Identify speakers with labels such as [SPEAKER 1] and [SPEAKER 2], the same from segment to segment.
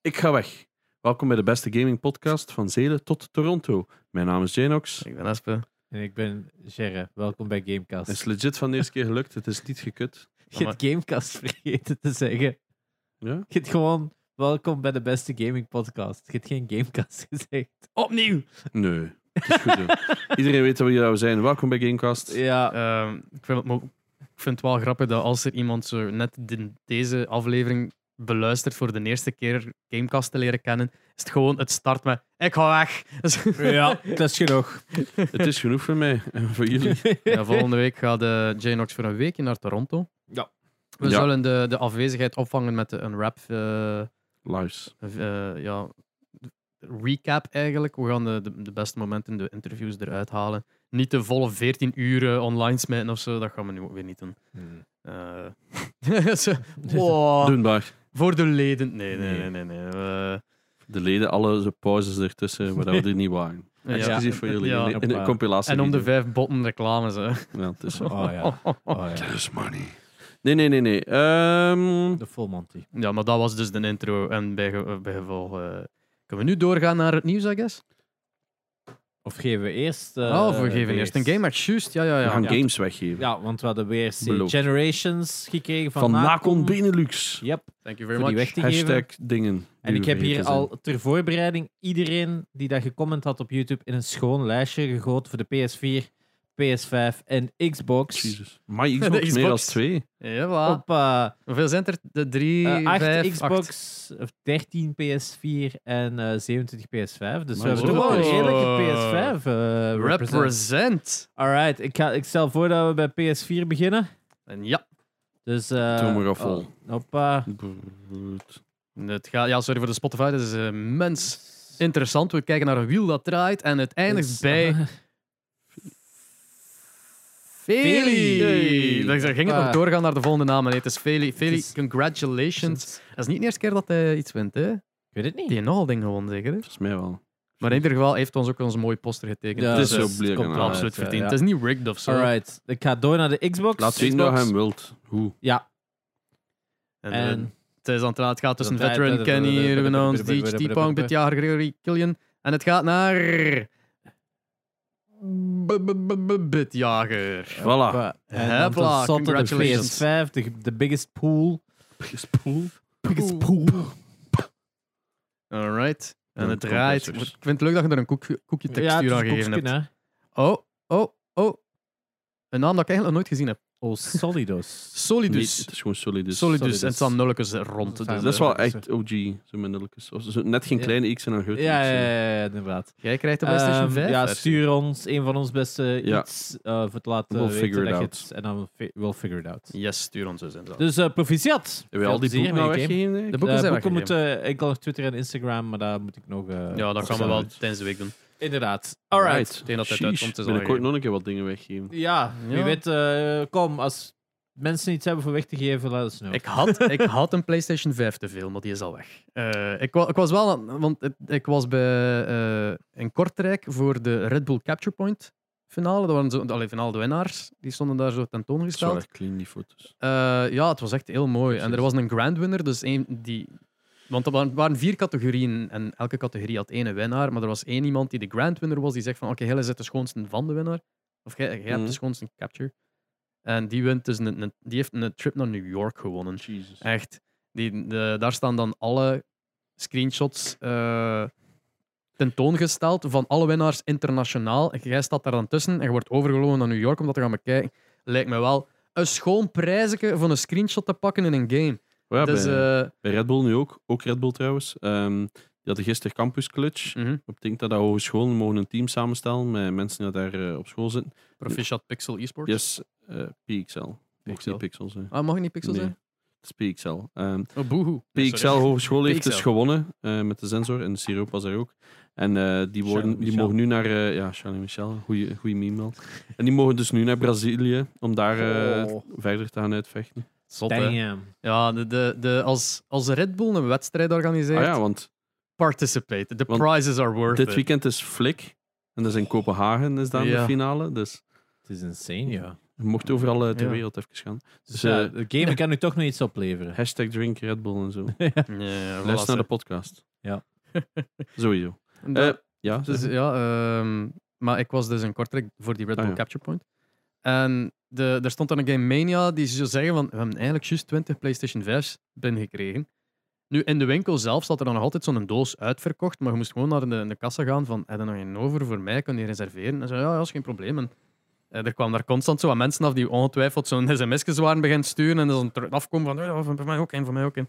[SPEAKER 1] Ik ga weg. Welkom bij de beste gaming podcast van Zelen tot Toronto. Mijn naam is Janox.
[SPEAKER 2] Ik ben Aspe.
[SPEAKER 3] En ik ben Gerre. Welkom bij Gamecast.
[SPEAKER 1] Het is legit van de eerste keer gelukt. Het is niet gekut.
[SPEAKER 3] Je hebt Gamecast vergeten te zeggen.
[SPEAKER 1] Ja?
[SPEAKER 3] Je hebt gewoon welkom bij de beste gaming podcast. Je hebt geen Gamecast gezegd.
[SPEAKER 2] Opnieuw!
[SPEAKER 1] Nee. Het is goed. hè. Iedereen weet wie we zijn. Welkom bij Gamecast.
[SPEAKER 3] Ja.
[SPEAKER 2] Ehm, ik, vind het, mo- ik vind het wel grappig dat als er iemand zo net de- deze aflevering beluistert voor de eerste keer Gamecast te leren kennen, is het gewoon het start met ik ga weg. Dus-
[SPEAKER 3] Ja, dat is genoeg.
[SPEAKER 1] Het is genoeg voor mij en voor jullie.
[SPEAKER 2] Ja, volgende week gaat eh, de J-Nox voor een weekje naar Toronto.
[SPEAKER 3] Ja.
[SPEAKER 2] We
[SPEAKER 1] Ja.
[SPEAKER 2] zullen de, de afwezigheid opvangen met een rap eh,
[SPEAKER 1] Lives.
[SPEAKER 2] eh, ja, recap eigenlijk. We gaan de, de, de beste momenten, de interviews eruit halen. Niet de volle 14 uur eh, online smijten of zo, dat gaan we nu ook weer niet doen.
[SPEAKER 3] Hmm.
[SPEAKER 2] Eh, zo,
[SPEAKER 3] Dus-
[SPEAKER 2] wow.
[SPEAKER 1] Doenbaar.
[SPEAKER 2] Voor de leden. Nee, nee, nee,
[SPEAKER 3] Nee.
[SPEAKER 2] nee. nee. We-
[SPEAKER 1] De leden, alle zo pauzes ertussen, waar we er niet waren.
[SPEAKER 2] ja.
[SPEAKER 1] Exclusief voor jullie.
[SPEAKER 2] Ja. eh,
[SPEAKER 1] in, de- in de
[SPEAKER 3] Ja.
[SPEAKER 1] compilatie.
[SPEAKER 2] En om de vijf botten reclames. Hè.
[SPEAKER 1] Ja, het is zo.
[SPEAKER 3] Oh ja. Oh, ja.
[SPEAKER 1] There's money. Nee, nee, nee, nee. Ehm,
[SPEAKER 3] De full Monty.
[SPEAKER 2] Ja, maar dat was dus de intro. En bij, ge- bij gevolg. eh, kunnen we nu doorgaan naar het nieuws, I guess?
[SPEAKER 3] Of geven we eerst... eh,
[SPEAKER 2] oh, we geven eerst een game match. Juist, ja, ja,
[SPEAKER 1] we
[SPEAKER 2] ja.
[SPEAKER 1] gaan
[SPEAKER 2] ja.
[SPEAKER 1] games weggeven.
[SPEAKER 3] Ja, want we hadden weer C-
[SPEAKER 1] Beloofd.
[SPEAKER 3] Generations gekregen van,
[SPEAKER 1] Van
[SPEAKER 3] Nacon.
[SPEAKER 1] Nacon Benelux.
[SPEAKER 3] Yep,
[SPEAKER 2] Thank you
[SPEAKER 3] voor
[SPEAKER 2] very
[SPEAKER 3] die
[SPEAKER 2] much.
[SPEAKER 3] weg te geven.
[SPEAKER 1] Hashtag dingen. die
[SPEAKER 3] En
[SPEAKER 1] we
[SPEAKER 3] ik heb hier
[SPEAKER 1] vergeten zijn.
[SPEAKER 3] al ter voorbereiding iedereen die dat gecomment had op YouTube in een schoon lijstje gegoten voor de PS4, PS5 en Xbox.
[SPEAKER 1] Jezus. My Xbox,
[SPEAKER 2] De
[SPEAKER 1] meer
[SPEAKER 2] Xbox.
[SPEAKER 1] dan twee.
[SPEAKER 2] Jawel.
[SPEAKER 3] Op eh,
[SPEAKER 2] Hoeveel zijn er? De drie,
[SPEAKER 3] eh, acht
[SPEAKER 2] vijf, acht.
[SPEAKER 3] Xbox, of 13 PS4 en eh, 27 PS5. Dus
[SPEAKER 1] Nice.
[SPEAKER 3] we hebben toch wel een
[SPEAKER 2] Oh.
[SPEAKER 3] redelijke PS5 eh represent.
[SPEAKER 2] Represent.
[SPEAKER 3] Alright, ik, ga, ik stel voor dat we bij PS4 beginnen.
[SPEAKER 2] En ja,
[SPEAKER 3] Dus, eh
[SPEAKER 1] Doe maar vol.
[SPEAKER 3] oh, hoppa.
[SPEAKER 2] het gaat, ja, sorry voor de Spotify. Dat is immens interessant. We kijken naar een wiel dat draait. En het eindigt
[SPEAKER 3] Dus,
[SPEAKER 2] bij
[SPEAKER 3] eh,
[SPEAKER 2] Feli.
[SPEAKER 3] Feli.
[SPEAKER 2] Dan ging het
[SPEAKER 3] Ah.
[SPEAKER 2] nog doorgaan naar de volgende naam. Nee, het is Feli. Feli,
[SPEAKER 3] is-
[SPEAKER 2] congratulations. Dat is niet de eerste keer dat hij iets wint, hè?
[SPEAKER 3] Ik weet het niet.
[SPEAKER 2] Die nogal ding gewoon zeker. hè?
[SPEAKER 1] Volgens mij wel.
[SPEAKER 2] Maar in ieder geval heeft ons ook onze mooie poster getekend.
[SPEAKER 3] Ja,
[SPEAKER 1] het is
[SPEAKER 2] dus
[SPEAKER 1] zo
[SPEAKER 2] het
[SPEAKER 1] bleek.
[SPEAKER 2] komt wel
[SPEAKER 1] inderdaad.
[SPEAKER 2] absoluut
[SPEAKER 3] Ja,
[SPEAKER 2] verdiend.
[SPEAKER 3] ja.
[SPEAKER 2] Het is niet rigged of zo.
[SPEAKER 3] Alright, ik ga door naar de Xbox.
[SPEAKER 1] Laat zien
[SPEAKER 3] Xbox.
[SPEAKER 1] dat hij hem wilt. Hoe?
[SPEAKER 3] Ja,
[SPEAKER 2] En, eh,
[SPEAKER 3] en
[SPEAKER 2] het, is aan het, het gaat tussen
[SPEAKER 3] Dat-
[SPEAKER 2] Veteran,
[SPEAKER 3] dat-
[SPEAKER 2] Kenny,
[SPEAKER 3] dat-
[SPEAKER 2] Ruben
[SPEAKER 3] dat-
[SPEAKER 2] Ons,
[SPEAKER 3] dat- dat- dat-
[SPEAKER 2] DHT, Pong,
[SPEAKER 3] dat- dat-
[SPEAKER 2] Pong,
[SPEAKER 3] dat- dat-
[SPEAKER 2] Pitjaar, Gregory, Killian. En het gaat naar... B- b- b- b- Bitjager.
[SPEAKER 1] Voilà.
[SPEAKER 3] Hoppa. En dan
[SPEAKER 2] Hopla,
[SPEAKER 3] tot slot de
[SPEAKER 2] congratulations.
[SPEAKER 3] PS5, de, de biggest pool.
[SPEAKER 1] Spoel.
[SPEAKER 3] Biggest pool.
[SPEAKER 2] Alright. En
[SPEAKER 1] Ja,
[SPEAKER 2] het draait... Ik
[SPEAKER 1] compressors.
[SPEAKER 2] vind het leuk dat je er een koek, koekje textuur aan gegeven hebt. Oh, oh, oh. Een naam dat ik eigenlijk nog nooit gezien heb.
[SPEAKER 3] Oh, Solidos.
[SPEAKER 1] Dus.
[SPEAKER 2] Solidus.
[SPEAKER 1] Het is gewoon solidus.
[SPEAKER 2] Solidus.
[SPEAKER 3] Solidus.
[SPEAKER 2] En het staan nulletjes rond.
[SPEAKER 3] Dat
[SPEAKER 2] dus,
[SPEAKER 1] Dat is wel
[SPEAKER 2] eh,
[SPEAKER 1] echt OG, zo minnelijkes. Of zo- Net geen
[SPEAKER 3] Ja.
[SPEAKER 1] kleine X en een grote X.
[SPEAKER 3] Ja, ja, ja, ja, inderdaad.
[SPEAKER 2] Jij krijgt de PlayStation
[SPEAKER 3] Ehm,
[SPEAKER 2] 5
[SPEAKER 3] ja,
[SPEAKER 2] versie.
[SPEAKER 3] stuur ons een van ons beste
[SPEAKER 1] Ja.
[SPEAKER 3] iets eh, voor te laten
[SPEAKER 1] We'll
[SPEAKER 3] weten
[SPEAKER 1] figure it
[SPEAKER 3] dat je
[SPEAKER 1] out.
[SPEAKER 3] het- En dan fi- we'll figure it out.
[SPEAKER 2] Yes, stuur ons dus inderdaad.
[SPEAKER 3] Dus eh proficiat.
[SPEAKER 1] Hebben we al die
[SPEAKER 3] Veel
[SPEAKER 1] boeken nou
[SPEAKER 3] plezier met je game.
[SPEAKER 1] weggegeven?
[SPEAKER 2] De
[SPEAKER 1] eigenlijk?
[SPEAKER 2] boeken
[SPEAKER 3] Eh,
[SPEAKER 2] zijn
[SPEAKER 3] boeken
[SPEAKER 2] weggegeven.
[SPEAKER 3] moeten enkel op Twitter en Instagram, maar daar moet ik nog... eh,
[SPEAKER 2] Ja, dat gaan we
[SPEAKER 3] opzetten.
[SPEAKER 2] wel
[SPEAKER 1] absoluut.
[SPEAKER 2] tijdens de week doen.
[SPEAKER 3] Inderdaad. Alright.
[SPEAKER 2] Tegen dat het
[SPEAKER 1] Sheesh.
[SPEAKER 2] uitkomt, is al
[SPEAKER 1] Binnenkort
[SPEAKER 2] gegeven.
[SPEAKER 1] nog een keer wat dingen weggeven.
[SPEAKER 3] Ja, wie
[SPEAKER 2] Ja.
[SPEAKER 3] weet, eh, kom, als mensen iets hebben voor weg te geven, laat ons know.
[SPEAKER 2] Ik had, ik had een PlayStation 5 te veel, maar die is al weg. Eh, ik, wa- ik was wel, aan- want het- ik was bij, eh, in Kortrijk voor de Red Bull Capture Point finale. Dat waren zo, allee, finale de winnaars. Die stonden daar zo
[SPEAKER 1] Dat is wel
[SPEAKER 2] tentoongesteld.
[SPEAKER 1] echt clean, die foto's.
[SPEAKER 2] Eh, ja, het was echt heel mooi. En er was een grand winner, dus één die. Want er waren- waren vier categorieën en elke categorie had één winnaar. Maar er was één iemand die de grand winner was, die zegt van oké, jij is het de schoonste van de winnaar. Of jij, jij hebt
[SPEAKER 1] Mhm.
[SPEAKER 2] de schoonste capture. En die, wint dus een, een- die heeft een trip naar New York gewonnen.
[SPEAKER 1] Jesus.
[SPEAKER 2] Echt. Die, de, daar staan dan alle screenshots eh, tentoongesteld van alle winnaars internationaal. En Jij staat daar dan tussen en je wordt overgelopen naar New York om dat te gaan bekijken. Lijkt me wel een schoon prijzeke van een screenshot te pakken in een game.
[SPEAKER 1] Oh ja,
[SPEAKER 2] dus,
[SPEAKER 1] bij,
[SPEAKER 2] eh,
[SPEAKER 1] bij Red Bull nu ook. Ook Red Bull trouwens. Ehm, die hadden gisteren Campus Clutch.
[SPEAKER 2] mhm.
[SPEAKER 1] Ik denk dat de hogescholen mogen een team samenstellen met mensen die daar eh, op school zitten.
[SPEAKER 2] Proficiat Pixel Esports.
[SPEAKER 1] Yes, eh, PXL. Mocht
[SPEAKER 2] PXL.
[SPEAKER 1] niet pixels zijn.
[SPEAKER 2] Ah, mag je niet Pixel
[SPEAKER 1] Nee,
[SPEAKER 2] zijn?
[SPEAKER 1] Het is PXL. Ehm,
[SPEAKER 2] Oh, boehoe. Nee,
[SPEAKER 1] PXL
[SPEAKER 2] sorry.
[SPEAKER 1] Hogeschool heeft
[SPEAKER 2] PXL.
[SPEAKER 1] dus gewonnen eh, met de sensor en de siroop was er ook. En eh, die, worden, die
[SPEAKER 3] Michel.
[SPEAKER 1] mogen nu naar... eh, ja, Charlie Michel, goede meme wel. En die mogen dus nu naar Brazilië om daar eh,
[SPEAKER 3] Oh.
[SPEAKER 1] verder te gaan uitvechten.
[SPEAKER 2] Zot, hè.
[SPEAKER 3] Damn.
[SPEAKER 2] Ja, de, de, de, als, als Red Bull een wedstrijd organiseert,
[SPEAKER 1] Ah ja, want
[SPEAKER 2] participate. The
[SPEAKER 1] Want
[SPEAKER 2] prizes are worth
[SPEAKER 1] dit
[SPEAKER 2] it.
[SPEAKER 1] weekend is Flik en dat is in Kopenhagen is dan
[SPEAKER 2] Ja.
[SPEAKER 1] de finale. Dus
[SPEAKER 3] Het is insane, ja.
[SPEAKER 1] Het mocht overal eh, ter
[SPEAKER 2] Ja.
[SPEAKER 1] wereld even gaan.
[SPEAKER 3] Dus
[SPEAKER 1] Dus, eh,
[SPEAKER 3] ja, de game kan nu toch nog iets opleveren.
[SPEAKER 1] Hashtag drink Red Bull en zo.
[SPEAKER 2] Ja,
[SPEAKER 1] Luister naar de podcast.
[SPEAKER 3] Ja.
[SPEAKER 1] Sowieso. Eh, ja,
[SPEAKER 2] Dus
[SPEAKER 1] zeg.
[SPEAKER 2] ja, ehm, maar ik was dus in Kortrijk voor die Red
[SPEAKER 1] Ah,
[SPEAKER 2] Bull
[SPEAKER 1] ja.
[SPEAKER 2] Capture Point. En de, er stond dan een Game Mania die zou zeggen van, we hebben eigenlijk juist 20 PlayStation 5's binnengekregen. Nu, in de winkel zelf zat er dan nog altijd zo'n doos uitverkocht, maar je moest gewoon naar de, de kassa gaan van, heb je nog een over voor mij, kun je reserveren? En zei, ja, ja, is geen probleem. En eh, er kwamen daar constant zo wat mensen af die ongetwijfeld zo'n sms'jes waren beginnen sturen en dan terug afkomen van, ja, van mij ook in, van mij ook in.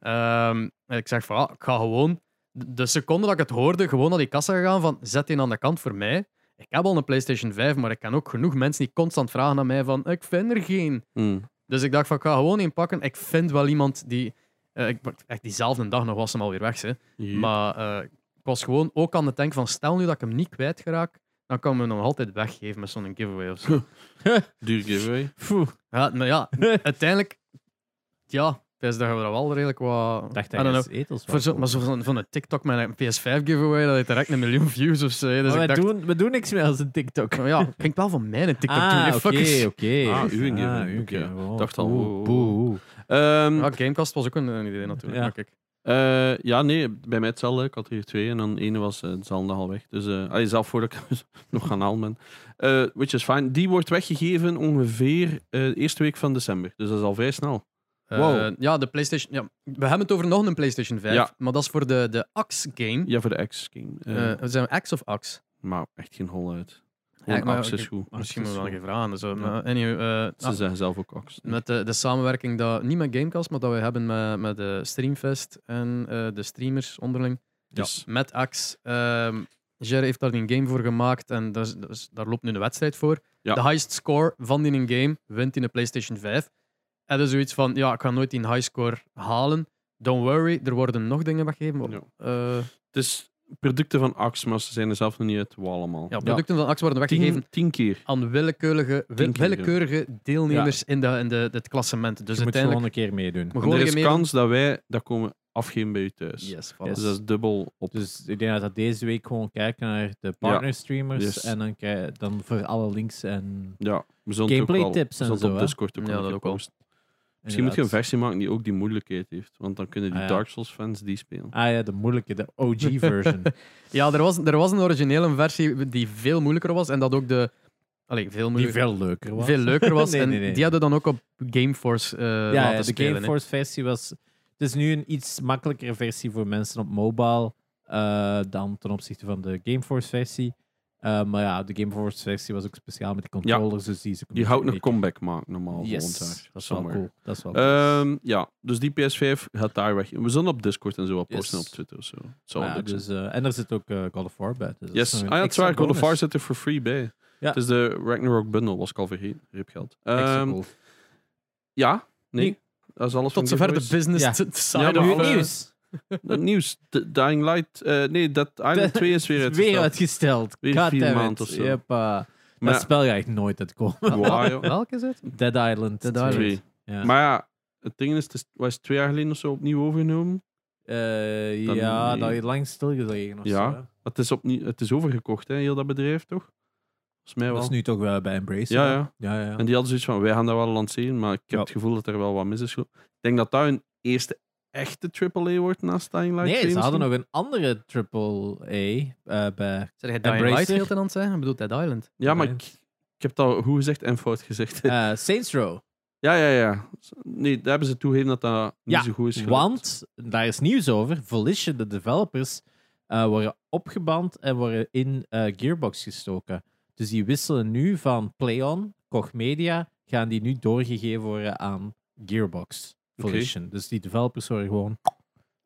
[SPEAKER 2] Ehm, en ik zeg van, ja, ik ga gewoon de de seconde dat ik het hoorde, gewoon naar die kassa gegaan van zet die aan de kant voor mij. Ik heb al een PlayStation 5, maar ik kan ook genoeg mensen die constant vragen aan mij van ik vind er geen.
[SPEAKER 1] Mm.
[SPEAKER 2] Dus ik dacht van ik ga gewoon één pakken. Ik vind wel iemand die... eh, ik, echt diezelfde dag nog was hem alweer weg, hè.
[SPEAKER 1] Ja.
[SPEAKER 2] Maar eh, ik was gewoon ook aan de tank van stel nu dat ik hem niet kwijtgeraak, dan kan ik hem nog altijd weggeven met zo'n giveaway of zo.
[SPEAKER 1] Duur giveaway.
[SPEAKER 3] Phew.
[SPEAKER 2] ja, maar ja, uiteindelijk... Ja, dus daar hebben we wel redelijk wat...
[SPEAKER 3] Dacht
[SPEAKER 2] I don't know.
[SPEAKER 3] dat etels
[SPEAKER 2] Voor zo, maar zo van, van een TikTok met een PS5-giveaway, dat heeft direct een miljoen views of zo. hè. Dus
[SPEAKER 3] Oh, we,
[SPEAKER 2] ik dacht,
[SPEAKER 3] doen, we doen niks meer als een TikTok.
[SPEAKER 2] ja, ik ging wel van mijn TikTok doen,
[SPEAKER 3] Ah,
[SPEAKER 2] hè,
[SPEAKER 3] oké,
[SPEAKER 2] fuckers.
[SPEAKER 3] oké.
[SPEAKER 1] Ah, uw game.
[SPEAKER 3] uw
[SPEAKER 1] Oké.
[SPEAKER 3] game. Oh, dus
[SPEAKER 1] Dacht al,
[SPEAKER 3] boe,
[SPEAKER 1] oh, oh,
[SPEAKER 3] boe, boe.
[SPEAKER 1] Ehm,
[SPEAKER 2] Ja, Gamecast was ook een, een idee natuurlijk.
[SPEAKER 3] Ja.
[SPEAKER 2] maar kijk.
[SPEAKER 1] eh, ja, nee, bij mij hetzelfde. Ik had hier twee en dan ene was eh, het zal nogal weg. Dus eh allee, zelf voordat ik hem nog gaan halen ben. Eh, which is fine. Die wordt weggegeven ongeveer eh, de eerste week van december. Dus dat is al vrij snel.
[SPEAKER 2] Eh,
[SPEAKER 1] Wow.
[SPEAKER 2] ja, de PlayStation. Ja, we hebben het over nog een PlayStation 5,
[SPEAKER 1] Ja.
[SPEAKER 2] maar dat is voor de, de Axe-game.
[SPEAKER 1] Ja, voor de X-game. Eh,
[SPEAKER 2] Eh, zijn we Axe of Axe?
[SPEAKER 1] maar echt geen hol uit.
[SPEAKER 2] Ja,
[SPEAKER 1] Gewoon
[SPEAKER 2] maar
[SPEAKER 1] Axe is
[SPEAKER 2] ik-
[SPEAKER 1] goed.
[SPEAKER 2] Misschien
[SPEAKER 3] Axe
[SPEAKER 2] moeten
[SPEAKER 3] is
[SPEAKER 2] we wel even vragen. Dus, eh,
[SPEAKER 1] Ja.
[SPEAKER 2] maar anyway, eh,
[SPEAKER 1] Ze
[SPEAKER 2] ah,
[SPEAKER 1] zeggen zelf ook Axe.
[SPEAKER 2] met de, de samenwerking, dat, niet met Gamecast, maar dat we hebben met, met de Streamfest en eh, de streamers onderling.
[SPEAKER 1] Dus,
[SPEAKER 2] met Axe. Ehm Jerry heeft daar een game voor gemaakt en daar, is- daar is- daar loopt nu een wedstrijd voor.
[SPEAKER 1] Ja.
[SPEAKER 2] De highest score van die een game wint in de PlayStation 5. En dus zoiets van, ja, ik ga nooit die high score halen. Don't worry, er worden nog dingen weggegeven.
[SPEAKER 1] Ja.
[SPEAKER 2] Eh,
[SPEAKER 1] het is producten van Axe, maar ze zijn er zelf nog niet uit. Wow, allemaal.
[SPEAKER 2] ja, producten van Axe worden weggegeven
[SPEAKER 1] Tien, tien keer.
[SPEAKER 2] aan willekeurige, wi-
[SPEAKER 1] Tien keer, ja.
[SPEAKER 2] willekeurige deelnemers in, de, in de, het klassement. Dus
[SPEAKER 3] Je moet
[SPEAKER 2] uiteindelijk...
[SPEAKER 3] gewoon een keer meedoen.
[SPEAKER 2] Maar
[SPEAKER 1] En er
[SPEAKER 2] gewoon
[SPEAKER 1] is
[SPEAKER 2] mee-
[SPEAKER 1] kans dat wij dat komen afgeven bij u thuis.
[SPEAKER 2] Yes, voilà.
[SPEAKER 1] Dus dat is dubbel op.
[SPEAKER 3] Dus ik denk dat we deze week gewoon kijken naar de partner streamers.
[SPEAKER 1] Yes.
[SPEAKER 3] En dan, kei- dan voor alle links en.
[SPEAKER 1] ja, we zullen het ook
[SPEAKER 3] Gameplay
[SPEAKER 1] wel-
[SPEAKER 3] tips en
[SPEAKER 1] we zullen het
[SPEAKER 3] zo,
[SPEAKER 1] op
[SPEAKER 3] hè?
[SPEAKER 1] Discord ook
[SPEAKER 2] Ja,
[SPEAKER 1] wel
[SPEAKER 2] dat ook wel.
[SPEAKER 1] gepost. Misschien moet je een
[SPEAKER 3] inderdaad.
[SPEAKER 1] versie maken die ook die moeilijkheid heeft. Want dan kunnen die
[SPEAKER 3] Ah, ja.
[SPEAKER 1] Dark Souls fans die spelen.
[SPEAKER 3] Ah ja, de moeilijke, de OG-version.
[SPEAKER 2] Ja, er was, er was een originele versie die veel moeilijker was en dat ook de... Allee, veel
[SPEAKER 3] die
[SPEAKER 2] moeilijker...
[SPEAKER 3] veel leuker was.
[SPEAKER 2] veel leuker was.
[SPEAKER 3] Nee,
[SPEAKER 2] en
[SPEAKER 3] nee, nee.
[SPEAKER 2] die hadden dan ook op Gameforce eh
[SPEAKER 3] ja,
[SPEAKER 2] laten
[SPEAKER 3] ja, de
[SPEAKER 2] spelen. hè.
[SPEAKER 3] Gameforce-versie was. Het is nu een iets makkelijkere versie voor mensen op mobile eh, dan ten opzichte van de Gameforce-versie. Eh, maar ja, de Gameforce-versie was ook speciaal met de controllers. Dus die is ook een
[SPEAKER 1] Die
[SPEAKER 3] beetje
[SPEAKER 1] houdt een
[SPEAKER 3] uniek.
[SPEAKER 1] comeback maken normaal volgend
[SPEAKER 3] Yes,
[SPEAKER 1] jaar.
[SPEAKER 3] dat is wel
[SPEAKER 1] Somewhere.
[SPEAKER 3] cool. Dat is wel
[SPEAKER 1] Ehm, ja, dus die PS5 gaat daar weg. We zullen op Discord en zo wel
[SPEAKER 3] Yes.
[SPEAKER 1] posten op Twitter. of Zo. Het zal
[SPEAKER 3] cool.
[SPEAKER 1] wel
[SPEAKER 3] Ja,
[SPEAKER 1] leuk zijn.
[SPEAKER 3] dus, eh, en er zit ook eh, God of War bij. Dus dat is
[SPEAKER 1] Yes, ah,
[SPEAKER 3] nog een
[SPEAKER 1] ja, het is
[SPEAKER 3] extra
[SPEAKER 1] waar. God of War
[SPEAKER 3] bonus.
[SPEAKER 1] zit er for free bij.
[SPEAKER 3] Ja.
[SPEAKER 1] Het is de Ragnarok bundle, was ik al vergeten. Rip geld.
[SPEAKER 3] Extra
[SPEAKER 1] Ehm,
[SPEAKER 3] cool.
[SPEAKER 1] Ja, nee.
[SPEAKER 3] Nee.
[SPEAKER 1] Dat is alles van
[SPEAKER 2] Tot zover de
[SPEAKER 1] Giveaways.
[SPEAKER 2] business
[SPEAKER 3] Ja.
[SPEAKER 2] t- side
[SPEAKER 1] Ja,
[SPEAKER 2] of,
[SPEAKER 1] maar
[SPEAKER 3] Nu
[SPEAKER 1] of,
[SPEAKER 3] het
[SPEAKER 1] eh,
[SPEAKER 3] nieuws.
[SPEAKER 1] Het nieuws. De Dying Light. eh, nee, dat Island 2 is weer uitgesteld.
[SPEAKER 3] Weer uitgesteld.
[SPEAKER 1] Weer
[SPEAKER 3] God
[SPEAKER 1] vier
[SPEAKER 3] damn it.
[SPEAKER 1] maanden of zo.
[SPEAKER 3] Jeppa.
[SPEAKER 1] Maar,
[SPEAKER 3] Dat spel ga ik nooit uitkomen.
[SPEAKER 1] ja, waar, joh.
[SPEAKER 2] Welke is het?
[SPEAKER 3] Dead Island.
[SPEAKER 2] Dead
[SPEAKER 3] twee.
[SPEAKER 1] Twee.
[SPEAKER 3] Ja,
[SPEAKER 1] maar ja, het ding is, het is, was twee jaar geleden of zo opnieuw overgenomen.
[SPEAKER 3] Eh,
[SPEAKER 1] Dan-
[SPEAKER 3] ja dat je lang stilgelegen of
[SPEAKER 1] Ja,
[SPEAKER 3] zo. hè.
[SPEAKER 1] Het is, opnieuw, het is overgekocht, hè, heel dat bedrijf, toch? Volgens mij wel.
[SPEAKER 3] Dat is nu toch wel bij Embrace.
[SPEAKER 1] Ja,
[SPEAKER 3] hè?
[SPEAKER 1] ja.
[SPEAKER 3] ja, ja.
[SPEAKER 1] En die hadden zoiets van, wij gaan dat wel lanceren, maar ik heb
[SPEAKER 3] Ja.
[SPEAKER 1] het gevoel dat er wel wat mis is. gelopen. Ik denk dat dat een eerste echte AAA wordt naast Dying Light 2
[SPEAKER 3] Nee, ze hadden
[SPEAKER 1] misschien.
[SPEAKER 3] nog een andere AAA eh bij...
[SPEAKER 2] Zeg jij
[SPEAKER 3] Embracer?
[SPEAKER 2] Dying Light heel ten aan het zeggen? Ik bedoel Dead Island.
[SPEAKER 1] Ja, maar ik, ik heb dat goed gezegd en fout gezegd.
[SPEAKER 3] eh, Saints Row.
[SPEAKER 1] Ja, ja, ja. Nee, daar hebben ze toegegeven dat dat
[SPEAKER 3] Ja,
[SPEAKER 1] niet zo goed is gelukt.
[SPEAKER 3] Want, daar is nieuws over, Volition, de developers, eh, worden opgeband en worden in eh, Gearbox gestoken. Dus die wisselen nu van PlayOn, Koch Media, gaan die nu doorgegeven worden aan Gearbox.
[SPEAKER 1] Oké.
[SPEAKER 3] Volition. Dus die developers worden gewoon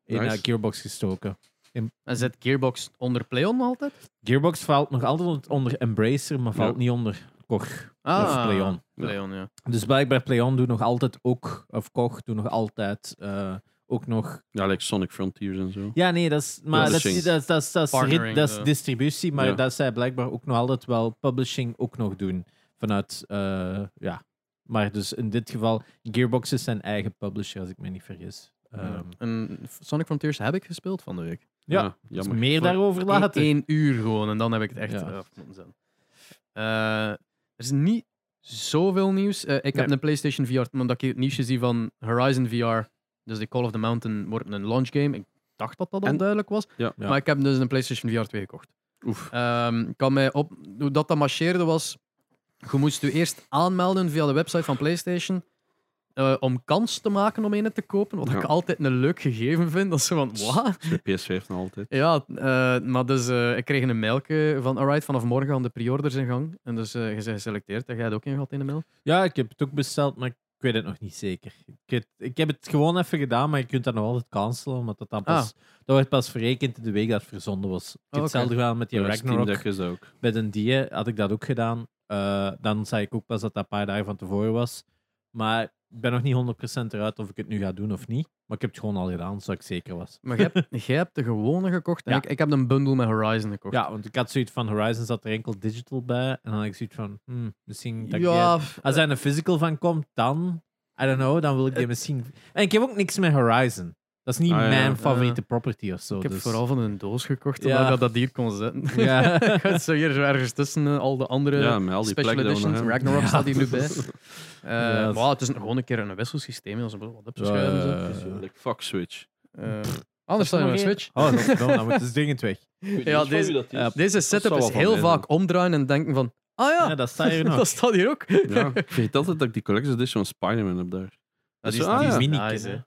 [SPEAKER 3] in eh,
[SPEAKER 1] Nice.
[SPEAKER 3] Gearbox gestoken.
[SPEAKER 2] En zet Gearbox onder Playon nog altijd?
[SPEAKER 3] Gearbox valt nog altijd onder Embracer, maar valt
[SPEAKER 1] Ja. Ah.
[SPEAKER 3] niet onder Koch. Of Playon.
[SPEAKER 2] Playon, Ah. ja.
[SPEAKER 3] Dus blijkbaar PlayOn doet nog altijd ook, of Koch doet nog altijd eh, ook nog.
[SPEAKER 1] Ja, like Sonic Frontiers en zo.
[SPEAKER 3] Ja, nee, dat is, maar dat is,
[SPEAKER 1] Publishing.
[SPEAKER 3] dat is, dat is, dat is,
[SPEAKER 2] Partnering,
[SPEAKER 3] rit- dat is
[SPEAKER 2] eh.
[SPEAKER 3] distributie, maar
[SPEAKER 1] Ja.
[SPEAKER 3] dat zij blijkbaar ook nog altijd wel publishing ook nog doen vanuit, eh, ja. Maar dus in dit geval, Gearbox is zijn eigen publisher, als ik me niet vergis. Ehm,
[SPEAKER 2] En Sonic Frontiers heb ik gespeeld van de week.
[SPEAKER 3] Ja, dus
[SPEAKER 1] jammer.
[SPEAKER 3] meer daarover later.
[SPEAKER 2] Eén uur gewoon en dan heb ik het echt
[SPEAKER 3] Ja.
[SPEAKER 2] eh, af moeten zijn. Eh, er is niet zoveel nieuws. Eh, ik heb
[SPEAKER 1] Nee.
[SPEAKER 2] een PlayStation VR, omdat ik het nieuwsje zie van Horizon VR. Dus de Call of the Mountain wordt een launch game. Ik dacht dat dat al
[SPEAKER 1] En-
[SPEAKER 2] duidelijk was.
[SPEAKER 1] Ja.
[SPEAKER 3] Ja.
[SPEAKER 2] Maar ik heb dus een PlayStation VR 2 gekocht.
[SPEAKER 1] Oef.
[SPEAKER 2] Ehm, ik kan mij op, hoe dat, dat marcheerde was, je moest je eerst aanmelden via de website van PlayStation eh, om kans te maken om een te kopen. Wat
[SPEAKER 1] Ja.
[SPEAKER 2] ik altijd een leuk gegeven vind. Dat ze van, wat?
[SPEAKER 1] PS5 nog altijd.
[SPEAKER 2] Ja, eh, maar dus eh, ik kreeg een mailke van, alright, vanaf morgen gaan de pre-orders in gang. En dus eh, je bent geselecteerd. Heb jij het ook ingehad in de mail?
[SPEAKER 3] Ja, ik heb het ook besteld, maar ik weet het nog niet zeker. Ik, weet- ik heb het gewoon even gedaan, maar je kunt dat nog altijd cancelen, omdat dat
[SPEAKER 1] Ah.
[SPEAKER 3] dan pas... Dat werd pas verrekend in de week dat het verzonden was. Ik heb
[SPEAKER 2] oké.
[SPEAKER 3] Hetzelfde gedaan met die
[SPEAKER 1] Oh, Ja, eh, Steam
[SPEAKER 3] Ragnarok.
[SPEAKER 1] Deck is dat ook.
[SPEAKER 3] Bij een die had ik dat ook gedaan. Eh, dan zei ik ook pas dat dat een paar dagen van tevoren was. Maar ik ben nog niet 100% eruit of ik het nu ga doen of niet. Maar ik heb het gewoon al gedaan, zodat ik zeker was.
[SPEAKER 2] Maar jij, hebt- jij hebt de gewone gekocht en
[SPEAKER 3] Ja.
[SPEAKER 2] ik, ik heb een bundel met Horizon gekocht.
[SPEAKER 3] Ja, want ik had zoiets van Horizon zat er enkel digital bij. En dan had ik zoiets van, hmm, misschien... Dat Ah, ik die-
[SPEAKER 2] Ja, f-
[SPEAKER 3] Als er een physical van komt, dan... I don't know, dan wil ik die misschien... En ik heb ook niks met Horizon. Dat is niet
[SPEAKER 1] Ah, ja.
[SPEAKER 3] mijn favoriete property of zo.
[SPEAKER 2] ik heb
[SPEAKER 3] dus-
[SPEAKER 2] vooral van een doos gekocht,
[SPEAKER 3] Ja.
[SPEAKER 2] omdat ik dat- dat hier kon zetten.
[SPEAKER 3] Ja.
[SPEAKER 2] Ik had zo hier zo ergens tussen eh, al de andere
[SPEAKER 1] Ja, met al die
[SPEAKER 2] special
[SPEAKER 1] plekken dat we nog
[SPEAKER 2] editions.
[SPEAKER 1] hebben.
[SPEAKER 2] Ragnarok
[SPEAKER 3] Ja.
[SPEAKER 2] staat hier nu bij. Eh,
[SPEAKER 3] Ja, dat-
[SPEAKER 2] maar het is een- gewoon een keer een wisselsysteem. Als een wat op te
[SPEAKER 3] Ja,
[SPEAKER 2] schuiven. en zo.
[SPEAKER 3] ja, ja.
[SPEAKER 1] Dus, eh, like, fuck Switch.
[SPEAKER 2] Eh, anders staat je
[SPEAKER 3] nog
[SPEAKER 2] een
[SPEAKER 3] geen-
[SPEAKER 2] Switch.
[SPEAKER 3] Oh, dat is dom. Dan moet dus dringend weg.
[SPEAKER 2] Ja, deze- Deze setup
[SPEAKER 1] zou
[SPEAKER 2] is
[SPEAKER 1] wel van
[SPEAKER 2] heel
[SPEAKER 1] mij
[SPEAKER 2] vaak omdraaien en denken van... Ah ja,
[SPEAKER 3] Ja, dat staat hier nog.
[SPEAKER 2] dat staat hier ook.
[SPEAKER 1] Ja, ik vergeet altijd dat ik die Collector's Edition van Spider-Man heb daar.
[SPEAKER 3] Dat is,
[SPEAKER 1] zo,
[SPEAKER 3] die
[SPEAKER 1] ah,
[SPEAKER 3] is
[SPEAKER 1] ja,
[SPEAKER 3] mini
[SPEAKER 2] Nice,
[SPEAKER 3] hè.
[SPEAKER 2] hè.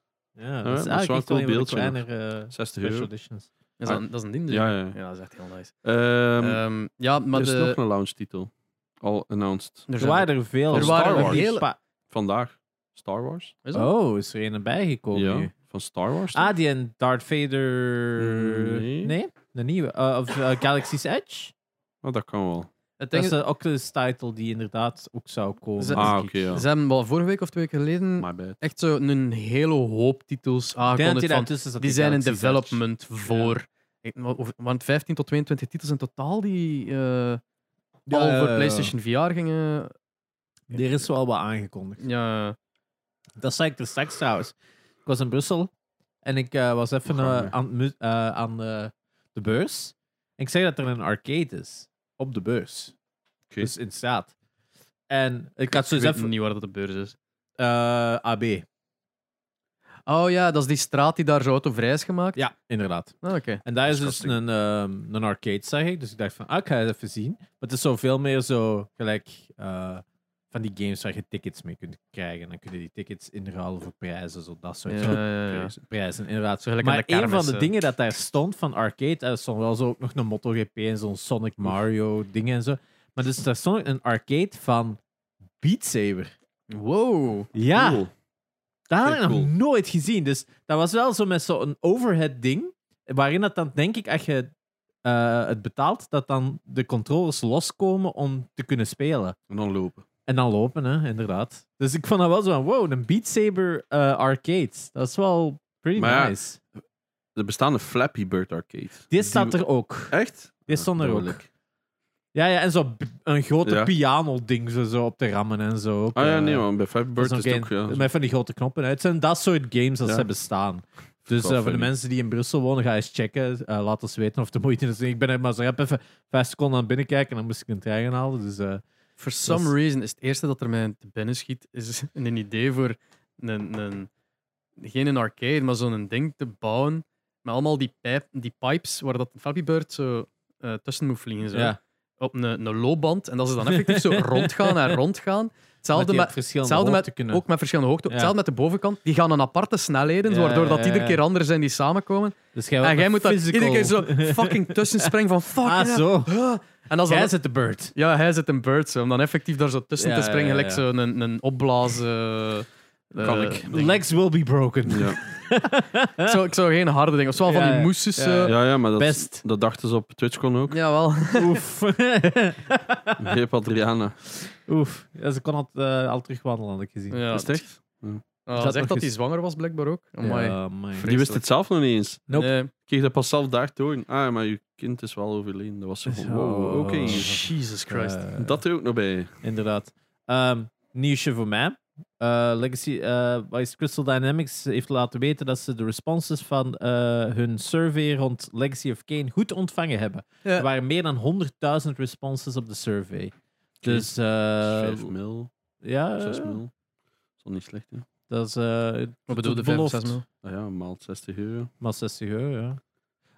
[SPEAKER 3] Ja,
[SPEAKER 1] dat
[SPEAKER 3] dat
[SPEAKER 1] is
[SPEAKER 3] is
[SPEAKER 1] wel een
[SPEAKER 3] eigenlijk
[SPEAKER 1] cool
[SPEAKER 3] cool beeld.
[SPEAKER 1] beeldje nog.
[SPEAKER 3] Kleinere eh,
[SPEAKER 1] 60
[SPEAKER 3] special
[SPEAKER 1] euro.
[SPEAKER 3] editions.
[SPEAKER 2] Dat is een, dat is een ding, dus.
[SPEAKER 1] Ja, ja, ja.
[SPEAKER 2] ja, dat is echt heel nice.
[SPEAKER 1] Ehm,
[SPEAKER 3] Eh,
[SPEAKER 2] Ehm, ja, maar
[SPEAKER 1] er is
[SPEAKER 2] de...
[SPEAKER 1] nog een launch titel. Al announced.
[SPEAKER 2] er
[SPEAKER 3] Er
[SPEAKER 2] zijn-
[SPEAKER 3] waren er veel.
[SPEAKER 1] Er waren
[SPEAKER 3] Star
[SPEAKER 1] nog
[SPEAKER 3] Wars.
[SPEAKER 2] hele-
[SPEAKER 3] Pa-
[SPEAKER 1] Vandaag. Star Wars.
[SPEAKER 2] Is dat?
[SPEAKER 3] Oh, is er een bijgekomen
[SPEAKER 1] ja,
[SPEAKER 3] nu?
[SPEAKER 1] van Star Wars.
[SPEAKER 3] Ah, die en Darth Vader...
[SPEAKER 1] Nee.
[SPEAKER 3] De nieuwe. Eh, of eh, Galaxy's Edge?
[SPEAKER 1] Oh, dat kan wel.
[SPEAKER 2] Het
[SPEAKER 3] Dat
[SPEAKER 2] ding
[SPEAKER 3] is eh,
[SPEAKER 2] is,
[SPEAKER 3] de Oculus title die inderdaad ook zou komen.
[SPEAKER 2] Ze-
[SPEAKER 3] denk
[SPEAKER 1] Ah,
[SPEAKER 3] ik.
[SPEAKER 1] oké, ja.
[SPEAKER 2] ze hebben wel vorige week of twee weken geleden
[SPEAKER 1] My bad.
[SPEAKER 2] echt zo een hele hoop titels
[SPEAKER 3] Ik denk dat
[SPEAKER 2] aangekondigd
[SPEAKER 3] die
[SPEAKER 2] van...
[SPEAKER 3] daartussen zat,
[SPEAKER 2] Die
[SPEAKER 3] die
[SPEAKER 2] zijn in
[SPEAKER 3] Galaxy's Edge.
[SPEAKER 2] development voor... Ik- wa- of- Want 15 tot 22 titels in totaal die eh, al
[SPEAKER 3] ja,
[SPEAKER 2] voor
[SPEAKER 3] ja.
[SPEAKER 2] PlayStation VR gingen.
[SPEAKER 3] Er is wel wat aangekondigd.
[SPEAKER 2] Ja,
[SPEAKER 3] Dat zei ik er straks trouwens. Ik was in Brussel en ik eh, was even
[SPEAKER 1] Gaan
[SPEAKER 3] eh,
[SPEAKER 1] we.
[SPEAKER 3] aan, het mu- eh, aan eh, de beurs. En ik zei dat er een arcade is op de beurs.
[SPEAKER 1] Oké.
[SPEAKER 3] Dus in staat. En ik had
[SPEAKER 2] ik
[SPEAKER 3] zo
[SPEAKER 2] weet
[SPEAKER 3] even
[SPEAKER 2] niet waar dat de beurs is.
[SPEAKER 3] eh, AB.
[SPEAKER 2] Oh ja, dat is die straat die daar zo autovrij is gemaakt.
[SPEAKER 3] Ja, inderdaad.
[SPEAKER 2] Ah, Oké.
[SPEAKER 3] En daar is dus
[SPEAKER 1] Disgusting.
[SPEAKER 3] een, ehm, een arcade, zeg ik. Dus ik dacht van, ah, ik ga het even zien. Maar het is zo veel meer zo gelijk eh, van die games waar je tickets mee kunt krijgen. Dan kun je die tickets inruilen voor prijzen, zo dat soort
[SPEAKER 2] Ja, ja, ja.
[SPEAKER 3] prijzen, inderdaad.
[SPEAKER 2] Zo gelijk aan
[SPEAKER 3] maar
[SPEAKER 2] de
[SPEAKER 3] een van
[SPEAKER 2] kermis,
[SPEAKER 3] de
[SPEAKER 2] hè.
[SPEAKER 3] dingen dat daar stond van arcade, er stond wel zo ook nog een MotoGP en zo'n Sonic Mario ding en zo. Maar dus daar stond ook een arcade van Beat Saber.
[SPEAKER 2] Wow.
[SPEAKER 3] Ja,
[SPEAKER 1] Cool.
[SPEAKER 3] dat had ik
[SPEAKER 1] Heel
[SPEAKER 3] nog
[SPEAKER 1] cool.
[SPEAKER 3] nooit gezien. Dus dat was wel zo met zo'n overhead ding, waarin dat dan denk ik, als je eh, het betaalt, dat dan de controllers loskomen om te kunnen spelen.
[SPEAKER 1] En dan lopen.
[SPEAKER 3] En dan lopen, hè, inderdaad. Dus ik vond dat wel zo van, wow, een Beat Saber eh, arcade. Dat is wel pretty
[SPEAKER 1] Maar ja,
[SPEAKER 3] nice.
[SPEAKER 1] Er bestaan een Flappy Bird arcade.
[SPEAKER 3] Dit staat er ook.
[SPEAKER 1] Echt?
[SPEAKER 3] Dit stond er ook.
[SPEAKER 1] dodelijk.
[SPEAKER 3] Ja, ja, en zo b- een grote
[SPEAKER 1] Ja.
[SPEAKER 3] piano-ding zo, zo op te rammen en zo. ook,
[SPEAKER 1] Ah ja,
[SPEAKER 3] eh,
[SPEAKER 1] nee man. Bij Flappy
[SPEAKER 3] dat
[SPEAKER 1] Bird
[SPEAKER 3] is
[SPEAKER 1] is
[SPEAKER 3] ook
[SPEAKER 1] het ook...
[SPEAKER 3] een-
[SPEAKER 1] Ja,
[SPEAKER 3] Met van die grote knoppen. hè. Het zijn dat soort games als
[SPEAKER 1] Ja.
[SPEAKER 3] ze bestaan. Dus
[SPEAKER 1] Wel
[SPEAKER 3] eh, voor de
[SPEAKER 1] funny.
[SPEAKER 3] mensen die in Brussel wonen, ga eens checken. Eh, laat ons weten of de moeite is. Ik ben er maar zo rap even vijf seconden aan het binnenkijken en dan moest ik een trein gaan halen. Dus, eh,
[SPEAKER 2] For some
[SPEAKER 3] Dat
[SPEAKER 2] reason is het eerste dat er mij te binnen schiet, is een idee voor een, een, geen een arcade, maar zo'n ding te bouwen met allemaal die, pijp, die pipes waar dat Flappy Bird zo eh, tussen moet vliegen. Zo.
[SPEAKER 3] ja,
[SPEAKER 2] Op een, een loopband. En dat ze dan effectief zo rondgaan en rondgaan.
[SPEAKER 3] met
[SPEAKER 2] Hetzelfde
[SPEAKER 3] die
[SPEAKER 2] met,
[SPEAKER 3] op verschillende
[SPEAKER 2] hetzelfde
[SPEAKER 3] hoogte
[SPEAKER 2] met,
[SPEAKER 3] kunnen.
[SPEAKER 2] ook met verschillende hoogte.
[SPEAKER 3] Ja.
[SPEAKER 2] Hetzelfde met de bovenkant. Die gaan aan aparte snelheden,
[SPEAKER 3] Ja,
[SPEAKER 2] waardoor dat
[SPEAKER 3] ja,
[SPEAKER 2] iedere
[SPEAKER 3] ja.
[SPEAKER 2] keer anders zijn die samenkomen.
[SPEAKER 3] dus jij,
[SPEAKER 2] en Ah, jij moet daar
[SPEAKER 3] dat
[SPEAKER 2] iedere keer zo fucking tussen springen van fuck.
[SPEAKER 3] Ah,
[SPEAKER 2] ja.
[SPEAKER 3] zo.
[SPEAKER 2] Huh. En als
[SPEAKER 3] Jij
[SPEAKER 2] dat
[SPEAKER 3] zit de bird.
[SPEAKER 2] ja, hij zit een bird, zo, om dan effectief daar zo tussen
[SPEAKER 3] Ja,
[SPEAKER 2] te springen,
[SPEAKER 3] ja,
[SPEAKER 2] gelijk
[SPEAKER 3] ja.
[SPEAKER 2] zo'n een, een opblazen... eh,
[SPEAKER 1] Kan ik.
[SPEAKER 2] ding.
[SPEAKER 3] Legs will be broken.
[SPEAKER 1] ja.
[SPEAKER 2] Ik zou, ik zou geen harde ding, of zo van
[SPEAKER 3] Ja,
[SPEAKER 2] die
[SPEAKER 3] ja.
[SPEAKER 2] moesjes. eh.
[SPEAKER 3] Ja,
[SPEAKER 2] zo.
[SPEAKER 3] ja.
[SPEAKER 1] ja, ja, maar dat,
[SPEAKER 3] Best.
[SPEAKER 1] dat dachten ze op TwitchCon ook.
[SPEAKER 2] Jawel.
[SPEAKER 3] Oef.
[SPEAKER 1] Greep Adriana.
[SPEAKER 3] Oef. Ja, ze kon al, eh, al terugwandelen, had ik gezien.
[SPEAKER 2] Ja.
[SPEAKER 1] Is het echt?
[SPEAKER 2] Ah,
[SPEAKER 3] dat
[SPEAKER 2] zegt
[SPEAKER 3] nog
[SPEAKER 2] dat hij
[SPEAKER 3] eens?
[SPEAKER 2] zwanger was, blijkbaar ook. Amai.
[SPEAKER 3] Ja, amai.
[SPEAKER 1] Die wist het zelf nog niet eens.
[SPEAKER 3] Nope.
[SPEAKER 2] Nee.
[SPEAKER 1] Ik kreeg dat pas zelf daar door. Ah, maar je kind is wel overleden. Dat was zo van, wow, oké.
[SPEAKER 2] Ah.
[SPEAKER 3] Oh.
[SPEAKER 2] Jesus Christ.
[SPEAKER 3] Eh,
[SPEAKER 1] Dat er ook nog bij.
[SPEAKER 3] Inderdaad. Ehm, nieuwsje voor mij. Eh, Legacy, eh, wat is het? Crystal Dynamics heeft laten weten dat ze de responses van eh, hun survey rond Legacy of Kane goed ontvangen hebben.
[SPEAKER 2] Ja.
[SPEAKER 3] Er waren meer dan 100.000 responses op de survey. Dus eh,
[SPEAKER 1] 5 mil,
[SPEAKER 3] ja,
[SPEAKER 1] 6 mil. Dat is niet slecht, hè?
[SPEAKER 3] dat is eh
[SPEAKER 4] Wat bedoel je,
[SPEAKER 3] de
[SPEAKER 4] 5,
[SPEAKER 3] belofte.
[SPEAKER 4] 6 mil?
[SPEAKER 1] Ah ja, maalt 60 euro.
[SPEAKER 3] maar 60 euro. Ja.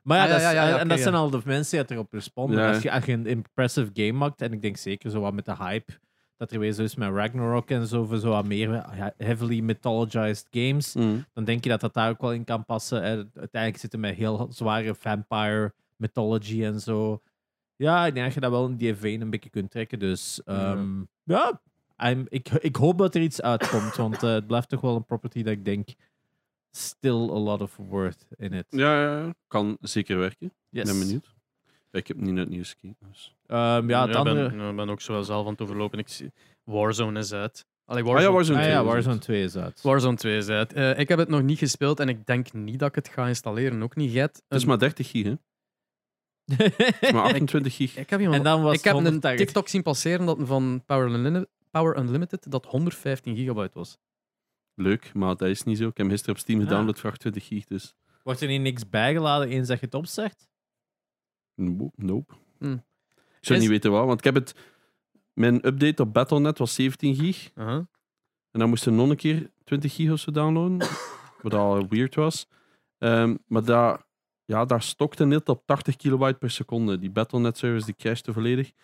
[SPEAKER 3] Maar ja,
[SPEAKER 4] Ah, ja,
[SPEAKER 3] dat is-
[SPEAKER 4] ja, ja,
[SPEAKER 3] en
[SPEAKER 4] ja,
[SPEAKER 3] en
[SPEAKER 4] oké,
[SPEAKER 3] dat
[SPEAKER 4] ja.
[SPEAKER 3] zijn al de mensen die erop responden.
[SPEAKER 1] Ja.
[SPEAKER 3] Als, je, als je een impressive game maakt, en ik denk zeker zo wat met de hype dat er wezen is met Ragnarok en zo, voor zo wat meer heavily mythologized games, dan denk je dat dat daar ook wel in kan passen. En uiteindelijk zitten we met heel zware vampire mythology en zo. Ja, ik denk dat je dat wel in die veen een beetje kunt trekken. Dus ehm, ja, I'm- ik, ik hoop dat er iets uitkomt. want eh, het blijft toch wel een property dat ik denk... Still a lot of worth in it.
[SPEAKER 1] Ja, ja, ja, kan zeker werken.
[SPEAKER 3] Yes.
[SPEAKER 1] ben benieuwd. Ik heb niet naar het nieuws gekeken. Dus.
[SPEAKER 3] Ehm, ja, het
[SPEAKER 2] ik
[SPEAKER 3] andere...
[SPEAKER 2] ben, ik ben ook zo wel zelf aan het overlopen. Ik zie, Warzone is uit. Allee,
[SPEAKER 1] Ah
[SPEAKER 2] Warzone,
[SPEAKER 1] ja, Warzone
[SPEAKER 3] Ah,
[SPEAKER 1] twee
[SPEAKER 3] ja,
[SPEAKER 1] is
[SPEAKER 3] Warzone
[SPEAKER 1] het.
[SPEAKER 3] 2 is uit.
[SPEAKER 2] Warzone
[SPEAKER 4] 2 is uit. Eh, ik heb het nog niet gespeeld en ik denk niet dat ik het ga installeren. Ook niet. Jij hebt
[SPEAKER 1] Het is
[SPEAKER 4] een-
[SPEAKER 1] maar 30 gig, hè? Het is maar 28 gig.
[SPEAKER 4] ik heb, iemand,
[SPEAKER 3] en dan was
[SPEAKER 4] ik heb een
[SPEAKER 3] 180.
[SPEAKER 4] TikTok zien passeren dat, van Power, Unlimited- Power Unlimited dat 115 gigabyte was.
[SPEAKER 1] Leuk, maar dat is niet zo. Ik heb hem gisteren op Steam
[SPEAKER 3] Ah.
[SPEAKER 1] gedownload voor 28 gig, dus...
[SPEAKER 3] Wordt er niet niks bijgeladen eens dat je het opzegt?
[SPEAKER 1] Nope. nope.
[SPEAKER 4] Hm.
[SPEAKER 1] Ik zou
[SPEAKER 4] Is-
[SPEAKER 1] niet weten waar, want ik heb het... Mijn update op Battle.net was 17 gig.
[SPEAKER 2] Uh-huh.
[SPEAKER 1] En dan moesten we nog een keer 20 gig of zo downloaden. wat al weird was. Ehm, maar daar, ja, daar stokte net op 80 kilobyte per seconde. Die Battle.net service die crashte volledig. En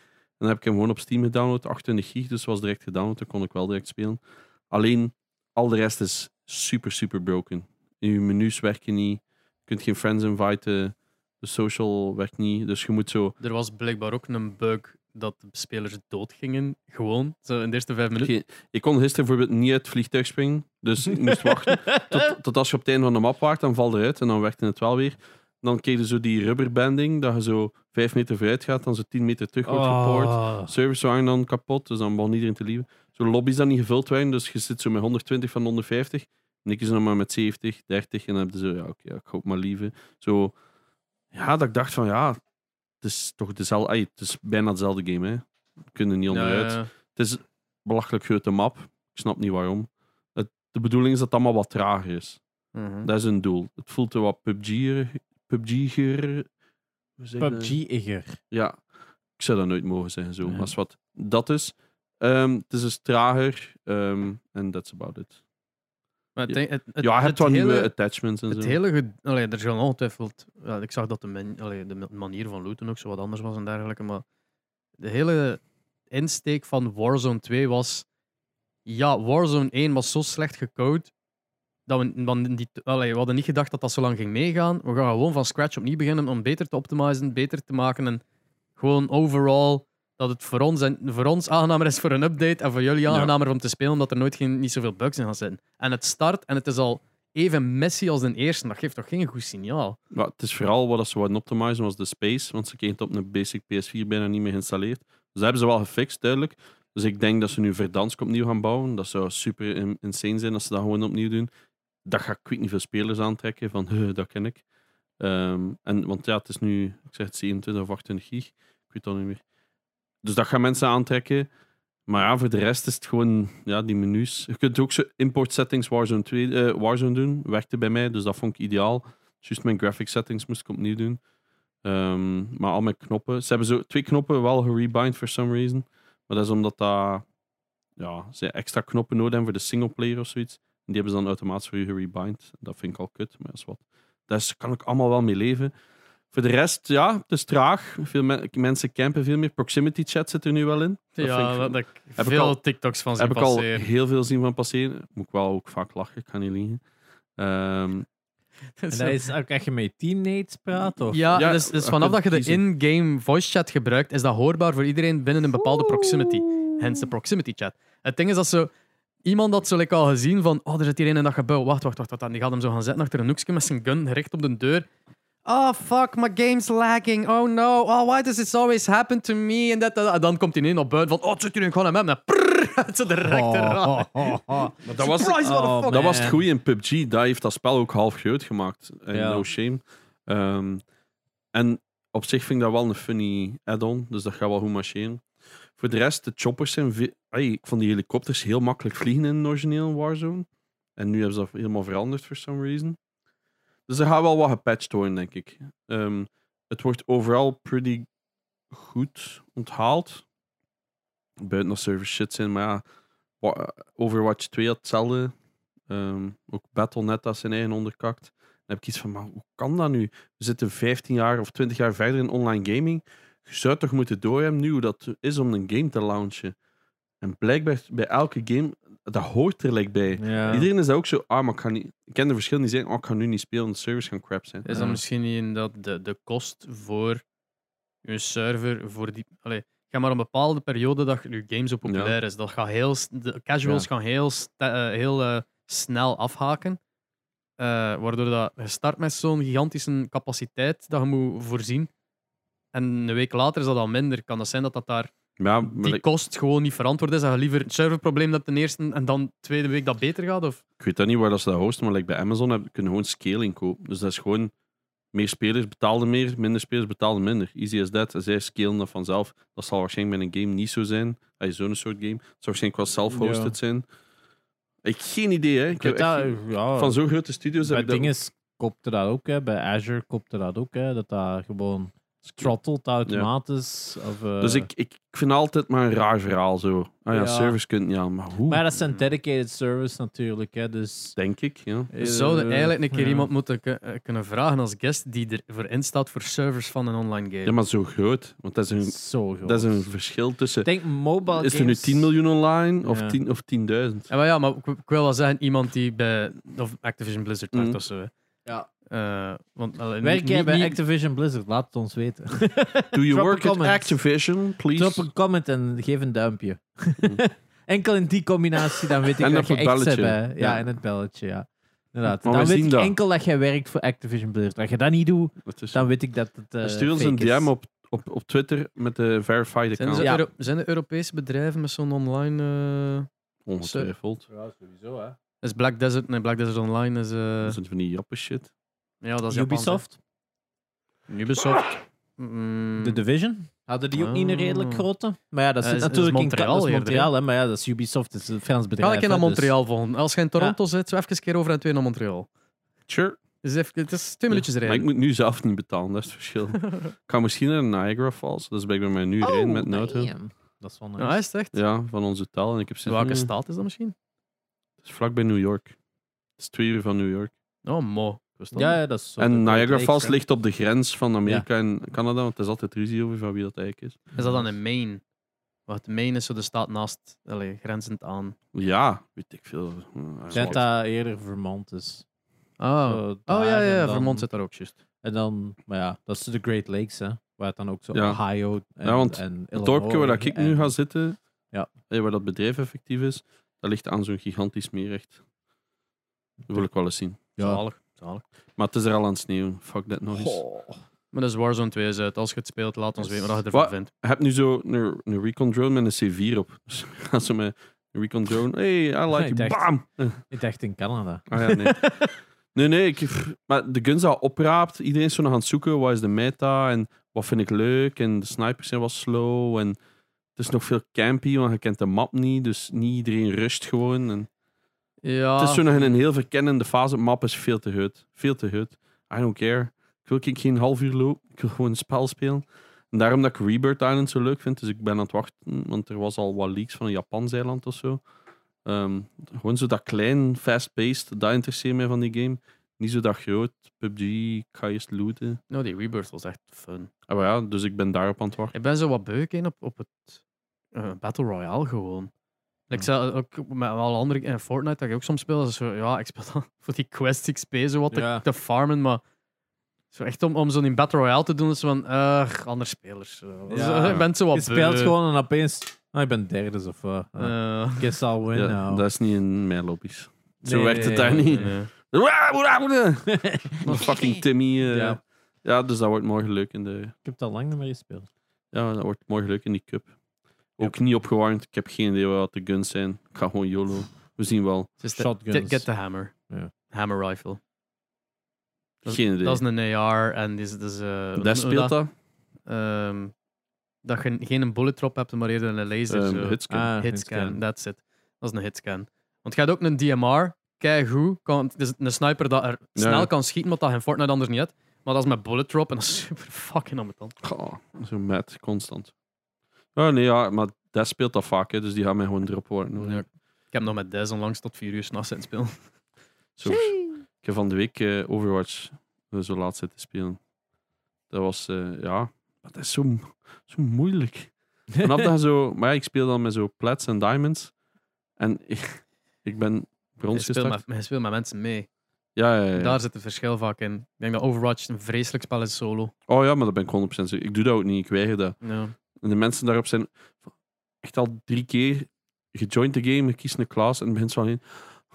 [SPEAKER 1] dan heb ik hem gewoon op Steam gedownload, 28 gig, dus was direct gedownload. Dan kon ik wel direct spelen. Alleen, al de rest is super, super broken. Je menus werken niet. Je kunt geen friends inviten. De social werkt niet. Dus je moet zo...
[SPEAKER 2] Er was blijkbaar ook een bug dat de spelers doodgingen. Gewoon, zo in de eerste vijf minuten.
[SPEAKER 1] Je, ik kon gisteren bijvoorbeeld niet uit het vliegtuig springen. Dus ik moest wachten tot, tot als je op het einde van de map waart, dan valt eruit en dan werkte het wel weer. Dan kreeg je zo die rubberbanding, dat je zo vijf meter vooruit gaat, dan zo tien meter terug wordt gepoord.
[SPEAKER 3] Oh.
[SPEAKER 1] Servers waren dan kapot, dus dan begon iedereen te lieven. Zo lobby's dan niet gevuld waren, dus je zit zo met 120 van 150. En ik is nog maar met 70, 30 en dan heb je zo, ja oké, ja, ik hoop maar lieven. Zo, ja, dat ik dacht van ja, het is toch dezelfde, ai, het is bijna dezelfde game hè. We kunnen er niet onderuit.
[SPEAKER 2] Ja,
[SPEAKER 1] Het is een belachelijk grote map. Ik snap niet waarom. Het, de bedoeling is dat het allemaal wat trager is.
[SPEAKER 2] Mhm.
[SPEAKER 1] Dat is een doel. Het voelt er wat PUBG-er... PUBG-er... hoe zeg je dat?
[SPEAKER 3] PUBG-igger.
[SPEAKER 1] Ja. Ik zou dat nooit mogen zeggen zo.
[SPEAKER 3] Nee.
[SPEAKER 1] Maar dat is wat dat is. Ehm, het is dus trager. ehm, En that's about it.
[SPEAKER 2] Maar
[SPEAKER 1] Ja.
[SPEAKER 2] het, ding- het, het,
[SPEAKER 1] ja, je hebt
[SPEAKER 2] het
[SPEAKER 1] wel nieuwe
[SPEAKER 2] hele,
[SPEAKER 1] attachments en
[SPEAKER 2] het
[SPEAKER 1] zo.
[SPEAKER 2] hele ge- allee, er is gewoon ongetwijfeld... wel, ik zag dat de, men- allee, de manier van looten ook zo wat anders was en dergelijke, maar de hele insteek van Warzone 2 was... Ja, Warzone 1 was zo slecht gecode dat we, want die, allee, we hadden niet gedacht dat dat zo lang ging meegaan. We gaan gewoon van scratch opnieuw beginnen om beter te optimizen, beter te maken en gewoon overall dat het voor ons, en, voor ons aangenamer is voor een update en voor jullie
[SPEAKER 1] Ja.
[SPEAKER 2] aangenamer om te spelen omdat er nooit geen, niet zoveel bugs in gaan zitten. En het start en het is al even messy als de eerste. Dat geeft toch geen goed signaal?
[SPEAKER 1] Maar het is vooral wat ze wouden optimizen was de space. Want ze kregen het op een basic PS4 bijna niet meer geïnstalleerd. Dus dat hebben ze wel gefixt, duidelijk. Dus ik denk dat ze nu Verdansk opnieuw gaan bouwen. Dat zou super in- insane zijn als ze dat gewoon opnieuw doen. Dat gaat kwijt niet veel spelers aantrekken van, "Huh, dat ken ik. Ehm, en, want ja, het is nu, ik zeg het, 27 of 28 gig. Ik weet dat niet meer. Dus dat gaan mensen aantrekken. Maar ja, voor de rest is het gewoon ja, die menus. Je kunt ook zo import settings Warzone, 2, eh, Warzone doen. Werkte bij mij, dus dat vond ik ideaal. Dus Juist mijn graphic settings moest ik opnieuw doen. Ehm, maar al mijn knoppen. Ze hebben zo twee knoppen wel gerebind for some reason. Maar dat is omdat dat, ja, ze extra knoppen nodig hebben voor de singleplayer of zoiets. En die hebben ze dan automatisch voor je gerebind. Dat vind ik al kut, maar dat is wat. Daar kan ik allemaal wel mee leven. Voor de rest, ja, het is traag. Veel men- mensen campen veel meer. Proximity chat zit er nu wel in. Dat vind ik-
[SPEAKER 2] dat ik
[SPEAKER 1] Heb ik al-
[SPEAKER 2] TikToks van
[SPEAKER 1] heb ik al heel veel zien van passeren. Moet ik wel ook vaak lachen, ik kan niet liegen. Ehm,
[SPEAKER 3] En dat is ook echt je met je teammates praat, of?
[SPEAKER 4] Ja,
[SPEAKER 1] Ja,
[SPEAKER 4] dus, dus
[SPEAKER 1] je
[SPEAKER 4] vanaf dat
[SPEAKER 1] kunt
[SPEAKER 4] je de
[SPEAKER 1] kiezen.
[SPEAKER 4] in-game voice chat gebruikt, is dat hoorbaar voor iedereen binnen een bepaalde proximity. Hence de proximity chat. Het ding is dat zo... Iemand had zo like, al gezien van, oh, er zit hier een in dat gebouw. Wacht, wacht, wacht. wacht. En die gaat hem zo gaan zetten achter een hoekje met zijn gun gericht op de deur. Oh, fuck, my game's lagging. Oh, no. Oh, why does this always happen to me? En, dat, dat. en dan komt hij in op buiten van, oh, het zit hier gewoon aan hem. En prrr, het zit direct eraan.
[SPEAKER 1] maar Oh, dat was,
[SPEAKER 4] Surprise,
[SPEAKER 3] oh,
[SPEAKER 4] motherfucker.
[SPEAKER 1] Dat
[SPEAKER 3] man.
[SPEAKER 1] was het goede in PUBG. Dat heeft dat spel ook half groot gemaakt. En
[SPEAKER 3] Ja.
[SPEAKER 1] No shame. Ehm, en op zich vind ik dat wel een funny add-on. Dus dat gaat wel goed marcheren. Voor de rest, de choppers zijn... ve- Ai, ik vond die helikopters heel makkelijk vliegen in het origineel Warzone. En nu hebben ze dat helemaal veranderd, for some reason. Dus er gaat wel wat gepatcht worden, denk ik. Ehm, het wordt overal pretty goed onthaald. buiten nog server shit zijn. Maar ja, wa- Overwatch 2 had hetzelfde. Ehm, ook Battle.net had zijn eigen onderkakt. Dan heb ik iets van, maar hoe kan dat nu? We zitten 15 jaar of 20 jaar verder in online gaming. Je zou toch moeten doorhebben nu hoe dat is om een game te launchen. En blijkbaar bij elke game, dat hoort er like bij.
[SPEAKER 3] Ja.
[SPEAKER 1] Iedereen is daar ook zo, ah, maar ik, ga niet, ik ken de verschillen niet zijn. Oh, ik ga nu niet spelen, de servers gaan crap zijn.
[SPEAKER 2] Is dat misschien niet dat de, de kost voor je server, voor die... Allee, ga maar een bepaalde periode dat je games zo populair is. Dat gaat heel, s- de casuals
[SPEAKER 1] Ja.
[SPEAKER 2] gaan heel, sta- eh, heel eh, snel afhaken. Eh, waardoor dat, je start met zo'n gigantische capaciteit dat je moet voorzien. En een week later is dat al minder. Kan dat zijn dat dat daar
[SPEAKER 1] Ja, maar
[SPEAKER 2] die
[SPEAKER 1] like-
[SPEAKER 2] kost gewoon niet verantwoord is? Dat je liever het serverprobleem hebt ten eerste en dan tweede week dat beter gaat? Of?
[SPEAKER 1] ik weet dat niet waar dat ze dat hosten, maar like bij Amazon heb, kun je gewoon scaling kopen. Dus dat is gewoon meer spelers betaalden meer, minder spelers betaalden minder. Easy as that. En zij scalen dat vanzelf. Dat zal waarschijnlijk bij een game niet zo zijn. Als zo'n soort game. Het zou waarschijnlijk wel self-hosted
[SPEAKER 3] Ja.
[SPEAKER 1] zijn. Ik heb geen idee, hè. Ik
[SPEAKER 3] Ik
[SPEAKER 1] heb
[SPEAKER 3] heb
[SPEAKER 1] echt
[SPEAKER 3] dat,
[SPEAKER 1] geen-
[SPEAKER 3] ja,
[SPEAKER 1] Van zo'n grote studios heb
[SPEAKER 3] bij
[SPEAKER 1] ik dat...
[SPEAKER 3] dinges kopte dat ook, hè. bij Azure kopte dat ook, hè. dat daar gewoon trottelt automatisch. Of, eh,
[SPEAKER 1] Dus ik, ik vind altijd maar een raar verhaal zo. Ah ja,
[SPEAKER 3] Ja.
[SPEAKER 1] servers kunt niet aan, maar hoe?
[SPEAKER 3] Maar dat zijn dedicated service natuurlijk, hè. dus...
[SPEAKER 1] Denk ik, ja.
[SPEAKER 2] We zouden
[SPEAKER 3] Eh,
[SPEAKER 2] eigenlijk een keer
[SPEAKER 3] ja.
[SPEAKER 2] iemand moeten ku- eh, kunnen vragen als guest die ervoor instaat voor servers van een online game.
[SPEAKER 1] Ja, maar zo groot. Want dat is een,
[SPEAKER 3] Zo groot.
[SPEAKER 1] dat is een verschil tussen...
[SPEAKER 3] Ik denk mobile
[SPEAKER 1] Is er nu
[SPEAKER 3] games-
[SPEAKER 1] 10 miljoen online of
[SPEAKER 3] Ja.
[SPEAKER 1] 10 of 10.000?
[SPEAKER 2] Ja, maar, ja, maar ik, ik wil wel zeggen, iemand die bij of Activision Blizzard werkt
[SPEAKER 1] Mhm.
[SPEAKER 2] of zo. hè.
[SPEAKER 3] Ja.
[SPEAKER 2] Eh, want, wel, niet-
[SPEAKER 3] Werk jij
[SPEAKER 2] niet-
[SPEAKER 3] bij
[SPEAKER 2] niet-
[SPEAKER 3] Activision Blizzard? Laat het ons weten.
[SPEAKER 1] Do you
[SPEAKER 3] Drop a
[SPEAKER 1] work at
[SPEAKER 3] comment.
[SPEAKER 1] Activision, please?
[SPEAKER 3] Drop een comment en geef een duimpje. Enkel in die combinatie, dan weet ik
[SPEAKER 1] En
[SPEAKER 3] dat
[SPEAKER 1] op
[SPEAKER 3] je
[SPEAKER 1] het
[SPEAKER 3] echt zit
[SPEAKER 1] belletje.
[SPEAKER 3] bij. Ja,
[SPEAKER 1] Ja.
[SPEAKER 3] en het belletje, ja. Inderdaad.
[SPEAKER 1] Maar
[SPEAKER 3] dan
[SPEAKER 1] we
[SPEAKER 3] weet
[SPEAKER 1] zien
[SPEAKER 3] ik
[SPEAKER 1] dat.
[SPEAKER 3] enkel dat jij werkt voor Activision Blizzard. Als je dat niet doet,
[SPEAKER 1] Dat is-
[SPEAKER 3] dan weet ik dat het eh
[SPEAKER 1] Stuur ons
[SPEAKER 3] fake
[SPEAKER 1] een
[SPEAKER 3] is.
[SPEAKER 1] DM op, op, op Twitter met de verified
[SPEAKER 2] zijn,
[SPEAKER 1] account.
[SPEAKER 2] er zo
[SPEAKER 3] Ja.
[SPEAKER 2] Euro- zijn er Europese bedrijven met zo'n online... eh,
[SPEAKER 1] Ongetwijfeld.
[SPEAKER 3] Ja, sowieso, hè.
[SPEAKER 2] is Black Desert... Nee, Black Desert Online is... eh,
[SPEAKER 1] Dat zijn van die jappe shit.
[SPEAKER 2] ja, dat is Japans, hè.
[SPEAKER 3] Ubisoft,
[SPEAKER 2] Ubisoft. Mm,
[SPEAKER 1] Hmm.
[SPEAKER 3] The Division. Hadden die ook niet een redelijk
[SPEAKER 2] Ah.
[SPEAKER 3] grote? Maar ja, dat
[SPEAKER 2] Ja,
[SPEAKER 3] zit
[SPEAKER 2] is- is
[SPEAKER 3] natuurlijk in
[SPEAKER 2] Montreal
[SPEAKER 3] dat is
[SPEAKER 2] eerder,
[SPEAKER 3] Montreal, hè. Maar ja, dat is Ubisoft, dat is een Frans bedrijf.
[SPEAKER 2] Ga ik in naar
[SPEAKER 3] hè, dus-
[SPEAKER 2] Montreal volgen. Als je in Toronto zit, zo even een keer over en twee naar Montreal.
[SPEAKER 1] Sure.
[SPEAKER 2] Dus even, het is twee minuutjes
[SPEAKER 1] Maar ik
[SPEAKER 2] rijden.
[SPEAKER 1] moet nu zelf niet betalen, dat is het verschil. ik ga misschien naar Niagara Falls. Dat is blijkbaar mijn nu rijden met een auto.
[SPEAKER 3] damn. Oh, Dat is wel nice.
[SPEAKER 2] Ja, is het echt?
[SPEAKER 1] Ja, Mm. van onze taal. En ik heb zin
[SPEAKER 2] Welke
[SPEAKER 1] in-
[SPEAKER 2] staat is dat misschien?
[SPEAKER 1] Het is vlakbij New York. Het is twee uur van New York.
[SPEAKER 2] Oh, mo.
[SPEAKER 3] Ja, ja, dat is zo.
[SPEAKER 1] en
[SPEAKER 3] de
[SPEAKER 1] Niagara
[SPEAKER 3] Great
[SPEAKER 1] Falls
[SPEAKER 3] Lakes, hè.
[SPEAKER 1] ligt op de grens van Amerika en Canada, want er is altijd ruzie over van wie dat eigenlijk is.
[SPEAKER 2] Is dat dan in Maine? Want Maine is zo de staat naast, allee, grenzend aan.
[SPEAKER 1] Ja, weet ik veel.
[SPEAKER 3] Ik denk dat eerder Vermont is.
[SPEAKER 2] Oh,
[SPEAKER 3] Zo
[SPEAKER 2] oh
[SPEAKER 3] daar
[SPEAKER 2] ja, ja,
[SPEAKER 3] en
[SPEAKER 2] ja.
[SPEAKER 3] dan-
[SPEAKER 2] Vermont zit daar ook juist.
[SPEAKER 3] En dan, maar ja, dat is de Great Lakes, hè. Waar het dan ook zo
[SPEAKER 1] Ja.
[SPEAKER 3] Ohio en,
[SPEAKER 1] Ja, want
[SPEAKER 3] en
[SPEAKER 1] Het
[SPEAKER 3] Illinois
[SPEAKER 1] dorpje waar dat ik nu
[SPEAKER 3] en-
[SPEAKER 1] ga zitten,
[SPEAKER 3] Ja.
[SPEAKER 1] eh, waar dat bedrijf effectief is, dat ligt aan zo'n gigantisch meerrecht. Dat wil ik wel eens zien.
[SPEAKER 3] Ja.
[SPEAKER 2] Zalig, zalig.
[SPEAKER 1] Maar het is er al aan het sneeuwen. Fuck dat nog eens.
[SPEAKER 2] Maar dus Warzone 2 is uit. Als je het speelt, laat ons
[SPEAKER 3] Yes.
[SPEAKER 2] weten wat je ervan
[SPEAKER 1] Wat?
[SPEAKER 2] vindt.
[SPEAKER 1] Ik heb nu zo een, een recon drone met een C4 op. Dus gaan ze met een recon drone. Hey, I like
[SPEAKER 3] Ik
[SPEAKER 1] you.
[SPEAKER 3] dacht-
[SPEAKER 1] Bam! Eh,
[SPEAKER 3] Ik dacht in Canada.
[SPEAKER 1] Ah ja, nee. nee, nee. Ik, pff, maar de guns al opraapt. Iedereen is zo nog aan het zoeken. Wat is de meta? En wat vind ik leuk? En de snipers zijn wat slow. En het is nog veel campy, want je kent de map niet. Dus niet iedereen rust gewoon. En
[SPEAKER 2] Ja,
[SPEAKER 1] Het is zo nog in een heel verkennende fase. Map is veel te hut. Veel te hut. I don't care. Ik wil ik geen half uur lopen. Ik wil gewoon een spel spelen. En daarom dat ik Rebirth Island zo leuk vind. Dus ik ben aan het wachten. Want er was al wat leaks van een Japans eiland of zo. Ehm, gewoon zo dat klein, fast-paced. Dat interesseert mij van die game. Niet zo dat groot. PUBG, ik ga eerst looten.
[SPEAKER 2] nou, die Rebirth was echt fun.
[SPEAKER 1] Ah, maar ja, dus ik ben daarop aan het wachten.
[SPEAKER 2] Ik ben zo wat beuk in op, op het eh, Battle Royale gewoon. Ik zei ook met alle andere in Fortnite dat ik ook soms speel. dat is zo, ja, ik speel dan voor die Quest XP zo wat te-
[SPEAKER 3] Ja.
[SPEAKER 2] te, farmen, maar zo echt om, om zo'n in Battle Royale te doen is van, eh, andere spelers. Zo.
[SPEAKER 3] Ja.
[SPEAKER 2] Zo, ik ben zo wat
[SPEAKER 3] Je speelt
[SPEAKER 2] beu.
[SPEAKER 3] gewoon en opeens... Nou, ik ben derde of... Uh, uh,
[SPEAKER 2] Eh,
[SPEAKER 3] guess I'll win
[SPEAKER 1] Ja,
[SPEAKER 3] now.
[SPEAKER 1] dat is niet in mijn lobby's. Zo
[SPEAKER 3] Nee,
[SPEAKER 1] werkt
[SPEAKER 3] nee,
[SPEAKER 1] het daar
[SPEAKER 3] nee,
[SPEAKER 1] niet.
[SPEAKER 3] nee.
[SPEAKER 1] Wa- wa- wa- wa- Fucking Timmy. eh.
[SPEAKER 3] Ja.
[SPEAKER 1] ja. dus dat wordt morgen leuk in de
[SPEAKER 3] Ik heb dat lang niet meer gespeeld.
[SPEAKER 1] Ja, dat wordt morgen leuk in die cup. Ook niet opgewarmd. Ik heb geen idee wat de guns zijn. Ik ga gewoon YOLO. We zien wel.
[SPEAKER 2] het is de-
[SPEAKER 3] Shotguns.
[SPEAKER 2] Get, get the hammer.
[SPEAKER 3] Ja.
[SPEAKER 2] Hammer rifle. Dat-
[SPEAKER 1] Geen idee.
[SPEAKER 2] Dat is een AR en die is, dat is, eh, hoe noemen we
[SPEAKER 1] Daar speelt dat.
[SPEAKER 2] Ehm, dat je geen bullet drop hebt, maar eerder een laser.
[SPEAKER 1] Ehm,
[SPEAKER 2] zo.
[SPEAKER 1] hitscan.
[SPEAKER 3] Ah,
[SPEAKER 2] hitscan,
[SPEAKER 3] hitscan.
[SPEAKER 2] that's it. Dat is een hitscan. Want je hebt ook een DMR, keigoed. Kan, het is een sniper dat er snel
[SPEAKER 1] ja.
[SPEAKER 2] kan schieten, wat dat je in Fortnite anders niet hebt. Maar dat is met bullet drop en dat is super fucking ambetant.
[SPEAKER 1] Goh, zo met, constant. Oh nee, ja, maar Des speelt dat vaak, hè, dus die gaat mij gewoon erop worden.
[SPEAKER 2] Ja. Ik heb nog met Des onlangs tot vier uur s'nachts in het spelen.
[SPEAKER 1] Zo, ik heb van de week eh, Overwatch eh, zo laat zitten spelen. Dat was, eh, ja, maar dat is zo, mo- zo moeilijk. Vanaf dat je zo, maar ja, ik speel dan met zo plats en diamonds. En ik, ik ben brons
[SPEAKER 2] Je speelt
[SPEAKER 1] gestart.
[SPEAKER 2] met- maar je speelt met mensen mee.
[SPEAKER 1] Ja, ja, ja, ja.
[SPEAKER 2] Daar zit het verschil vaak in. Ik denk dat Overwatch een vreselijk spel is solo.
[SPEAKER 1] Oh ja, maar dat ben ik 100% zeker. Ik doe dat ook niet, ik weiger dat.
[SPEAKER 2] Ja.
[SPEAKER 1] En de mensen daarop zijn echt al drie keer gejoind de game, kies een klas en begint zo alleen.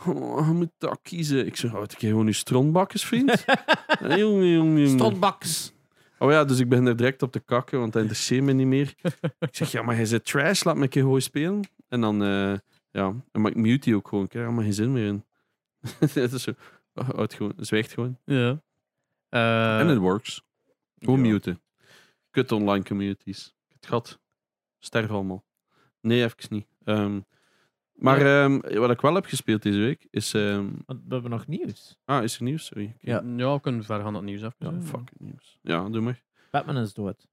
[SPEAKER 1] Oh, je moet dat kiezen. Ik zeg, houd ik gewoon nu strontbakkers, vriend? Jongen, jongen, jongen.
[SPEAKER 3] Stondbaks.
[SPEAKER 1] Oh ja, dus ik ben er direct op te kakken, want dat interesseert me niet meer. ik zeg, ja, maar hij zit trash, laat me een keer gewoon spelen. En dan, eh, ja, en maar ik mute die ook gewoon, ik heb er helemaal geen zin meer in. Het is zo, oh, houdt gewoon, zwijgt gewoon.
[SPEAKER 2] ja. Eh,
[SPEAKER 1] en het works. Gewoon
[SPEAKER 2] ja.
[SPEAKER 1] muten. Kut online communities. Het gat. Sterf allemaal. Nee, even niet. Ehm, maar ehm, wat ik wel heb gespeeld deze week, is... ehm,
[SPEAKER 3] Want we hebben nog nieuws.
[SPEAKER 1] ah, is er nieuws? Sorry. Oké.
[SPEAKER 2] Ja, ja we kunnen verder gaan dat nieuws af.
[SPEAKER 1] Ja, fuck het nieuws. Ja, doe maar.
[SPEAKER 3] Batman is dood.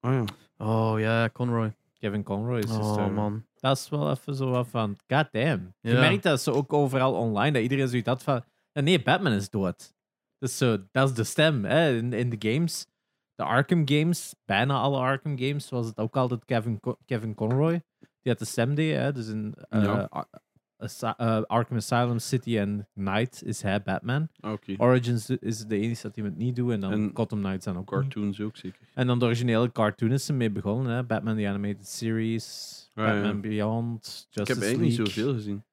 [SPEAKER 1] Ah ja.
[SPEAKER 2] Oh ja, Conroy.
[SPEAKER 3] Kevin Conroy is
[SPEAKER 2] Oh
[SPEAKER 3] gestorven.
[SPEAKER 2] man.
[SPEAKER 3] Dat is wel even zo wat van, goddamn. Je
[SPEAKER 2] Ja.
[SPEAKER 3] merkt dat ze ook overal online, dat iedereen zoiets had van, ja, nee, Batman is dood. Dus zo, dat is de stem hè, in, in de games. De Arkham games, bijna alle Arkham games, was het ook altijd Kevin, Co- Kevin Conroy. Die had de stem deed, hè, dus in eh,
[SPEAKER 1] Ja.
[SPEAKER 3] Ar- Asi- eh, Arkham Asylum, City en Night is hij Batman.
[SPEAKER 1] Ah, Oké.
[SPEAKER 3] Origins is de enige dat hij het niet doet en dan
[SPEAKER 1] En
[SPEAKER 3] Gotham Knights en ook. niet.
[SPEAKER 1] Cartoons ook zeker.
[SPEAKER 3] En dan de originele cartoon is ermee begonnen, hè? Batman The Animated Series,
[SPEAKER 1] Ah, Ja, ja.
[SPEAKER 3] Batman Beyond, Justice
[SPEAKER 1] Ik heb eigenlijk
[SPEAKER 3] League.
[SPEAKER 1] niet zoveel gezien.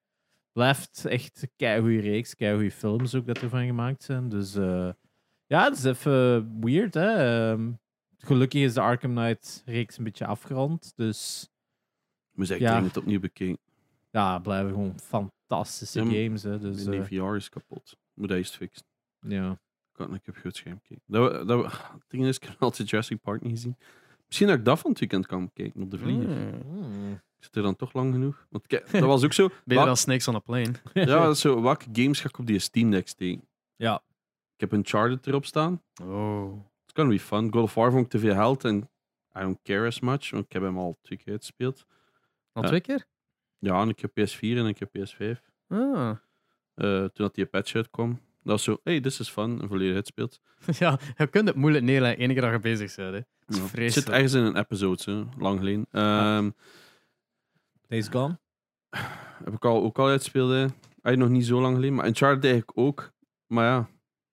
[SPEAKER 3] Blijft echt een goede reeks, goede films ook dat ervan gemaakt zijn. Dus eh, ja, het is even weird, hè. Ehm, gelukkig is de Arkham Knight reeks een beetje afgerond, dus
[SPEAKER 1] Maar zeg, ik
[SPEAKER 3] Ja.
[SPEAKER 1] heb het opnieuw bekeken.
[SPEAKER 3] ja, het blijven gewoon fantastische
[SPEAKER 1] Ja, maar-
[SPEAKER 3] games, hè. Dus
[SPEAKER 1] Mijn
[SPEAKER 3] eh,
[SPEAKER 1] VR is kapot. Moet hij eens fixen.
[SPEAKER 3] ja.
[SPEAKER 1] Ik had- Ik heb goed scherm gekeken. Dat, we- dat, we- het ding is, ik heb altijd Jurassic Park niet gezien. Misschien dat ik dat van het weekend kan kijken op de vlieger.
[SPEAKER 3] Hmm.
[SPEAKER 1] Ik zit er dan toch lang genoeg. Want kijk, dat was ook zo.
[SPEAKER 2] Beter dan
[SPEAKER 1] Wat-
[SPEAKER 2] Snakes on a Plane.
[SPEAKER 1] ja, dat is zo. Welke games ga ik op die Steam Deck steken?
[SPEAKER 3] Ja.
[SPEAKER 1] Ik heb Uncharted erop staan.
[SPEAKER 2] Oh.
[SPEAKER 1] It's gonna be fun. God of War vond ik te veel held en I don't care as much, want ik heb hem al twee keer uitgespeeld.
[SPEAKER 2] Al
[SPEAKER 1] Ja.
[SPEAKER 2] twee keer?
[SPEAKER 1] Ja, en ik heb PS4 en ik heb PS5.
[SPEAKER 2] Ah.
[SPEAKER 1] Eh, toen dat die patch uitkwam, dat was zo, hey, this is fun, en volledig uitgespeeld.
[SPEAKER 2] ja, je kunt het moeilijk neerleggen enige dag je bezig bent. Hè. Het is
[SPEAKER 1] Ja. Het zit
[SPEAKER 2] vreselijk.
[SPEAKER 1] ergens in een episode, hè, lang geleden. Ehm,
[SPEAKER 3] Days Gone?
[SPEAKER 1] Heb ik al, ook al uitspeelde. Eigenlijk nog niet zo lang geleden. Maar Uncharted eigenlijk ook. Maar ja,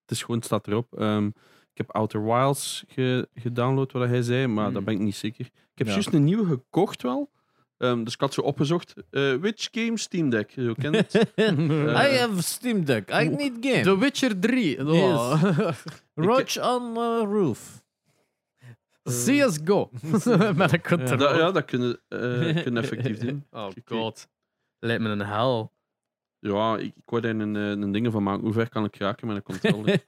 [SPEAKER 1] het is gewoon, het staat erop. Ehm, ik heb Outer Wilds ge- gedownload, wat hij zei. Maar
[SPEAKER 2] Hmm.
[SPEAKER 1] dat ben ik niet zeker. Ik heb
[SPEAKER 3] Ja.
[SPEAKER 1] juist een nieuwe gekocht wel. Ehm, dus ik had ze opgezocht. Eh, which game Steam Deck? Zo ken je het. Eh,
[SPEAKER 3] I have Steam Deck, I need game.
[SPEAKER 2] Ah, The Witcher 3. Oh.
[SPEAKER 3] Roach on eh, roof.
[SPEAKER 2] Eh, CSGO. Met een
[SPEAKER 1] Dat-
[SPEAKER 2] controle.
[SPEAKER 1] ja, dat kunnen eh kunnen effectief doen.
[SPEAKER 2] Oh god. Lijkt me een hel.
[SPEAKER 1] Ja, ik, ik wou daar een, eh, een ding van maken. Hoe ver kan ik raken met een controller?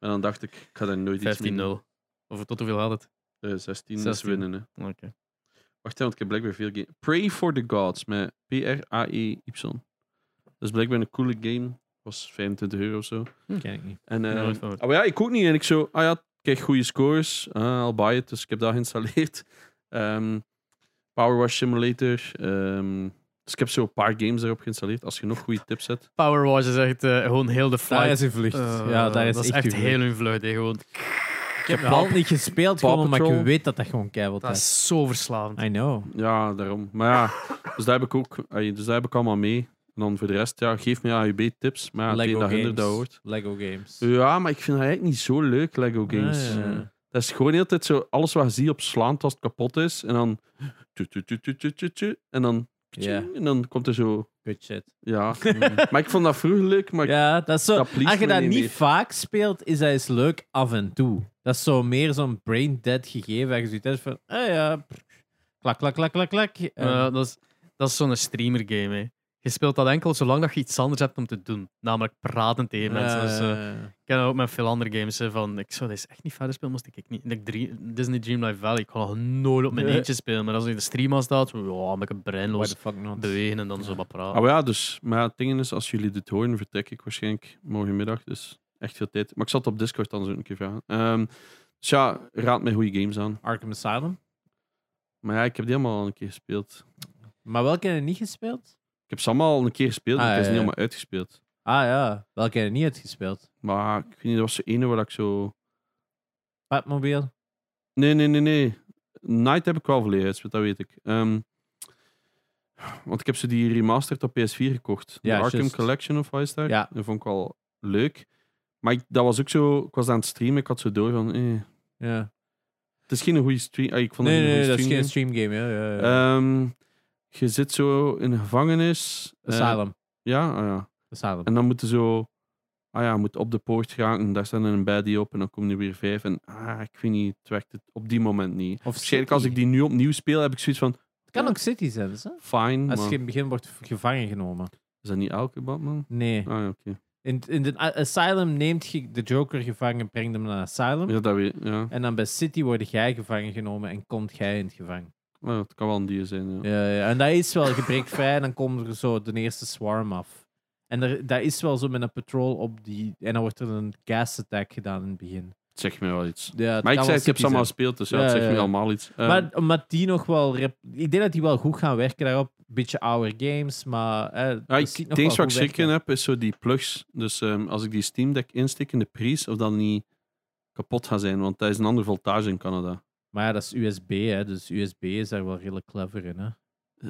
[SPEAKER 1] en dan dacht ik, ik ga daar nooit
[SPEAKER 2] 15-0.
[SPEAKER 1] iets mee doen.
[SPEAKER 2] Of tot hoeveel had het?
[SPEAKER 1] Eh, 16, is
[SPEAKER 2] 16.
[SPEAKER 1] winnen. Hè.
[SPEAKER 2] Oké.
[SPEAKER 1] Wacht, hè, want ik heb blijkbaar veel games. Pray for the Gods met P-R-A-E-Y. E Dat is blijkbaar een coole game. Was 25 euro of zo.
[SPEAKER 3] Ken ik niet.
[SPEAKER 1] En, eh,
[SPEAKER 2] Nooit van gehoord.
[SPEAKER 1] ah, maar ja, ik ook niet. En ik zo, ah ja, ik krijg goede scores. Ah, I'll buy it. Dus ik heb dat geïnstalleerd. Ehm, Power Wash Simulator. ehm, dus ik heb zo een paar games erop geïnstalleerd. Als je nog goede tips hebt.
[SPEAKER 2] Power Wars is echt eh, gewoon heel de
[SPEAKER 3] Daar
[SPEAKER 2] flight.
[SPEAKER 3] is hij vlucht.
[SPEAKER 2] Eh,
[SPEAKER 3] ja, daar is
[SPEAKER 2] dat is echt
[SPEAKER 3] uw vlucht.
[SPEAKER 2] heel hun vlucht. hè, Gewoon.
[SPEAKER 3] Ik heb het al niet gespeeld,
[SPEAKER 1] Paw
[SPEAKER 3] gewoon omdat ik
[SPEAKER 1] Patrol.
[SPEAKER 3] weet dat dat gewoon keihard
[SPEAKER 2] Dat
[SPEAKER 3] is.
[SPEAKER 2] is zo verslavend.
[SPEAKER 3] I know.
[SPEAKER 1] Ja, daarom. Maar ja, dus daar heb ik ook. ah, Dus daar heb ik allemaal mee. En dan voor de rest, ja, geef me AUB tips. Maar ja, het een
[SPEAKER 3] Lego
[SPEAKER 1] dat hinder
[SPEAKER 3] games.
[SPEAKER 1] dat hoort.
[SPEAKER 3] Lego games.
[SPEAKER 1] Ja, maar ik vind dat eigenlijk niet zo leuk, Lego games. Eh,
[SPEAKER 3] Ah, ja.
[SPEAKER 1] Dat is gewoon de hele tijd zo, alles wat je ziet op slaand als het kapot is, en dan... tu, tu, tu, tu, tu, tu, tu, en dan...
[SPEAKER 3] Ja.
[SPEAKER 1] En dan komt er zo...
[SPEAKER 3] Good shit.
[SPEAKER 1] Ja. maar ik vond dat vroeger leuk, maar...
[SPEAKER 3] Ja, dat is zo.
[SPEAKER 1] Dat pleased
[SPEAKER 3] Als je
[SPEAKER 1] me
[SPEAKER 3] dat
[SPEAKER 1] niet
[SPEAKER 3] niet
[SPEAKER 1] meer.
[SPEAKER 3] vaak speelt, is dat eens leuk af en toe. Dat is zo meer zo'n brain dead gegeven. Dat je zoiets hebt van, ah ja, pff, klak, klak, klak, klak, klak. Eh,
[SPEAKER 2] Eh, dat is, dat is zo'n streamer game. Hè. Je speelt dat enkel zolang dat je iets anders hebt om te doen. Namelijk praten tegen mensen. Dus, eh,
[SPEAKER 3] eh,
[SPEAKER 2] ik ken dat ook met veel andere games. hè, van, ik zou deze echt niet verder spelen, moest ik ik niet. En ik drie- Disney Dreamlight Valley, ik ga nog nooit op mijn
[SPEAKER 3] Nee.
[SPEAKER 2] eentje spelen. Maar als je in de stream aan staat, ja, met een
[SPEAKER 3] why
[SPEAKER 2] oh, breinloos
[SPEAKER 3] the fuck not?
[SPEAKER 2] bewegen en dan zo wat praten.
[SPEAKER 1] Ah, maar ja, dus... Maar het ding is, als jullie dit horen, vertrek ik waarschijnlijk morgenmiddag, dus echt veel tijd. Maar ik zat op Discord dan zo een keer vragen. Ehm, dus ja, raad mij goede games aan.
[SPEAKER 3] Arkham Asylum?
[SPEAKER 1] Maar ja, ik heb die allemaal al een keer gespeeld.
[SPEAKER 3] Maar welke heb je niet gespeeld?
[SPEAKER 1] Ik heb ze allemaal al een keer gespeeld,
[SPEAKER 3] Ah,
[SPEAKER 1] maar het is
[SPEAKER 3] ja,
[SPEAKER 1] niet
[SPEAKER 3] ja.
[SPEAKER 1] allemaal uitgespeeld.
[SPEAKER 3] Ah ja, welke heb je niet uitgespeeld?
[SPEAKER 1] Maar ik weet niet, dat was de ene waar ik zo...
[SPEAKER 3] Batmobile?
[SPEAKER 1] Nee, nee, nee, nee. Night heb ik wel volledig uitgespeeld, dat weet ik. Ehm, want ik heb ze die remastered op PS4 gekocht.
[SPEAKER 3] Ja,
[SPEAKER 1] de Arkham
[SPEAKER 3] juist.
[SPEAKER 1] Collection of wat is daar.
[SPEAKER 3] Ja.
[SPEAKER 1] Dat vond ik wel leuk. Maar ik, dat was ook zo... Ik was aan het streamen, ik had zo door van... eh,
[SPEAKER 3] Ja.
[SPEAKER 1] het is geen goede stream. ah, ik vond
[SPEAKER 3] Nee,
[SPEAKER 1] het
[SPEAKER 3] nee,
[SPEAKER 1] geen
[SPEAKER 3] nee, dat
[SPEAKER 1] goede
[SPEAKER 3] is
[SPEAKER 1] stream.
[SPEAKER 3] geen streamgame. Ja, ja, ja.
[SPEAKER 1] Ehm, je zit zo in een gevangenis. Eh,
[SPEAKER 3] Asylum.
[SPEAKER 1] ja, ah, ja.
[SPEAKER 3] Asylum.
[SPEAKER 1] En dan moeten zo... Ah ja, je moet op de poort gaan en daar staan er een baddie op en dan komen er weer vijf. En ah, ik weet niet, het werkt het op die moment niet.
[SPEAKER 3] Of
[SPEAKER 1] Waarschijnlijk
[SPEAKER 3] City.
[SPEAKER 1] als ik die nu opnieuw speel, heb ik zoiets van...
[SPEAKER 3] Het kan ook City zijn, dus, hè?
[SPEAKER 1] Fine, maar
[SPEAKER 3] Als je in het begin wordt v- gevangen genomen.
[SPEAKER 1] is dat niet elke Batman?
[SPEAKER 3] Nee.
[SPEAKER 1] Ah ja, oké.
[SPEAKER 3] In, in de A- Asylum neemt je de Joker gevangen, brengt hem naar Asylum.
[SPEAKER 1] Ja, dat weet ja.
[SPEAKER 3] En dan bij City word jij gevangen genomen en komt jij in het gevangen.
[SPEAKER 1] Ah, het kan wel een dier zijn, ja.
[SPEAKER 3] Ja, ja. En dat is wel gebrekvrij en dan komt er zo de eerste swarm af. En er, dat is wel zo met een patrol op die... En dan wordt er een gas attack gedaan in het begin.
[SPEAKER 1] Het zegt me wel iets.
[SPEAKER 3] Ja, het
[SPEAKER 1] Maar ik zei,
[SPEAKER 3] kan wel
[SPEAKER 1] ik heb
[SPEAKER 3] City
[SPEAKER 1] ze allemaal
[SPEAKER 3] zijn.
[SPEAKER 1] gespeeld, dus ja,
[SPEAKER 3] Ja,
[SPEAKER 1] het zegt
[SPEAKER 3] ja,
[SPEAKER 1] me
[SPEAKER 3] ja.
[SPEAKER 1] allemaal iets. Eh,
[SPEAKER 3] Maar omdat die nog wel... rep- Ik denk dat die wel goed gaan werken daarop. Beetje ouder games, maar... Eh,
[SPEAKER 1] Ja,
[SPEAKER 3] dat
[SPEAKER 1] ik,
[SPEAKER 3] ziet
[SPEAKER 1] het
[SPEAKER 3] nog
[SPEAKER 1] enige
[SPEAKER 3] wel
[SPEAKER 1] wat ik
[SPEAKER 3] goed
[SPEAKER 1] schrik in
[SPEAKER 3] werken.
[SPEAKER 1] heb, is zo die plugs. Dus ehm, als ik die Steam Deck instik in de prijs, of dat niet kapot gaat zijn, want dat is een andere voltage in Canada.
[SPEAKER 3] Maar ja, dat is USB, hè. Dus USB is daar wel redelijk clever in, hè.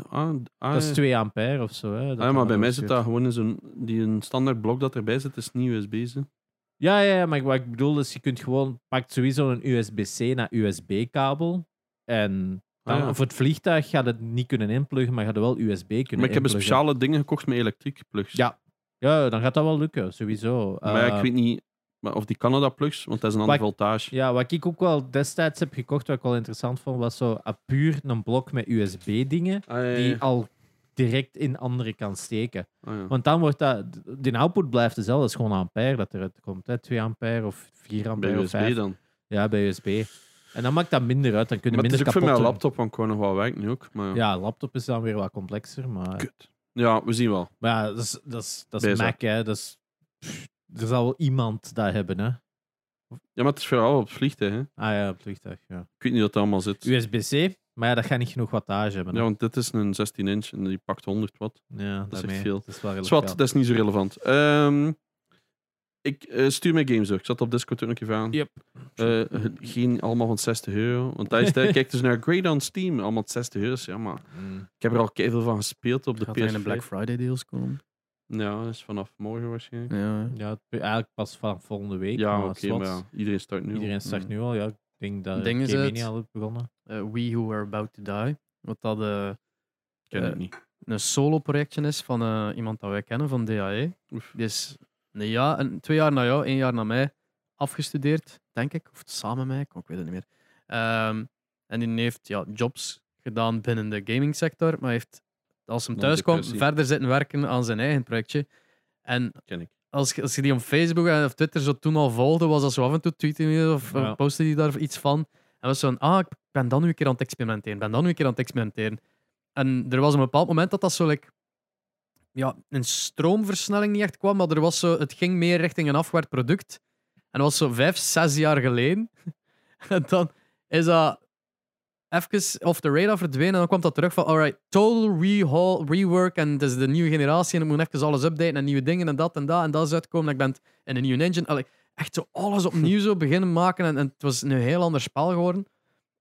[SPEAKER 1] Ah, ah,
[SPEAKER 3] Dat is 2 ampère of zo, hè. Dat
[SPEAKER 1] ah, ja,
[SPEAKER 3] kan
[SPEAKER 1] maar
[SPEAKER 3] wel
[SPEAKER 1] bij mij
[SPEAKER 3] eens
[SPEAKER 1] zit
[SPEAKER 3] goed.
[SPEAKER 1] dat gewoon in zo'n... Die een standaard blok dat erbij zit, is niet USB. Ze.
[SPEAKER 3] Ja, ja, ja, maar wat ik bedoel is, je kunt gewoon... Pakt sowieso een USB-C naar USB-kabel. En dan,
[SPEAKER 1] Ah, ja.
[SPEAKER 3] voor het vliegtuig gaat het niet kunnen inpluggen, maar gaat het wel USB kunnen
[SPEAKER 1] Maar ik heb een
[SPEAKER 3] inpluggen.
[SPEAKER 1] speciale dingen gekocht met elektrische plugs.
[SPEAKER 3] Ja, Ja, dan gaat dat wel lukken, sowieso.
[SPEAKER 1] maar ja,
[SPEAKER 3] Eh,
[SPEAKER 1] ik weet niet maar of die Canada plugs, want dat is een andere
[SPEAKER 3] Wat-
[SPEAKER 1] voltage.
[SPEAKER 3] Ja, wat ik ook wel destijds heb gekocht, wat ik wel interessant vond, was zo ah, puur een blok met USB-dingen
[SPEAKER 1] Ah, ja,
[SPEAKER 3] die
[SPEAKER 1] ja.
[SPEAKER 3] al direct in andere kan steken.
[SPEAKER 1] Ah, ja.
[SPEAKER 3] Want dan wordt dat... De output blijft dezelfde, dat is gewoon ampère dat eruit komt. Hè? 2 ampère of 4 ampère
[SPEAKER 1] Bij
[SPEAKER 3] of
[SPEAKER 1] USB
[SPEAKER 3] vijf.
[SPEAKER 1] dan.
[SPEAKER 3] Ja, bij USB. En dan maakt dat minder uit, dan kun je
[SPEAKER 1] Maar het is
[SPEAKER 3] minder
[SPEAKER 1] ook voor mijn
[SPEAKER 3] kapot eh. doen.
[SPEAKER 1] laptop, want ik wou nog wel werk nu ook. Maar ja.
[SPEAKER 3] Ja, laptop is dan weer wat complexer, maar...
[SPEAKER 1] Kut. ja, we zien wel.
[SPEAKER 3] Maar ja, dat is, dat is, dat is
[SPEAKER 1] Bezig.
[SPEAKER 3] Mac, hè. Dat is, pff, er zal wel iemand dat hebben, hè.
[SPEAKER 1] Ja, maar het is vooral op het vliegtuig. Hè.
[SPEAKER 3] Ah ja, op het vliegtuig, ja.
[SPEAKER 1] Ik weet niet wat dat allemaal zit.
[SPEAKER 3] USB-C, maar ja, dat gaat niet genoeg wattage hebben. hè.
[SPEAKER 1] Ja, want dit is een 16 inch en die pakt 100 watt.
[SPEAKER 3] Ja,
[SPEAKER 1] is echt
[SPEAKER 3] daarmee.
[SPEAKER 1] veel.
[SPEAKER 3] Dat is wel redelijk
[SPEAKER 1] Zwat,
[SPEAKER 3] veel.
[SPEAKER 1] dat is niet zo relevant. Ehm, ik eh, stuur mijn games door. Ik zat op Discord ook nog even aan.
[SPEAKER 3] Yep.
[SPEAKER 1] Eh, geen allemaal van 60 euro. Want daar is het, hè. kijk dus naar Grey on Steam. Allemaal 60 euro. Ja, maar
[SPEAKER 3] Mm.
[SPEAKER 1] ik heb er al veel van gespeeld op de
[SPEAKER 2] Gaat
[SPEAKER 1] PS5.
[SPEAKER 2] er een Black Friday deals komen?
[SPEAKER 1] Ja, dat is vanaf morgen waarschijnlijk.
[SPEAKER 2] Ja, hè.
[SPEAKER 3] Ja, het- eigenlijk pas van volgende week.
[SPEAKER 1] Ja,
[SPEAKER 3] maar
[SPEAKER 1] oké,
[SPEAKER 3] zwat,
[SPEAKER 1] maar ja, iedereen start nu. al.
[SPEAKER 3] Iedereen start
[SPEAKER 2] Mm.
[SPEAKER 3] nu al, ja. Ik denk dat
[SPEAKER 2] Het ding is
[SPEAKER 3] Game-Mania
[SPEAKER 2] het-
[SPEAKER 3] al heeft begonnen.
[SPEAKER 2] Eh, We Who Are About To Die. Wat dat eh,
[SPEAKER 1] Ken
[SPEAKER 2] Eh,
[SPEAKER 1] ik niet.
[SPEAKER 2] een solo-projectje is van eh, iemand dat wij kennen, van DAE.
[SPEAKER 1] Oef.
[SPEAKER 2] Die is een jaar, een, twee jaar na jou, één jaar na mij afgestudeerd, denk ik. Of samen met mij, ik weet het niet meer. Ehm, en die heeft ja, jobs gedaan binnen de gamingsector, maar heeft, als hem
[SPEAKER 1] Dan
[SPEAKER 2] thuis kwam,
[SPEAKER 1] depressie.
[SPEAKER 2] verder zitten werken aan zijn eigen projectje. En
[SPEAKER 1] Ken ik.
[SPEAKER 2] als, je- als je die op Facebook en of Twitter zo toen al volgde, was dat zo af en toe tweeten of
[SPEAKER 3] Ja.
[SPEAKER 2] of postte die daar iets van. En was zo van, ah, ik ben dan nu een keer aan het experimenteren, ben dan nu een keer aan het experimenteren. En er was een bepaald moment dat dat zo like, ja, een stroomversnelling niet echt kwam, maar er was zo, het ging meer richting een afwaarts product. En dat was zo vijf, zes jaar geleden. en dan is dat even off the radar verdwenen en dan kwam dat terug van alright, total rehaul, rework en het is de nieuwe generatie en ik moet even alles updaten en nieuwe dingen en dat en dat en dat is uitkomen en ik ben t- in een nieuwe engine. Allee, echt zo alles opnieuw zo beginnen maken en, en het was een heel ander spel geworden.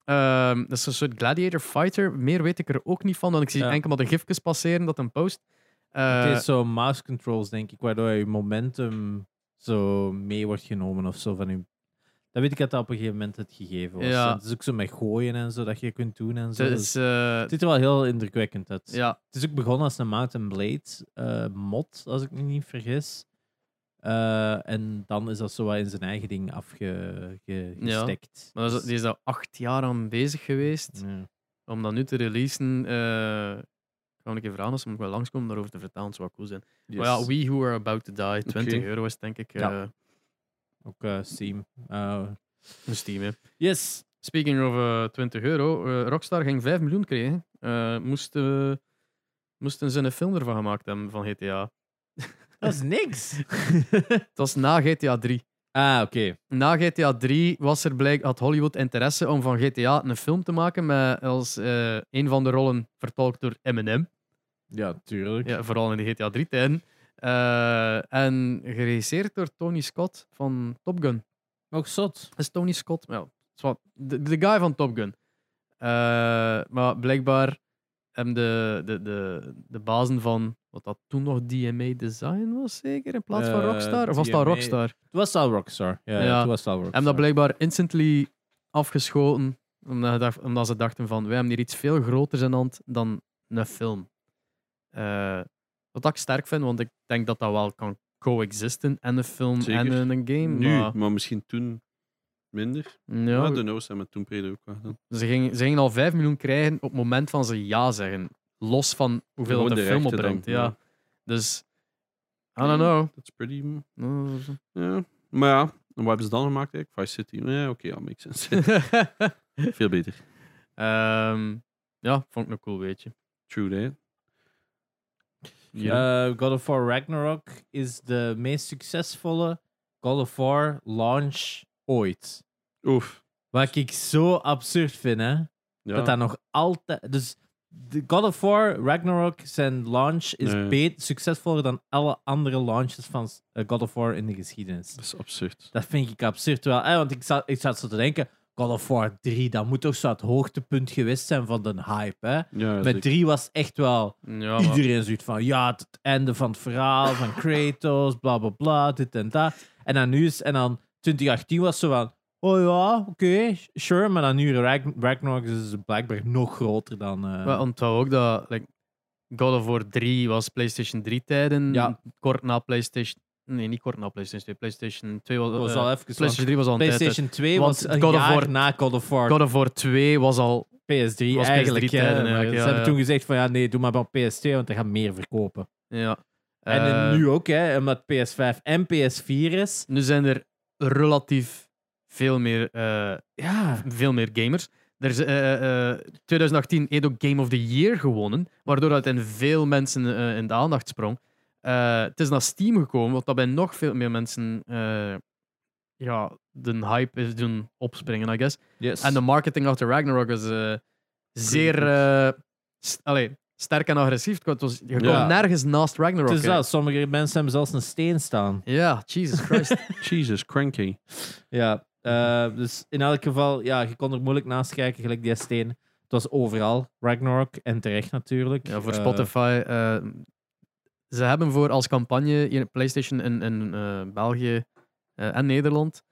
[SPEAKER 2] Ehm, dat is een soort gladiator fighter. Meer weet ik er ook niet van, want ik zie
[SPEAKER 3] Ja.
[SPEAKER 2] enkel maar de gifjes passeren dat een post. Eh,
[SPEAKER 3] het is zo mouse controls, denk ik, waardoor je momentum zo mee wordt genomen of zo van je... Dat weet ik dat dat op een gegeven moment het gegeven was.
[SPEAKER 2] Ja.
[SPEAKER 3] En Het is ook zo met gooien en zo dat je kunt doen en zo.
[SPEAKER 2] het
[SPEAKER 3] Dus
[SPEAKER 2] is, eh,
[SPEAKER 3] het ziet er wel heel indrukwekkend uit.
[SPEAKER 2] ja,
[SPEAKER 3] Het is ook begonnen als een Mountain Blade eh, mod, als ik me niet vergis. Eh, en dan is dat zo wat in zijn eigen ding
[SPEAKER 2] Ja.
[SPEAKER 3] afgestekt.
[SPEAKER 2] maar dat is, die is daar acht jaar aan bezig geweest. om dat nu te releasen, eh ik ga een keer vragen als ze nog wel langskomen om daarover te vertellen. Het zou wel cool zijn.
[SPEAKER 1] Yes.
[SPEAKER 2] Maar ja, We Who Are About To Die, 20
[SPEAKER 1] Oké.
[SPEAKER 2] euro is denk ik eh
[SPEAKER 3] Ja. Ook eh, Steam. Eh,
[SPEAKER 2] een Steam. hè.
[SPEAKER 3] yes!
[SPEAKER 2] Speaking of eh, 20 euro, eh, Rockstar ging 5 miljoen krijgen. Eh, moesten, moesten ze een film ervan gemaakt hebben van GTA.
[SPEAKER 3] Dat is niks!
[SPEAKER 2] Het was na GTA 3.
[SPEAKER 3] Ah, oké.
[SPEAKER 2] Na GTA 3 was er blijk, had Hollywood interesse om van GTA een film te maken met als eh, een van de rollen vertolkt door Eminem.
[SPEAKER 3] Ja, tuurlijk.
[SPEAKER 2] Ja, vooral in de GTA 3-tijden. Eh, en geregisseerd door Tony Scott van Top Gun.
[SPEAKER 3] Nog zot.
[SPEAKER 2] is Tony Scott. Ja, het is wat- de, de guy van Top Gun. Eh, maar blijkbaar hebben de, de, de, de bazen van wat dat toen nog DMA Design was, zeker? In plaats van
[SPEAKER 3] Eh,
[SPEAKER 2] Rockstar? Of was dat
[SPEAKER 3] DMA
[SPEAKER 2] Rockstar?
[SPEAKER 3] Het was al Rockstar. Ja,
[SPEAKER 2] Ja.
[SPEAKER 3] ja. het was al Rockstar.
[SPEAKER 2] Hebben dat blijkbaar instantly afgeschoten, omdat, je dacht- omdat ze dachten van, wij hebben hier iets veel groters in hand dan een film. Eh, wat ik sterk vind, want ik denk dat dat wel kan coexisten en een film en
[SPEAKER 1] Zeker.
[SPEAKER 2] een, een game.
[SPEAKER 1] Nu,
[SPEAKER 2] maar-
[SPEAKER 1] maar misschien toen minder.
[SPEAKER 2] ja,
[SPEAKER 1] Ja, de no's hebben het toen Pedro ook wel gedaan.
[SPEAKER 2] Ze gingen, ze gingen al 5 miljoen krijgen op het moment van ze ja zeggen. Los van hoeveel
[SPEAKER 1] Gewoon
[SPEAKER 2] dat de,
[SPEAKER 1] de
[SPEAKER 2] film
[SPEAKER 1] rechten
[SPEAKER 2] opbrengt.
[SPEAKER 1] dan,
[SPEAKER 2] ja.
[SPEAKER 1] ja.
[SPEAKER 2] Dus, I don't know.
[SPEAKER 1] Dat is pretty... mm, Ja. Maar ja, en wat hebben ze dan gemaakt eigenlijk? Vice City. Ja, oké, ja, makes sense. Veel beter.
[SPEAKER 2] Ehm, ja, vond ik nog cool, weet je.
[SPEAKER 1] True, hè?
[SPEAKER 3] Eh, God of War Ragnarok is de meest succesvolle God of War launch ooit.
[SPEAKER 1] Oef.
[SPEAKER 3] Wat ik zo absurd vind, hè.
[SPEAKER 1] Ja.
[SPEAKER 3] Dat dat nog altijd... Dus de God of War Ragnarok, zijn launch, is
[SPEAKER 1] Ja, ja.
[SPEAKER 3] beet- succesvoller dan alle andere launches van eh, God of War in de geschiedenis.
[SPEAKER 1] Dat is absurd.
[SPEAKER 3] Dat vind ik absurd wel. hè, want ik zat, ik zat zo te denken, God of War 3, dat moet toch zo het hoogtepunt geweest zijn van de hype, hè?
[SPEAKER 1] Ja,
[SPEAKER 3] Met
[SPEAKER 1] zeker.
[SPEAKER 3] 3 was echt wel...
[SPEAKER 2] Ja, maar-
[SPEAKER 3] Iedereen zoiets van, ja, het, het einde van het verhaal, van Kratos, bla bla bla, dit en dat. En dan nu is, en dan 2018 was zo van, oh ja, oké, sure, maar dan nu Ragn- Ragnarok is het blijkbaar nog groter dan... eh,
[SPEAKER 2] Maar onthoud ook dat like, God of War 3 was PlayStation 3-tijden.
[SPEAKER 3] Ja.
[SPEAKER 2] Kort na PlayStation... Nee, niet kort na PlayStation 2. PlayStation 2 was...
[SPEAKER 3] dat was
[SPEAKER 2] eh,
[SPEAKER 3] al even
[SPEAKER 2] PlayStation 3 was al een tijd uit.
[SPEAKER 3] PlayStation 2
[SPEAKER 2] Want
[SPEAKER 3] was een
[SPEAKER 2] God of
[SPEAKER 3] jaar
[SPEAKER 2] War-
[SPEAKER 3] na God of War.
[SPEAKER 2] God of War 2 was al...
[SPEAKER 3] PS3
[SPEAKER 2] was
[SPEAKER 3] eigenlijk.
[SPEAKER 2] PS3
[SPEAKER 3] hè,
[SPEAKER 2] tijden
[SPEAKER 3] maar
[SPEAKER 2] eigenlijk,
[SPEAKER 3] ze
[SPEAKER 2] ja,
[SPEAKER 3] hebben
[SPEAKER 2] ja.
[SPEAKER 3] toen gezegd van, ja, nee, doe maar op PS2, want dat gaat meer verkopen.
[SPEAKER 2] Ja.
[SPEAKER 3] en
[SPEAKER 2] Eh,
[SPEAKER 3] eh, nu ook, hè, omdat PS5 en PS4 is.
[SPEAKER 2] Nu zijn er relatief veel meer, eh,
[SPEAKER 3] Ja.
[SPEAKER 2] veel meer gamers. Er is, eh, eh, 2018 heeft ook Game of the Year gewonnen, waardoor dat in veel mensen eh, in de aandacht sprong. Eh, het is naar Steam gekomen, wat dat bij nog veel meer mensen eh, ja, de hype is doen opspringen, I guess.
[SPEAKER 3] Yes.
[SPEAKER 2] En de marketing achter Ragnarok was eh, zeer eh, st- allee, sterk en agressief. Het was, je kon
[SPEAKER 1] Ja.
[SPEAKER 2] nergens naast Ragnarok.
[SPEAKER 3] Het is
[SPEAKER 2] hè.
[SPEAKER 3] dat, sommige mensen hebben zelfs een steen staan.
[SPEAKER 2] Ja, Jesus Christ.
[SPEAKER 1] Jesus, cranky.
[SPEAKER 3] Ja, eh, dus in elk geval, ja, je kon er moeilijk naast kijken, gelijk die steen. Het was overal, Ragnarok, en terecht natuurlijk.
[SPEAKER 2] Ja, voor
[SPEAKER 3] Eh,
[SPEAKER 2] Spotify. eh, ze hebben voor als campagne hier PlayStation in, in eh, België eh, en Nederland.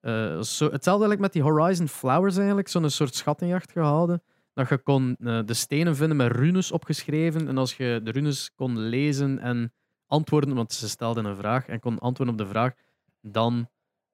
[SPEAKER 2] eh, zo, hetzelfde eigenlijk met die Horizon Flowers eigenlijk, zo'n soort schattenjacht gehouden. Dat je kon eh, de stenen vinden met runes opgeschreven. En als je de runes kon lezen en antwoorden, want ze stelden een vraag en kon antwoorden op de vraag, dan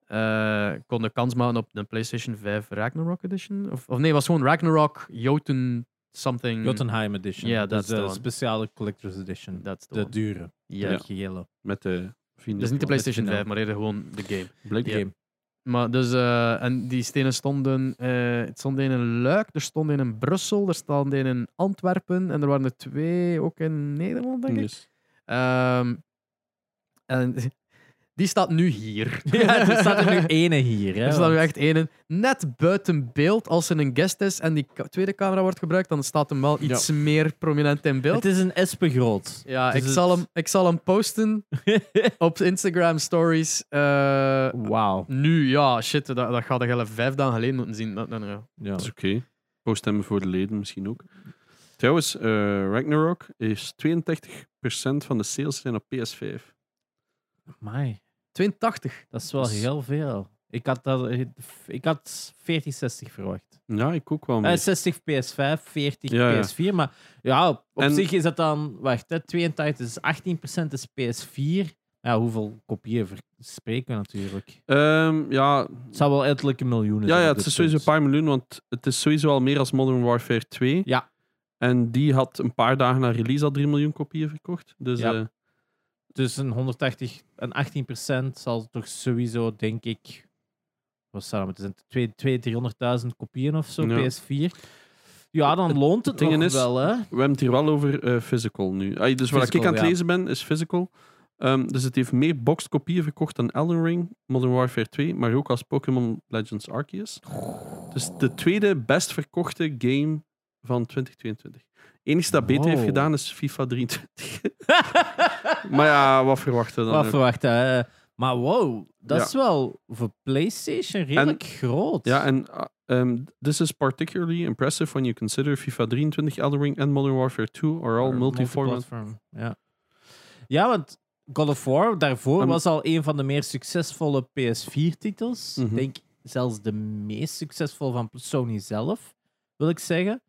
[SPEAKER 2] eh, kon je kans maken op de PlayStation 5 Ragnarok Edition. Of, of nee, het was gewoon Ragnarok Jotun something.
[SPEAKER 3] Jotunheim Edition.
[SPEAKER 2] Ja, dat
[SPEAKER 3] dat
[SPEAKER 2] is de
[SPEAKER 3] is de
[SPEAKER 2] one.
[SPEAKER 3] speciale Collector's Edition.
[SPEAKER 2] Dat is de
[SPEAKER 3] De
[SPEAKER 2] one.
[SPEAKER 3] dure,
[SPEAKER 2] Ja.
[SPEAKER 3] de gele.
[SPEAKER 1] Met de vrienden.
[SPEAKER 2] Dus niet de
[SPEAKER 1] van-
[SPEAKER 2] PlayStation
[SPEAKER 3] het
[SPEAKER 2] 5,
[SPEAKER 3] signaal.
[SPEAKER 2] maar eerder gewoon de game.
[SPEAKER 1] Blijkbaar.
[SPEAKER 2] Ja.
[SPEAKER 3] game.
[SPEAKER 2] Maar dus, eh, en die stenen stonden. eh, het stond een in Luik, er stond een in Brussel, er stond een in Antwerpen en er waren er twee ook in Nederland, denk ik.
[SPEAKER 1] Yes.
[SPEAKER 2] Ehm, en die staat nu hier.
[SPEAKER 3] Ja, er staat er nu ene hier. Hè,
[SPEAKER 2] e- Er staat nu
[SPEAKER 3] want-
[SPEAKER 2] echt één in. Net buiten beeld, als er een guest is en die ka- tweede camera wordt gebruikt, dan staat hem wel iets meer prominent in beeld.
[SPEAKER 3] Het is een espe groot.
[SPEAKER 2] Ja,
[SPEAKER 3] Dus
[SPEAKER 2] ik,
[SPEAKER 3] het-
[SPEAKER 2] zal hem, ik zal hem posten op Instagram stories. eh,
[SPEAKER 3] Wauw.
[SPEAKER 2] Nu, ja, shit, dat, dat gaat hele vijf dagen geleden moeten zien. Dat, dat, ja.
[SPEAKER 3] Ja.
[SPEAKER 1] Dat is oké. Post hem voor de leden misschien ook. Trouwens, eh, Ragnarok is 32% van de sales zijn op PS5.
[SPEAKER 3] Amai,
[SPEAKER 2] 82.
[SPEAKER 3] dat is wel
[SPEAKER 2] Dus-
[SPEAKER 1] Dat is-
[SPEAKER 3] heel veel. Ik had, dat, ik had 4060 verwacht.
[SPEAKER 1] Ja, ik ook wel.
[SPEAKER 3] Eh,
[SPEAKER 1] mee.
[SPEAKER 3] 60 PS5, 40
[SPEAKER 1] Ja, ja.
[SPEAKER 3] PS4. Maar ja, op op
[SPEAKER 1] En-
[SPEAKER 3] zich is dat dan... Wacht, hè, 82 is 18% is PS4. Ja, hoeveel kopieën ver- spreken we natuurlijk?
[SPEAKER 1] Ehm, ja,
[SPEAKER 3] Het zou wel ettelijke
[SPEAKER 1] ja,
[SPEAKER 3] miljoenen zijn
[SPEAKER 1] ja,
[SPEAKER 3] op
[SPEAKER 1] het
[SPEAKER 3] dit
[SPEAKER 1] is sowieso een
[SPEAKER 3] punt.
[SPEAKER 1] paar miljoen, want het is sowieso al meer als Modern Warfare 2.
[SPEAKER 3] Ja.
[SPEAKER 1] En die had een paar dagen na release al 3 miljoen kopieën verkocht. Dus
[SPEAKER 3] Ja.
[SPEAKER 1] eh,
[SPEAKER 3] Dus een 180 en 18% zal toch sowieso, denk ik... Wat zou dat moeten zijn? 200, 300.000 kopieën of zo,
[SPEAKER 1] Ja.
[SPEAKER 3] PS4. Ja, dan loont het
[SPEAKER 1] het ding
[SPEAKER 3] toch
[SPEAKER 1] is-
[SPEAKER 3] wel, hè?
[SPEAKER 1] we hebben het hier wel over eh, physical nu. Ah, dus wat ik
[SPEAKER 3] Physical,
[SPEAKER 1] aan het
[SPEAKER 3] ja.
[SPEAKER 1] lezen ben, is physical. Ehm, dus het heeft meer boxed kopieën verkocht dan Elden Ring, Modern Warfare 2, maar ook als Pokémon Legends Arceus. Dus de tweede best verkochte game van 2022. Het enige dat beter heeft
[SPEAKER 3] Wow.
[SPEAKER 1] gedaan is FIFA 23. maar ja, wat verwachten we dan?
[SPEAKER 3] Wat
[SPEAKER 1] ook?
[SPEAKER 3] verwacht dat? eh? maar wow, dat
[SPEAKER 1] Ja.
[SPEAKER 3] is wel voor PlayStation redelijk groot.
[SPEAKER 1] Ja, en uh, um, this is particularly impressive when you consider FIFA 23, Elden Ring en Modern Warfare 2 are all
[SPEAKER 3] Voor
[SPEAKER 1] multi-format.
[SPEAKER 3] multiplatform, Ja. ja, want God of War daarvoor
[SPEAKER 1] En-
[SPEAKER 3] was al een van de meer succesvolle PS4-titels.
[SPEAKER 1] Mhm.
[SPEAKER 3] Ik denk zelfs de meest succesvolle van Sony zelf, wil ik zeggen.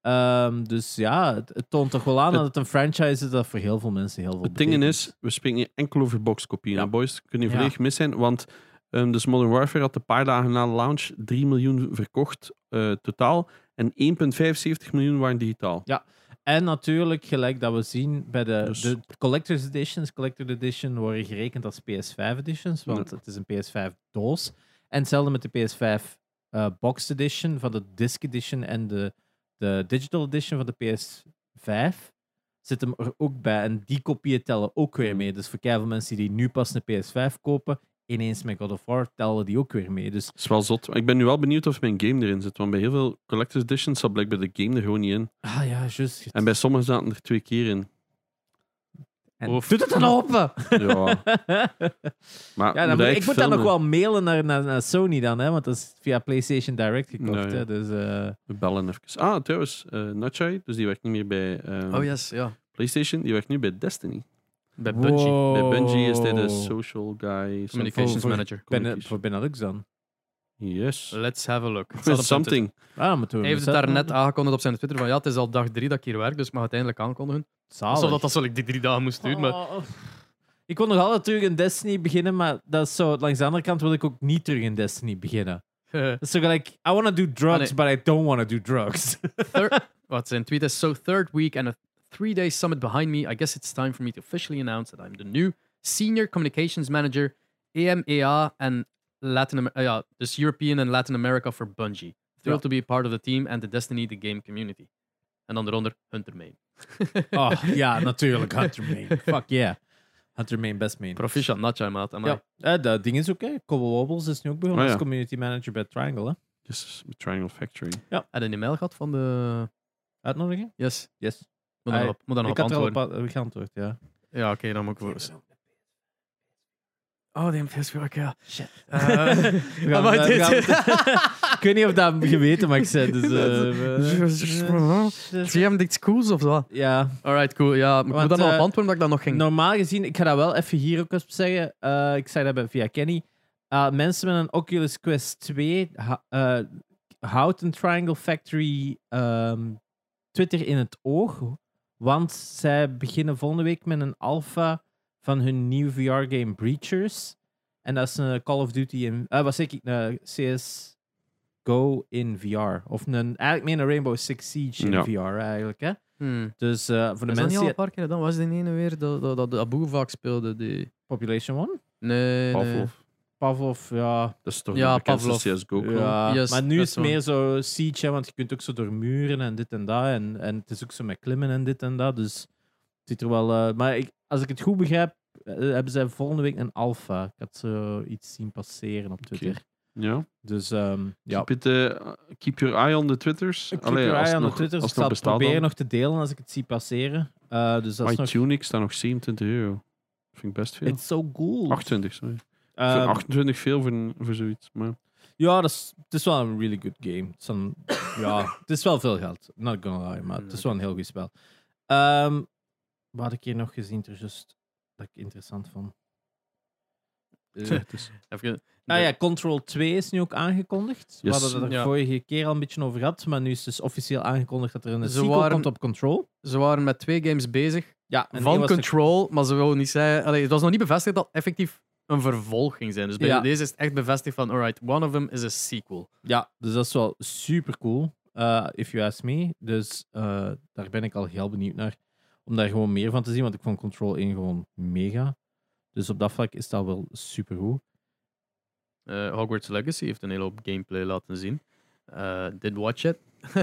[SPEAKER 3] Ehm, dus ja, het, het toont toch wel aan
[SPEAKER 1] Het-
[SPEAKER 3] dat het een franchise is dat voor heel veel mensen heel veel
[SPEAKER 1] Het ding
[SPEAKER 3] betekent.
[SPEAKER 1] is, we spreken hier enkel over boxkopieën.
[SPEAKER 3] Ja.
[SPEAKER 1] hè, Boys, kun je
[SPEAKER 3] Ja.
[SPEAKER 1] volledig mis zijn, want ehm, dus Modern Warfare had een paar dagen na de launch 3 miljoen verkocht eh, totaal en 1,75 miljoen waren digitaal.
[SPEAKER 3] En natuurlijk, gelijk dat we zien bij de,
[SPEAKER 1] Dus-
[SPEAKER 3] de Collector's Editions. Collector Edition worden gerekend als PS5 Editions, want het is een PS5 doos. En hetzelfde met de PS5 eh, Boxed Edition van de Disc Edition en de, de Digital Edition van de PS5 zit hem er ook bij. En die kopieën tellen ook weer mee. Dus voor keiveel mensen die nu pas een PS5 kopen, ineens met God of War tellen die ook weer mee. Dus
[SPEAKER 1] Dat is wel zot. Ik ben nu wel benieuwd of mijn game erin zit, want bij heel veel Collector's Editions zat blijkbaar de game er gewoon niet in.
[SPEAKER 3] ah ja, juist.
[SPEAKER 1] En bij sommigen zaten er twee keer in.
[SPEAKER 3] En Doet het dan open!
[SPEAKER 1] Ja, maar
[SPEAKER 3] Ja, dan
[SPEAKER 1] moet
[SPEAKER 3] moet-
[SPEAKER 1] ik
[SPEAKER 3] ik moet dat nog
[SPEAKER 1] filmen?
[SPEAKER 3] wel mailen naar, naar, naar Sony dan, hè, want dat is via PlayStation Direct gekocht.
[SPEAKER 1] Nou, ja.
[SPEAKER 3] hè, dus, eh,
[SPEAKER 1] We bellen even. Ah, trouwens, eh Nutshai, dus die werkt niet meer bij eh,
[SPEAKER 2] Oh yes, ja.
[SPEAKER 1] PlayStation, die werkt nu bij Destiny.
[SPEAKER 2] Bij Bungie. dus
[SPEAKER 1] Bij Bungie is hij de
[SPEAKER 3] Wow.
[SPEAKER 1] social guy.
[SPEAKER 2] Communications
[SPEAKER 1] something.
[SPEAKER 2] manager.
[SPEAKER 3] Oh. Ben, eh, voor Benelux dan.
[SPEAKER 1] Yes.
[SPEAKER 2] Let's have a look. Het staat op
[SPEAKER 1] It's
[SPEAKER 2] zijn
[SPEAKER 1] something.
[SPEAKER 3] Ah, moeten we
[SPEAKER 2] Twitter. Hij heeft het daar net aangekondigd op zijn Twitter van ja, het is al dag drie dat ik hier werk, dus ik mag het eindelijk aankondigen.
[SPEAKER 3] Zalig.
[SPEAKER 2] Alsof dat, dat zal ik die drie dagen moest duren, maar
[SPEAKER 3] Oh. Ik wil nog altijd terug in Destiny beginnen, maar dat is zo, langs de andere kant wil ik ook niet terug in Destiny beginnen.
[SPEAKER 2] Oh.
[SPEAKER 3] Dat is zo gelijk, I want to do drugs,
[SPEAKER 2] Ah,
[SPEAKER 3] but I don't want to do drugs.
[SPEAKER 2] Thir- Wat zijn tweet is? So third week and a three-day summit behind me. I guess it's time for me to officially announce that I'm the new senior communications manager EMEA and Latin Amer- eh, ja, dus European and Latin America for Bungie. Thrilled to be part of the team and the Destiny the game community. En dan eronder Hunter Main.
[SPEAKER 3] oh, ja, natuurlijk, Hunter Main. Fuck yeah. Hunter Main, best main.
[SPEAKER 2] Proficiat Natja, maat. Amai.
[SPEAKER 3] Ja, eh, dat ding is ook, hè. Cobble Wobbles is nu ook begonnen
[SPEAKER 1] Oh,
[SPEAKER 2] Ah,
[SPEAKER 1] ja.
[SPEAKER 3] als community manager bij Triangle, hè.
[SPEAKER 1] Yes, Triangle Factory.
[SPEAKER 2] Had je een e-mail gehad van de...
[SPEAKER 3] Uitnodigen?
[SPEAKER 2] Yes.
[SPEAKER 3] Yes.
[SPEAKER 2] Moet dan
[SPEAKER 3] Ah,
[SPEAKER 2] nog op, moet dan nog
[SPEAKER 3] ik
[SPEAKER 2] op
[SPEAKER 3] had er al
[SPEAKER 2] antwoorden.
[SPEAKER 3] op a- op geantwoord, ja.
[SPEAKER 2] Ja, oké, dan moet ik voor... Oh, die MPS weer, oké.
[SPEAKER 3] Shit.
[SPEAKER 2] Eh,
[SPEAKER 3] We gaan-
[SPEAKER 2] maar
[SPEAKER 3] we
[SPEAKER 2] dit-
[SPEAKER 3] gaan- ik weet niet of dat geweten mag zijn. Dus, eh,
[SPEAKER 2] Zie je hem iets cools of zo?
[SPEAKER 3] ja,
[SPEAKER 2] Alright, cool. Ja, maar ik moet
[SPEAKER 3] Want,
[SPEAKER 2] dan nog
[SPEAKER 3] eh,
[SPEAKER 2] op antwoorden dat ik dat nog ging.
[SPEAKER 3] normaal gezien, ik ga dat wel even hier ook eens zeggen. eh, ik zei dat bij- via Kenny. Eh, mensen met een Oculus Quest 2 ha- eh, houdt een Triangle Factory ehm, Twitter in het oog. Want zij beginnen volgende week met een alpha van hun nieuwe VR-game Breachers. En dat is een Call of Duty in... eh, wat zeg ik? Een CS Go in VR. Of een, eigenlijk meer een Rainbow Six Siege in
[SPEAKER 1] Ja.
[SPEAKER 3] VR eigenlijk. Hè?
[SPEAKER 2] Hmm.
[SPEAKER 3] Dus eh, voor de
[SPEAKER 2] Is dat niet
[SPEAKER 3] mensen...
[SPEAKER 2] al een
[SPEAKER 3] die-
[SPEAKER 2] paar keer dan? Was die ene weer dat, dat, dat de Abu vaak speelde? Die...
[SPEAKER 3] Population One?
[SPEAKER 2] Nee, nee.
[SPEAKER 1] Pavlov.
[SPEAKER 3] Pavlov, Eh, ja.
[SPEAKER 1] Dat is toch
[SPEAKER 2] Ja,
[SPEAKER 1] de bekendste
[SPEAKER 2] Pavlov.
[SPEAKER 1] CSGO clone?
[SPEAKER 3] ja.
[SPEAKER 2] Yes,
[SPEAKER 3] maar nu
[SPEAKER 2] dat
[SPEAKER 3] is
[SPEAKER 2] is
[SPEAKER 3] het meer zo siege, hè, want je kunt ook zo door muren en dit en dat. En, en het is ook zo met klimmen en dit en dat. Dus het ziet er wel... eh, maar ik, als ik het goed begrijp, eh, hebben zij volgende week een alpha. Ik had zo iets zien passeren op Twitter.
[SPEAKER 1] Ja.
[SPEAKER 3] Dus ehm, ja.
[SPEAKER 1] Keep, it, eh, keep your eye on the Twitters.
[SPEAKER 3] Ik keep
[SPEAKER 1] Allee,
[SPEAKER 3] your
[SPEAKER 1] als
[SPEAKER 3] eye
[SPEAKER 1] het
[SPEAKER 3] on
[SPEAKER 1] nog,
[SPEAKER 3] de Twitter. dus
[SPEAKER 1] Als het nog
[SPEAKER 3] Ik zal het
[SPEAKER 1] bestaat
[SPEAKER 3] proberen
[SPEAKER 1] dan.
[SPEAKER 3] nog te delen als ik het zie passeren. Eh, dus dat is
[SPEAKER 1] My
[SPEAKER 3] nog...
[SPEAKER 1] Tunic staat nog 27 euro. Vind ik best veel.
[SPEAKER 3] It's so cool.
[SPEAKER 1] 28, sorry. Ik
[SPEAKER 3] Ehm,
[SPEAKER 1] vind 28 veel voor, een- voor zoiets. Maar
[SPEAKER 3] Ja, dat is, het is wel een really good game. Het is, een- ja, het is wel veel geld. Not gonna lie, maar het is wel een heel goed spel. Ehm wat had ik hier nog gezien, er just, dat ik interessant vond? Eh,
[SPEAKER 1] het is
[SPEAKER 2] Even...
[SPEAKER 3] ah ja, Control 2 is nu ook aangekondigd. We
[SPEAKER 1] Yes.
[SPEAKER 3] hadden het er
[SPEAKER 2] Ja.
[SPEAKER 3] vorige keer al een beetje over gehad, maar nu is dus officieel aangekondigd dat er een
[SPEAKER 2] Ze
[SPEAKER 3] sequel
[SPEAKER 2] waren-
[SPEAKER 3] komt op Control.
[SPEAKER 2] Ze waren met twee games bezig
[SPEAKER 3] Ja, die
[SPEAKER 2] van
[SPEAKER 3] was er-
[SPEAKER 2] Control, maar ze wilden niet zeggen... Allee, het was nog niet bevestigd dat het effectief een vervolg ging zijn. Dus bij
[SPEAKER 3] Ja.
[SPEAKER 2] deze is het echt bevestigd van... Alright, one of them is a sequel.
[SPEAKER 3] Ja, dus dat is wel super cool. eh, if you ask me. Dus eh, daar ben ik al heel benieuwd naar. Om daar gewoon meer van te zien, want ik vond Control 1 gewoon mega. Dus op dat vlak is dat wel super goed.
[SPEAKER 2] Eh, Hogwarts Legacy heeft een hele hoop gameplay laten zien. Eh, did watch it.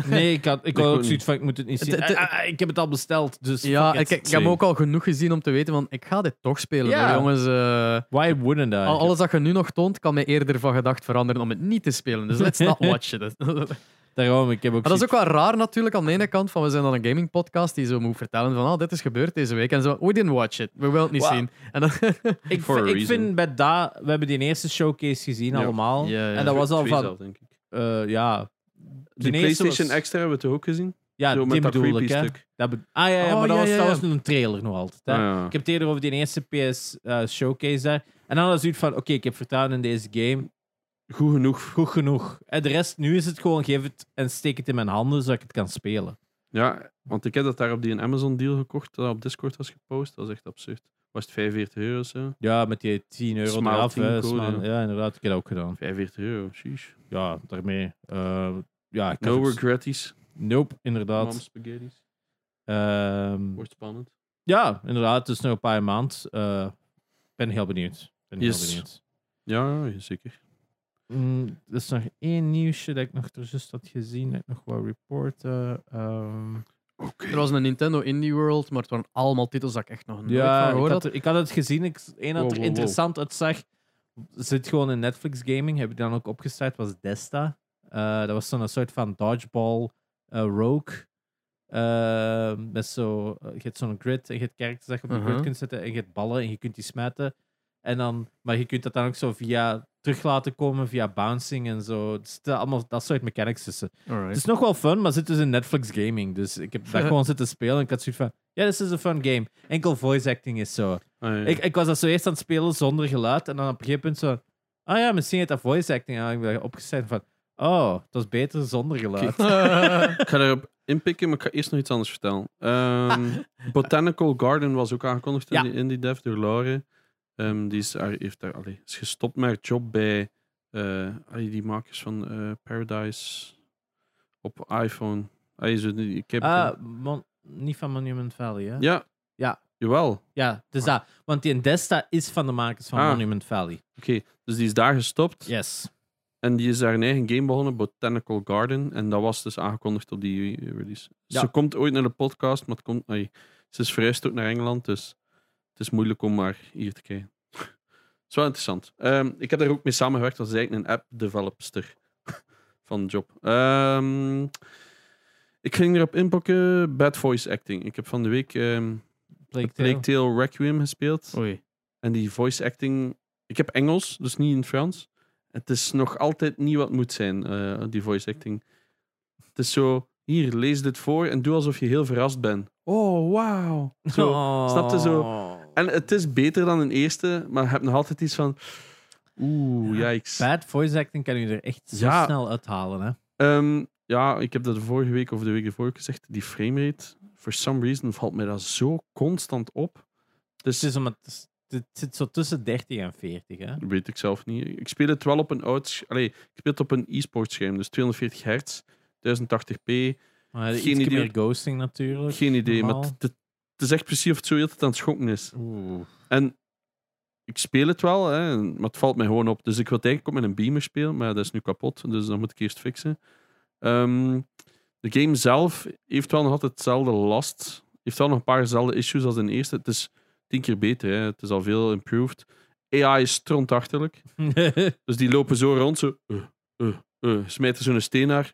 [SPEAKER 3] Nee, ik had, ik had ook
[SPEAKER 1] ook
[SPEAKER 3] zoiets
[SPEAKER 1] niet.
[SPEAKER 3] van, ik moet het niet
[SPEAKER 4] Het-
[SPEAKER 3] zien.
[SPEAKER 4] het-
[SPEAKER 3] Ah, ah, ik heb het al besteld, dus
[SPEAKER 4] Ja,
[SPEAKER 3] fuck
[SPEAKER 4] ik,
[SPEAKER 3] it.
[SPEAKER 4] ik heb
[SPEAKER 1] Zee.
[SPEAKER 4] ook al genoeg gezien om te weten van ik ga dit toch spelen.
[SPEAKER 3] Ja.
[SPEAKER 4] hoor, jongens, Eh,
[SPEAKER 3] Why wouldn't I?
[SPEAKER 4] al- alles dat je nu nog toont, kan mij eerder van gedacht veranderen om het niet te spelen. Dus let's not watch it. maar
[SPEAKER 3] Daarom, ik heb ook
[SPEAKER 4] dat is ook wel raar natuurlijk aan de ene kant, van we zijn dan een gaming podcast die zo moet vertellen van ah, dit is gebeurd deze week. En zo, we didn't watch it. We willen het niet
[SPEAKER 3] Wow.
[SPEAKER 4] zien. En dan,
[SPEAKER 3] Ik,
[SPEAKER 1] For a
[SPEAKER 3] ik
[SPEAKER 1] reason.
[SPEAKER 3] vind bij dat... We hebben die eerste showcase gezien
[SPEAKER 1] Ja.
[SPEAKER 3] allemaal.
[SPEAKER 4] Ja, ja.
[SPEAKER 3] En dat was al
[SPEAKER 1] Twee
[SPEAKER 3] van...
[SPEAKER 1] zelf, denk ik.
[SPEAKER 3] eh, ja.
[SPEAKER 1] Die
[SPEAKER 3] eerste
[SPEAKER 1] PlayStation
[SPEAKER 3] was-
[SPEAKER 1] Extra hebben we het ook gezien.
[SPEAKER 3] Ja,
[SPEAKER 1] Zo met
[SPEAKER 3] die
[SPEAKER 1] dat
[SPEAKER 3] bedoel ik,
[SPEAKER 1] creepy
[SPEAKER 3] hè.
[SPEAKER 1] stuk.
[SPEAKER 3] Dat be- ah ja, ja,
[SPEAKER 4] Oh,
[SPEAKER 3] maar dat,
[SPEAKER 4] ja,
[SPEAKER 3] was,
[SPEAKER 4] ja,
[SPEAKER 3] dat
[SPEAKER 4] ja.
[SPEAKER 3] was een trailer nog altijd. Hè.
[SPEAKER 1] Ah, ja.
[SPEAKER 3] Ik heb het eerder over die eerste PS eh, showcase daar. En dan was het zoiets van, oké, ik heb vertrouwen in deze game.
[SPEAKER 1] Goed genoeg.
[SPEAKER 3] Goed genoeg. En de rest, nu is het gewoon, geef het en steek het in mijn handen, zodat ik het kan spelen.
[SPEAKER 1] Ja, want ik heb dat daar op die Amazon-deal gekocht, dat op Discord was gepost. Dat was echt absurd. Was het 45 euro of zo?
[SPEAKER 3] Ja, met die 10 euro
[SPEAKER 1] Smile
[SPEAKER 3] eraf. hè,
[SPEAKER 1] 10 code,
[SPEAKER 3] smile- ja, inderdaad, ik heb dat ook gedaan.
[SPEAKER 1] 45 euro, sheesh.
[SPEAKER 3] Ja, daarmee. eh, ja, ik had
[SPEAKER 1] No
[SPEAKER 3] het-
[SPEAKER 1] regretties.
[SPEAKER 3] Nope, inderdaad.
[SPEAKER 1] Mom spaghetti's.
[SPEAKER 3] Ehm,
[SPEAKER 1] Wordt spannend.
[SPEAKER 3] ja, inderdaad, het is nog een paar maand. Eh, ben heel benieuwd. Ben
[SPEAKER 1] Yes.
[SPEAKER 3] heel benieuwd.
[SPEAKER 1] Ja, ja, zeker.
[SPEAKER 3] Mm, er is nog één nieuwsje dat ik nog er juist had gezien, dat ik nog wou reporten. Ehm,
[SPEAKER 1] Oké.
[SPEAKER 4] er was een Nintendo Indie World, maar het waren allemaal titels dat ik echt nog nooit van
[SPEAKER 3] ja, ik
[SPEAKER 4] gehoord
[SPEAKER 3] had,
[SPEAKER 4] had.
[SPEAKER 3] er- ik had het gezien. Ik, één dat
[SPEAKER 1] Wow,
[SPEAKER 3] er
[SPEAKER 1] wow,
[SPEAKER 3] interessant uitzag, zit gewoon in Netflix Gaming, heb ik dan ook opgestart, was Desta. Eh, dat was zo'n soort van dodgeball eh, rogue. Eh, met zo, je hebt zo'n grid en je hebt characters dat je op een
[SPEAKER 4] Mhm.
[SPEAKER 1] Uh-huh.
[SPEAKER 3] grid kunt zetten en je hebt ballen en je kunt die smijten. En dan, maar je kunt dat dan ook zo via terug laten komen, via bouncing en zo. Er zitten allemaal dat soort mechanics tussen.
[SPEAKER 4] Alright.
[SPEAKER 3] Het is nog wel fun, maar zit dus in Netflix gaming. Dus ik heb daar gewoon zitten spelen en ik had zoiets van... Ja, dit is een fun game. Enkel voice acting is zo.
[SPEAKER 1] Ah, ja.
[SPEAKER 3] Ik, ik was dat zo eerst aan het spelen zonder geluid. En dan op een gegeven moment zo... Ah ja, misschien heeft dat voice acting. En dan heb ik opgezet van... Oh, het was beter zonder geluid.
[SPEAKER 1] Ik ga daarop inpikken, maar ik ga eerst nog iets anders vertellen. Ehm, Botanical Garden was ook aangekondigd
[SPEAKER 3] Ah. Ja.
[SPEAKER 1] in, die, in die dev door Lauren. Ehm, die is, haar- heeft daar, allee, is gestopt met haar job bij eh, allee, die makers van eh, Paradise op iPhone. Allee, zo, die- ik heb,
[SPEAKER 3] Ah, Mon- niet van Monument Valley, hè?
[SPEAKER 1] ja.
[SPEAKER 3] ja.
[SPEAKER 1] Jawel. Oké.
[SPEAKER 3] Ja, dus dat. Want die Desta is van de makers van
[SPEAKER 1] Ah.
[SPEAKER 3] Monument Valley.
[SPEAKER 1] Dus die is daar gestopt.
[SPEAKER 3] Yes.
[SPEAKER 1] En die is haar een eigen game begonnen, Botanical Garden. En dat was dus aangekondigd op die eh, release.
[SPEAKER 3] Ja.
[SPEAKER 1] Ze komt ooit naar de podcast, maar het komt, ai, ze is verhuisd ook naar Engeland. Dus het is moeilijk om haar hier te krijgen. Het is wel interessant. Ehm, ik heb daar ook mee samengewerkt. Dat is eigenlijk een app-developster van de job. Ehm, ik ging erop inpakken. Bad voice acting. Ik heb van de week ehm
[SPEAKER 3] Plague Tale.
[SPEAKER 1] Plague Tale Requiem gespeeld.
[SPEAKER 4] Oei.
[SPEAKER 1] En die voice acting. Ik heb Engels, dus niet in het Frans. Het is nog altijd niet wat het moet zijn, eh, die voice acting. Het is zo. Hier, lees dit voor en doe alsof je heel verrast bent. Oh, wauw. Zo.
[SPEAKER 3] Oh.
[SPEAKER 1] snap je zo? En het is beter dan een eerste, maar je hebt nog altijd iets van. Oeh, jijks.
[SPEAKER 3] Bad voice acting kan u er echt zo
[SPEAKER 1] Ja.
[SPEAKER 3] snel uithalen, hè?
[SPEAKER 1] Ehm, ja, ik heb dat de vorige week of de week ervoor gezegd. Die framerate, for some reason, valt mij dat zo constant op. Dus
[SPEAKER 3] Het, is omdat, het is- het zit zo tussen 30 en 40, hè?
[SPEAKER 1] Dat weet ik zelf niet. Ik speel het wel op een oud... sch- Allee, ik speel het op een e-sport scherm, dus 240 hertz, 1080p.
[SPEAKER 3] Maar
[SPEAKER 1] Geen
[SPEAKER 3] iets
[SPEAKER 1] idee.
[SPEAKER 3] meer ghosting natuurlijk.
[SPEAKER 1] Geen idee, maar
[SPEAKER 3] normaal.
[SPEAKER 1] het, het- het is echt precies of het zo heel de tijd aan het schokken is.
[SPEAKER 3] Oeh.
[SPEAKER 1] En ik speel het wel, hè, en- maar het valt mij gewoon op. Dus ik wil het eigenlijk ook met een beamer spelen, maar dat is nu kapot, dus dat moet ik eerst fixen. Ehm, de game zelf heeft wel nog altijd hetzelfde last. Heeft wel nog een paar dezelfde issues als in de eerste. Het is tien keer beter, hè. het is al veel improved. AI is strontachterlijk. Dus die lopen zo rond, zo. eh, eh, eh, smijten zo'n steen naar.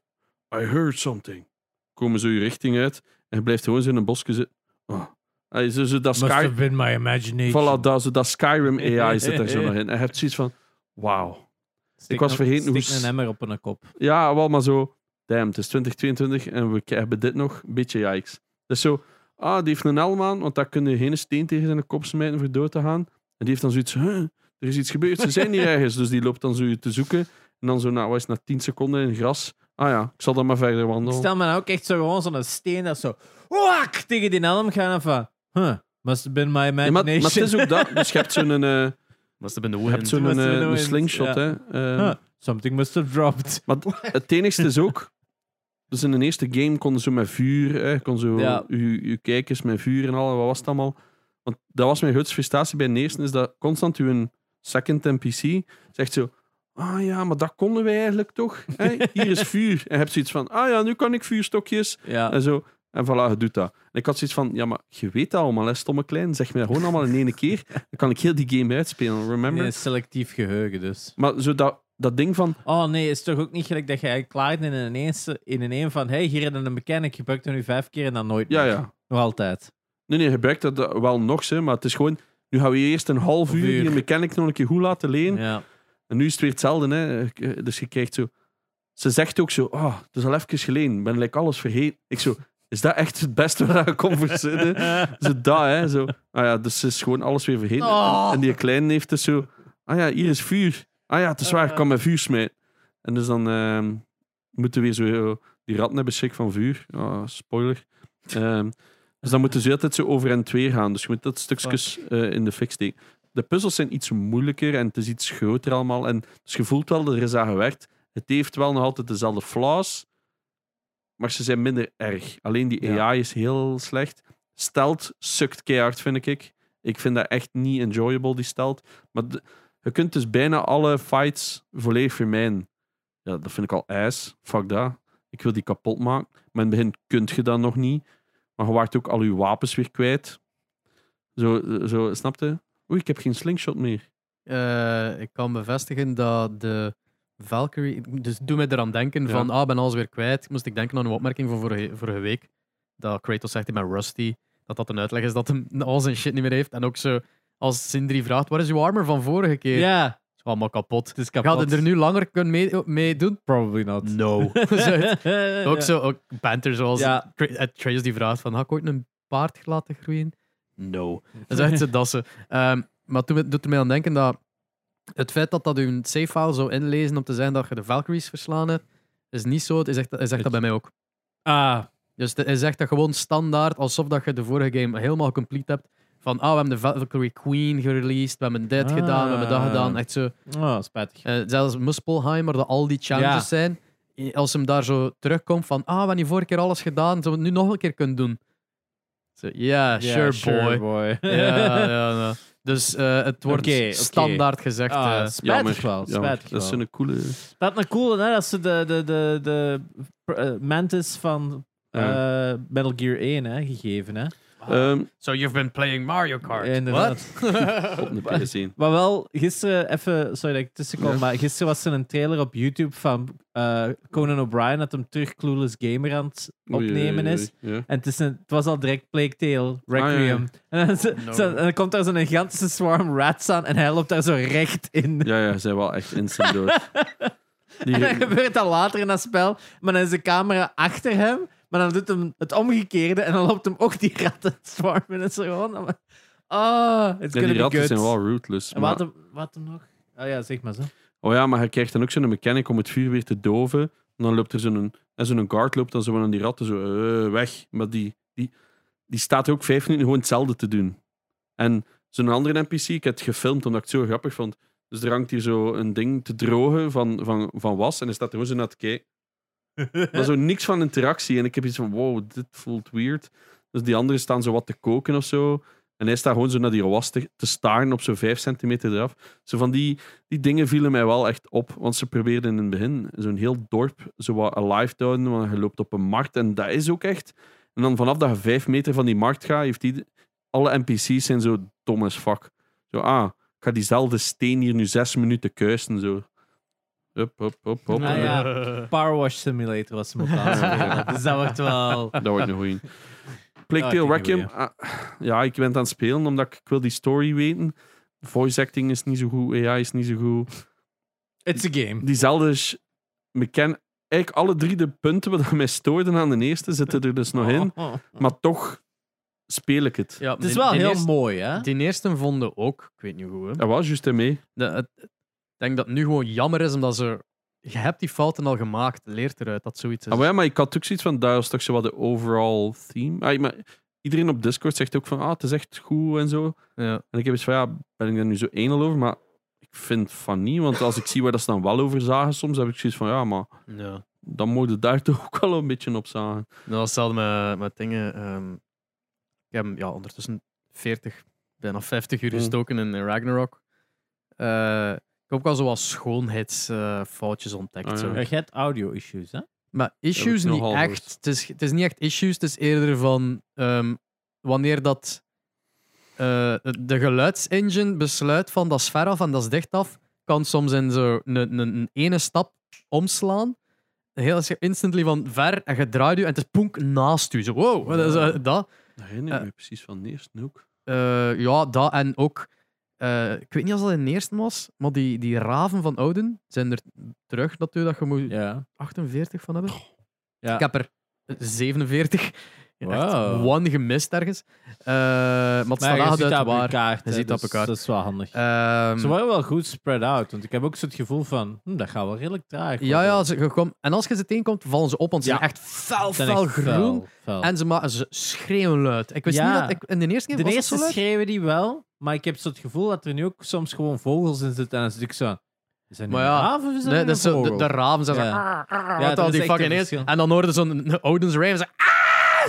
[SPEAKER 1] I heard something. Komen zo je richting uit en je blijft gewoon zo in een bosje zitten. Ah. Allee, zo, zo dat, Sky,
[SPEAKER 3] been my imagination.
[SPEAKER 1] voilà, dat, zo dat Skyrim AI zit er zo nog in. En je hebt zoiets van: wauw.
[SPEAKER 3] Steek
[SPEAKER 1] Ik was
[SPEAKER 3] een-
[SPEAKER 1] vergeten hoe
[SPEAKER 3] Steek
[SPEAKER 1] s-
[SPEAKER 3] een emmer op een kop.
[SPEAKER 1] Ja, wel maar zo. Damn, het is 2022 en we k- hebben dit nog. Beetje yikes. Dus zo, ah, die heeft een helm aan, want daar kun je geen steen tegen zijn kop smijten voor dood te gaan. En die heeft dan zoiets, huh, er is iets gebeurd, ze zijn hier ergens. Dus die loopt dan zo je te zoeken. En dan zo na, wat is het, na 10 seconden in het gras. Ah ja, ik zal dan maar verder
[SPEAKER 3] Ik
[SPEAKER 1] wandelen.
[SPEAKER 3] stel me nou ook echt zo gewoon zo'n steen dat zo... Wak! Tegen die helm gaan en van... Huh, must have been my
[SPEAKER 1] Ja, maar, maar
[SPEAKER 3] imagination.
[SPEAKER 1] het is ook dat. Dus je hebt zo'n eh,
[SPEAKER 2] Must have been the
[SPEAKER 1] je hebt
[SPEAKER 2] wind.
[SPEAKER 1] zo'n
[SPEAKER 3] Must have
[SPEAKER 1] eh,
[SPEAKER 3] been
[SPEAKER 1] een
[SPEAKER 3] wind,
[SPEAKER 1] slingshot,
[SPEAKER 3] ja. Ah.
[SPEAKER 1] hè. Ehm,
[SPEAKER 3] Huh, something must have dropped.
[SPEAKER 1] Maar d- het enigste is ook. Dus in de eerste game konden ze met vuur, hè, kon zo
[SPEAKER 3] Ja.
[SPEAKER 1] uw, uw kijkers met vuur en al, en wat was het allemaal? Want dat was mijn grootste frustratie bij de eerste, is dat constant uw second NPC zegt zo, Ah ja, maar dat konden wij eigenlijk toch? Hè? Hier is vuur. En je hebt zoiets van, ah ja, nu kan ik vuurstokjes.
[SPEAKER 3] Ja.
[SPEAKER 1] En zo. En voilà, je doet dat. En ik had zoiets van, ja, maar je weet dat allemaal, hè, stomme klein. Zeg me dat gewoon allemaal in één keer. Dan kan ik heel die game uitspelen, remember?
[SPEAKER 3] Nee, selectief geheugen dus.
[SPEAKER 1] Maar zo dat, dat ding van,
[SPEAKER 3] Oh nee, is toch ook niet gelijk dat je klaart en ineens in een een van, hey, hier heb je een mechanic, gebruikt hem nu vijf keer en dan nooit
[SPEAKER 1] ja,
[SPEAKER 3] meer.
[SPEAKER 1] ja.
[SPEAKER 3] Nog altijd.
[SPEAKER 1] Nee, nee, je gebruikt dat wel nog, hè, maar het is gewoon... Nu gaan we eerst een half
[SPEAKER 3] Een
[SPEAKER 1] uur
[SPEAKER 3] uur.
[SPEAKER 1] die mechanic nog een keer goed laten leen.
[SPEAKER 3] Ja.
[SPEAKER 1] En nu is het weer hetzelfde. Hè. Ik- Dus je krijgt zo... Ze zegt ook zo, ah, het is al even geleden. Ik ben like alles vergeten. Ik zo, is dat echt het beste waar ik kon voor zitten? Zo dat, hè. Zo. Ah ja, dus ze is gewoon alles weer vergeten.
[SPEAKER 3] Oh.
[SPEAKER 1] En die kleine heeft dus zo... Ah ja, hier is vuur. Ah ja, het is waar, ik kan met vuur smijten. En dus dan ehm, moeten we weer zo... eh, Die ratten hebben schrik van vuur. Ah, spoiler. Ehm, dus dan moeten ze altijd zo over en twee gaan. Dus je moet dat stukjes eh, in de fik steken. De puzzels zijn iets moeilijker en het is iets groter allemaal. En dus je voelt wel dat er is aan gewerkt. Het heeft wel nog altijd dezelfde flaws, maar ze zijn minder erg. Alleen die AI
[SPEAKER 3] Ja.
[SPEAKER 1] is heel slecht. Stelt sukt keihard, vind ik. Ik vind dat echt niet enjoyable, die stelt. Maar de- je kunt dus bijna alle fights volledig vermijden. Ja, dat vind ik al ijs. Fuck dat. Ik wil die kapot maken. Maar in het begin kunt je dat nog niet. Maar je waart ook al je wapens weer kwijt. Zo, eh, zo snap je? Oei, ik heb geen slingshot meer.
[SPEAKER 2] Eh, ik kan bevestigen dat de Valkyrie. Dus doe mij eraan denken:
[SPEAKER 1] Ja.
[SPEAKER 2] van ah, ben alles weer kwijt. Moest ik denken aan een opmerking van vorige, vorige week. Dat Kratos zegt in mijn Rusty. Dat dat een uitleg is dat hem al zijn shit niet meer heeft. En ook zo als Sindri vraagt: waar is uw armor van vorige keer?
[SPEAKER 3] Ja,
[SPEAKER 2] Is allemaal kapot.
[SPEAKER 3] het is
[SPEAKER 2] Gaat
[SPEAKER 3] kapot.
[SPEAKER 2] het er nu langer kunnen mee, mee doen?
[SPEAKER 3] Probably not.
[SPEAKER 2] No. Zo, ook zo, ook banter zoals
[SPEAKER 3] Ja.
[SPEAKER 2] Tra- eh, Trace die vraagt van, had ik ooit een paard laten groeien? No. Dan zegt ze dat ze. Ehm, maar toen doet er mij aan denken dat het feit dat dat hun save file zou inlezen om te zeggen dat je de Valkyries verslaan hebt, is niet zo. Hij zegt, hij zegt dat bij mij ook.
[SPEAKER 3] Ah,
[SPEAKER 2] Dus de- hij zegt dat gewoon standaard, alsof dat je de vorige game helemaal complete hebt. Van, ah, we hebben de Valkyrie Queen gereleased, we hebben dit
[SPEAKER 3] Ah.
[SPEAKER 2] gedaan, we hebben dat gedaan. Echt zo.
[SPEAKER 3] oh, spijtig.
[SPEAKER 2] Eh, zelfs Muspelheimer, dat al die challenges
[SPEAKER 3] Ja.
[SPEAKER 2] zijn. I- Als hem daar zo terugkomt van, ah, we hebben hier vorige keer alles gedaan, zullen we het nu nog een keer kunnen doen? Zo, yeah,
[SPEAKER 3] Ja,
[SPEAKER 2] sure,
[SPEAKER 3] sure,
[SPEAKER 2] boy.
[SPEAKER 3] boy.
[SPEAKER 2] ja, ja, ja. Dus eh, het wordt
[SPEAKER 3] Oké, oké.
[SPEAKER 2] standaard gezegd. eh,
[SPEAKER 3] Ah, spijtig
[SPEAKER 1] Jammer,
[SPEAKER 3] wel,
[SPEAKER 1] jammer.
[SPEAKER 3] spijtig
[SPEAKER 1] Dat is
[SPEAKER 3] wel.
[SPEAKER 1] een coole...
[SPEAKER 3] Dat is een coole, hè? Dat ze de, de, de, de eh, Mantis van eh,
[SPEAKER 1] Ja.
[SPEAKER 3] Metal Gear 1 hè, gegeven. Hè?
[SPEAKER 1] Ehm,
[SPEAKER 2] so you've been playing Mario Kart.
[SPEAKER 3] Inderdaad.
[SPEAKER 1] op de PS1.
[SPEAKER 3] Maar wel, gisteren, even, sorry dat ik tussenkom, maar gisteren was er een trailer op YouTube van eh, Conan O'Brien dat hem terug Clueless Gamer aan het
[SPEAKER 1] Oei,
[SPEAKER 3] opnemen
[SPEAKER 1] oei,
[SPEAKER 3] is.
[SPEAKER 1] oei, ja.
[SPEAKER 3] En het, is een- het was al direct Plague Tale,
[SPEAKER 1] Ah, ja, ja.
[SPEAKER 3] Requiem. En, dan, ze-
[SPEAKER 2] No.
[SPEAKER 3] ze- en dan komt daar zo'n gigantische swarm rats aan en hij loopt daar zo recht in.
[SPEAKER 1] Ja, ja, ze zijn wel echt instant dood. Die,
[SPEAKER 3] En dan gebeurt dat later in dat spel, maar dan is de camera achter hem, maar dan doet hem het omgekeerde en dan loopt hem ook die ratten swarm in. En zo gewoon... Ah, it's
[SPEAKER 1] ja,
[SPEAKER 3] gonna
[SPEAKER 1] die
[SPEAKER 3] be
[SPEAKER 1] ratten
[SPEAKER 3] good.
[SPEAKER 1] zijn wel ruthless.
[SPEAKER 3] En
[SPEAKER 1] maar-
[SPEAKER 3] wat hem, wat hem nog? Oh ja, zeg maar zo.
[SPEAKER 1] Oh ja, maar je krijgt dan ook zo'n mechanic om het vuur weer te doven. En dan loopt er zo'n... En zo'n guard loopt dan zo aan die ratten zo... eh, weg. Maar die, die, die staat ook vijf minuten gewoon hetzelfde te doen. En zo'n andere NPC, ik heb het gefilmd omdat ik het zo grappig vond. Dus er hangt hier zo een ding te drogen van, van, van was. En hij staat er gewoon zo naar te kijken. Maar zo niks van interactie. En ik heb iets van, wow, dit voelt weird. Dus die anderen staan zo wat te koken of zo. En hij staat gewoon zo naar die was te, te staren op zo'n vijf centimeter eraf. Zo van die, die dingen vielen mij wel echt op. Want ze probeerden in het begin zo'n heel dorp zo wat alive te houden. Want je loopt op een markt en dat is ook echt. En dan vanaf dat je vijf meter van die markt gaat, heeft die... Alle NPC's zijn zo dom as fuck. Zo, ah, ik ga diezelfde steen hier nu zes minuten kuisen. Zo. Hup, hup, hup, hup.
[SPEAKER 3] Ah, ja. Power Wash Simulator was hem ook aan het spelen. Dus dat wordt wel...
[SPEAKER 1] Dat wordt een goeie. Plague
[SPEAKER 3] Ah,
[SPEAKER 1] Tale
[SPEAKER 3] ik denk
[SPEAKER 1] Requiem.
[SPEAKER 3] een
[SPEAKER 1] ah, ja, ik ben het aan het spelen omdat ik, ik wil die story weten. Voice acting is niet zo goed, AI is niet zo goed.
[SPEAKER 3] It's a game.
[SPEAKER 1] Diezelfde... sh- mechan- Eigenlijk alle drie de punten wat mij stoorden aan de eerste zitten er dus nog in. Maar toch speel ik het.
[SPEAKER 2] ja,
[SPEAKER 3] Oh. Het is wel heel
[SPEAKER 2] eerste,
[SPEAKER 3] mooi, hè?
[SPEAKER 2] Die eerste vonden ook, ik weet niet hoe. hè.
[SPEAKER 1] Dat was juist mee.
[SPEAKER 3] Dus-
[SPEAKER 2] De- het- ik denk dat het nu gewoon jammer is omdat ze. Je hebt die fouten al gemaakt, leert eruit dat zoiets is.
[SPEAKER 1] Ah, maar, ja, maar ik had ook zoiets van, daar was toch zo wat de overall theme. Ah, maar iedereen op Discord zegt ook van, ah, het is echt goed en zo.
[SPEAKER 2] Ja.
[SPEAKER 1] En ik heb iets van, ja, ben ik daar nu zo enel over? Maar ik vind van niet, want als ik zie waar dat ze dan wel over zagen soms, heb ik zoiets van, ja, maar
[SPEAKER 2] ja.
[SPEAKER 1] dan moet je daar toch ook wel een beetje op zagen.
[SPEAKER 2] Dat was hetzelfde met, met dingen. ehm, ik heb ja, ondertussen 40, bijna 50 uur
[SPEAKER 1] Mm.
[SPEAKER 2] gestoken in Ragnarok. Eh, ik heb ook al zo wat schoonheidsfoutjes ontdekt.
[SPEAKER 1] Ah, ja.
[SPEAKER 2] zo.
[SPEAKER 3] Je hebt audio-issues, hè?
[SPEAKER 2] Maar
[SPEAKER 1] heb
[SPEAKER 2] issues
[SPEAKER 1] ik
[SPEAKER 2] niet
[SPEAKER 1] nogal
[SPEAKER 2] echt.
[SPEAKER 1] gehoord.
[SPEAKER 2] Het is, het is niet echt issues, het is eerder van ehm, wanneer dat eh, de geluidsengine besluit van dat is veraf en dat is dichtaf, kan soms in zo'n een, een ene stap omslaan. Heel als je instantly van ver en je draait je en het is poenk naast u. Zo, wow, dat is, eh, dat.
[SPEAKER 1] Daar herinner ik
[SPEAKER 2] Eh.
[SPEAKER 1] me precies van neer, Snoek.
[SPEAKER 2] Eh, ja, dat en ook. eh, ik weet niet of dat in de eerste was, maar die, die raven van Ouden zijn er terug natuurlijk, dat je moet
[SPEAKER 3] Ja.
[SPEAKER 2] 48 van hebben.
[SPEAKER 3] Ja.
[SPEAKER 2] Ik heb er 47. Echt
[SPEAKER 3] Wow.
[SPEAKER 2] one gemist ergens. Eh, maar het
[SPEAKER 3] Maar je
[SPEAKER 2] staat
[SPEAKER 3] ziet dat
[SPEAKER 2] uit
[SPEAKER 3] op je
[SPEAKER 2] waar.
[SPEAKER 3] kaart.
[SPEAKER 2] Je
[SPEAKER 3] hè,
[SPEAKER 2] ziet dat op
[SPEAKER 3] dus
[SPEAKER 2] je kaart.
[SPEAKER 3] Dat is wel handig.
[SPEAKER 2] Ehm,
[SPEAKER 3] Ze waren wel goed spread out, want ik heb ook zo het gevoel van, hm, dat gaat wel redelijk traag.
[SPEAKER 2] ja, ja,
[SPEAKER 3] worden.
[SPEAKER 2] ze, je komt- en als je ze tegenkomt, vallen ze op, want ze
[SPEAKER 3] Ja.
[SPEAKER 2] zijn echt fel,
[SPEAKER 3] Ze zijn
[SPEAKER 2] fel
[SPEAKER 3] echt
[SPEAKER 2] groen.
[SPEAKER 3] fel, fel.
[SPEAKER 2] En ze, ma- ze schreeuwen luid. Ik wist
[SPEAKER 3] Ja.
[SPEAKER 2] niet dat ik in de eerste keer
[SPEAKER 3] de
[SPEAKER 2] was
[SPEAKER 3] eerste
[SPEAKER 2] dat zo luid.
[SPEAKER 3] schreeuwen die wel, maar ik heb zo het gevoel dat er nu ook soms gewoon vogels in zitten. En dan zit ik zo, is dat nu
[SPEAKER 2] Maar
[SPEAKER 3] een
[SPEAKER 2] ja,
[SPEAKER 3] raaf of is
[SPEAKER 2] Nee,
[SPEAKER 3] dat nu
[SPEAKER 2] dat
[SPEAKER 3] een
[SPEAKER 2] is zo- de,
[SPEAKER 3] vogel?
[SPEAKER 2] de raven zijn zo...
[SPEAKER 3] Ja. Ah,
[SPEAKER 2] "Arr, arr, arr,"
[SPEAKER 3] Ja,
[SPEAKER 2] wat
[SPEAKER 3] er
[SPEAKER 2] al
[SPEAKER 3] is
[SPEAKER 2] die
[SPEAKER 3] echt een
[SPEAKER 2] fucking eens.
[SPEAKER 3] verschil.
[SPEAKER 2] En dan hoorden zo'n Odin's Raven zo... "Ah!"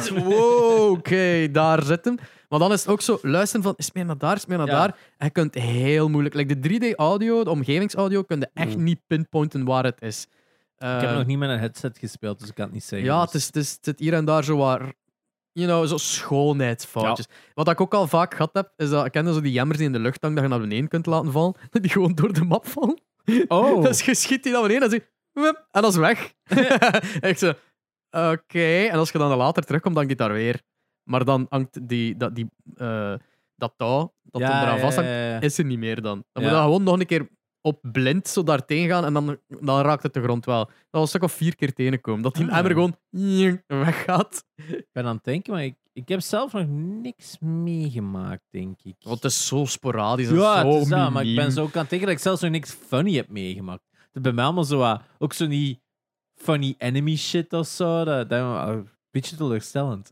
[SPEAKER 2] Zo, Wow, oké, daar zit hem. Maar dan is het ook zo, luisteren van, is het meer naar daar, is het meer naar
[SPEAKER 3] Ja.
[SPEAKER 2] daar. En je kunt heel moeilijk... Like de 3D-audio, de omgevingsaudio, kun je echt niet pinpointen waar het is.
[SPEAKER 3] Mm. Ik heb
[SPEAKER 2] Eh,
[SPEAKER 3] nog niet met een headset gespeeld, dus ik kan het niet zeggen.
[SPEAKER 2] ja,
[SPEAKER 3] Dus-
[SPEAKER 2] het, is, het, is, het zit hier en daar zo waar. You know, zo schoonheidsfoutjes. Wat ik ook al vaak gehad heb, is dat ik kende zo die jammers die in de lucht hangen, dat je naar beneden kunt laten vallen, die gewoon door de map vallen.
[SPEAKER 3] Oh,
[SPEAKER 2] Dus je schiet die naar beneden en dan zie je, en dat is weg. en ik zo, oké. En als je dan later terugkomt, hangt die daar weer. Maar dan hangt die, dat, die, eh, dat touw dat hem eraan vasthangt,
[SPEAKER 3] ja, ja.
[SPEAKER 2] is er niet meer dan. Dan moet
[SPEAKER 3] Ja.
[SPEAKER 2] je gewoon nog een keer op blind zo daartegen gaan en dan, dan raakt het de grond wel. Dat was een stuk of vier keer tegenkomen. Dat die
[SPEAKER 3] Ah.
[SPEAKER 2] emmer gewoon weggaat.
[SPEAKER 3] Ik ben aan het denken, maar ik, ik heb zelf nog niks meegemaakt, denk ik.
[SPEAKER 2] Want het is zo sporadisch en
[SPEAKER 3] Ja,
[SPEAKER 2] zo
[SPEAKER 3] het is dat, maar ik
[SPEAKER 2] miniem.
[SPEAKER 3] ben zo ook aan het denken dat ik zelfs nog niks funny heb meegemaakt. Dat bij mij allemaal zo wat, ook zo die funny enemy shit of zo. Dat, dat, oh, een beetje teleurstellend.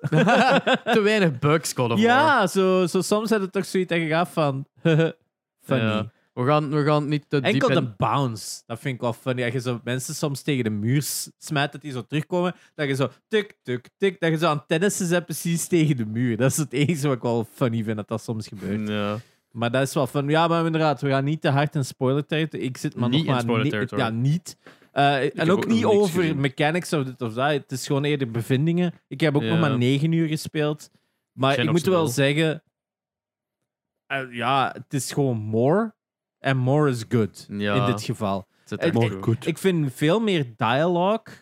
[SPEAKER 2] Te weinig bugs, God of War.
[SPEAKER 3] ja, zo, zo soms had het toch zoiets dat je gaat van... funny.
[SPEAKER 2] Ja. We gaan, we gaan niet te diep
[SPEAKER 3] Enkel
[SPEAKER 2] in-
[SPEAKER 3] de bounce. Dat vind ik wel funny. Dat je zo mensen soms tegen de muur s- smijt, dat die zo terugkomen. Dat je zo tik, tik, tik. Dat je zo aan tennissen bent precies tegen de muur. Dat is het enige wat ik wel funny vind, dat dat soms gebeurt.
[SPEAKER 2] Ja.
[SPEAKER 3] Maar dat is wel van, ja, maar inderdaad, we gaan niet te hard in spoiler territory. Ik zit maar
[SPEAKER 2] Niet
[SPEAKER 3] nog
[SPEAKER 2] in
[SPEAKER 3] maar
[SPEAKER 2] spoiler
[SPEAKER 3] ni-
[SPEAKER 2] territory.
[SPEAKER 3] Ja, niet. Eh,
[SPEAKER 1] heb
[SPEAKER 3] en ook,
[SPEAKER 1] ook nog
[SPEAKER 3] niet
[SPEAKER 1] niks
[SPEAKER 3] over
[SPEAKER 1] gezien.
[SPEAKER 3] mechanics of dit of dat. Het is gewoon eerder bevindingen. Ik heb ook nog
[SPEAKER 2] Ja.
[SPEAKER 3] maar negen uur gespeeld. Maar
[SPEAKER 1] Zijn
[SPEAKER 3] ik
[SPEAKER 1] nog
[SPEAKER 3] moet wel
[SPEAKER 1] spel.
[SPEAKER 3] zeggen, eh, ja, het is gewoon more. En more is good
[SPEAKER 2] Ja.
[SPEAKER 3] in dit geval.
[SPEAKER 2] het zit
[SPEAKER 3] Eh,
[SPEAKER 2] echt
[SPEAKER 3] eh,
[SPEAKER 2] zo.
[SPEAKER 1] goed.
[SPEAKER 3] Ik vind veel meer dialogue.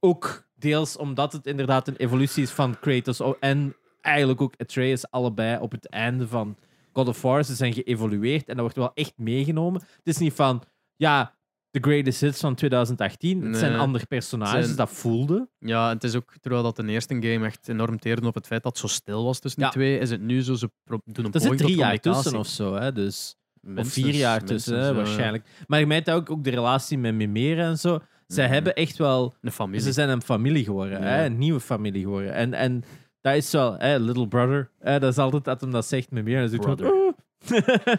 [SPEAKER 3] Ook deels omdat het inderdaad een evolutie is van Kratos o- en eigenlijk ook Atreus allebei op het einde van God of War. Ze zijn geëvolueerd en dat wordt wel echt meegenomen. Het is niet van, ja, de greatest hits van 2018. Het zijn
[SPEAKER 2] Nee.
[SPEAKER 3] andere personages,
[SPEAKER 2] Zijn-
[SPEAKER 3] dat voelde.
[SPEAKER 2] Ja, en het is ook, terwijl dat de eerste game echt enorm teerde op het feit dat het zo stil was tussen
[SPEAKER 3] Ja.
[SPEAKER 2] die twee, is het nu zo, ze pro- doen een
[SPEAKER 3] Er zit
[SPEAKER 2] poging tot
[SPEAKER 3] drie jaar
[SPEAKER 2] communicatie.
[SPEAKER 3] tussen of zo, hè, dus... Of
[SPEAKER 2] Minstens,
[SPEAKER 3] vier jaar
[SPEAKER 2] minstens,
[SPEAKER 3] tussen, hè,
[SPEAKER 2] eh, ja, ja.
[SPEAKER 3] waarschijnlijk. Maar je merkt ook, ook de relatie met Mimera en zo. Zij
[SPEAKER 2] Mhm.
[SPEAKER 3] hebben echt wel
[SPEAKER 2] Een familie.
[SPEAKER 3] Ze zijn een familie geworden, hè?
[SPEAKER 2] Ja.
[SPEAKER 3] een nieuwe familie geworden. En, en dat is wel, hè, little brother. Hè? Dat is altijd dat hem dat zegt met meer. En dan doet hij, "Oh."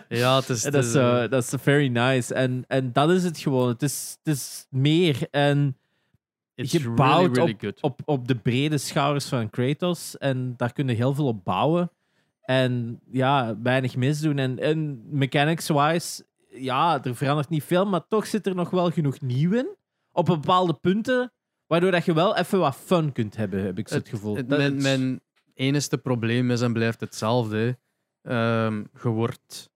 [SPEAKER 2] Ja, het is...
[SPEAKER 3] En
[SPEAKER 2] het
[SPEAKER 3] dat is,
[SPEAKER 2] eh,
[SPEAKER 3] eh, dat is very nice. En, en dat is het gewoon. Het is, het is meer en
[SPEAKER 2] it's
[SPEAKER 3] je bouwt
[SPEAKER 2] really, really good.
[SPEAKER 3] op, op de brede schouders van Kratos. En daar kun je heel veel op bouwen. En ja, weinig misdoen. En, en mechanics-wise, ja, er verandert niet veel. Maar toch zit er nog wel genoeg nieuw in. Op bepaalde punten. Waardoor dat je wel even wat fun kunt hebben, heb ik zo het, gevoel.
[SPEAKER 2] Het-
[SPEAKER 3] Dat
[SPEAKER 2] Eh, mijn,
[SPEAKER 3] het-
[SPEAKER 2] mijn enigste probleem is en blijft hetzelfde. hè. Ehm, je wordt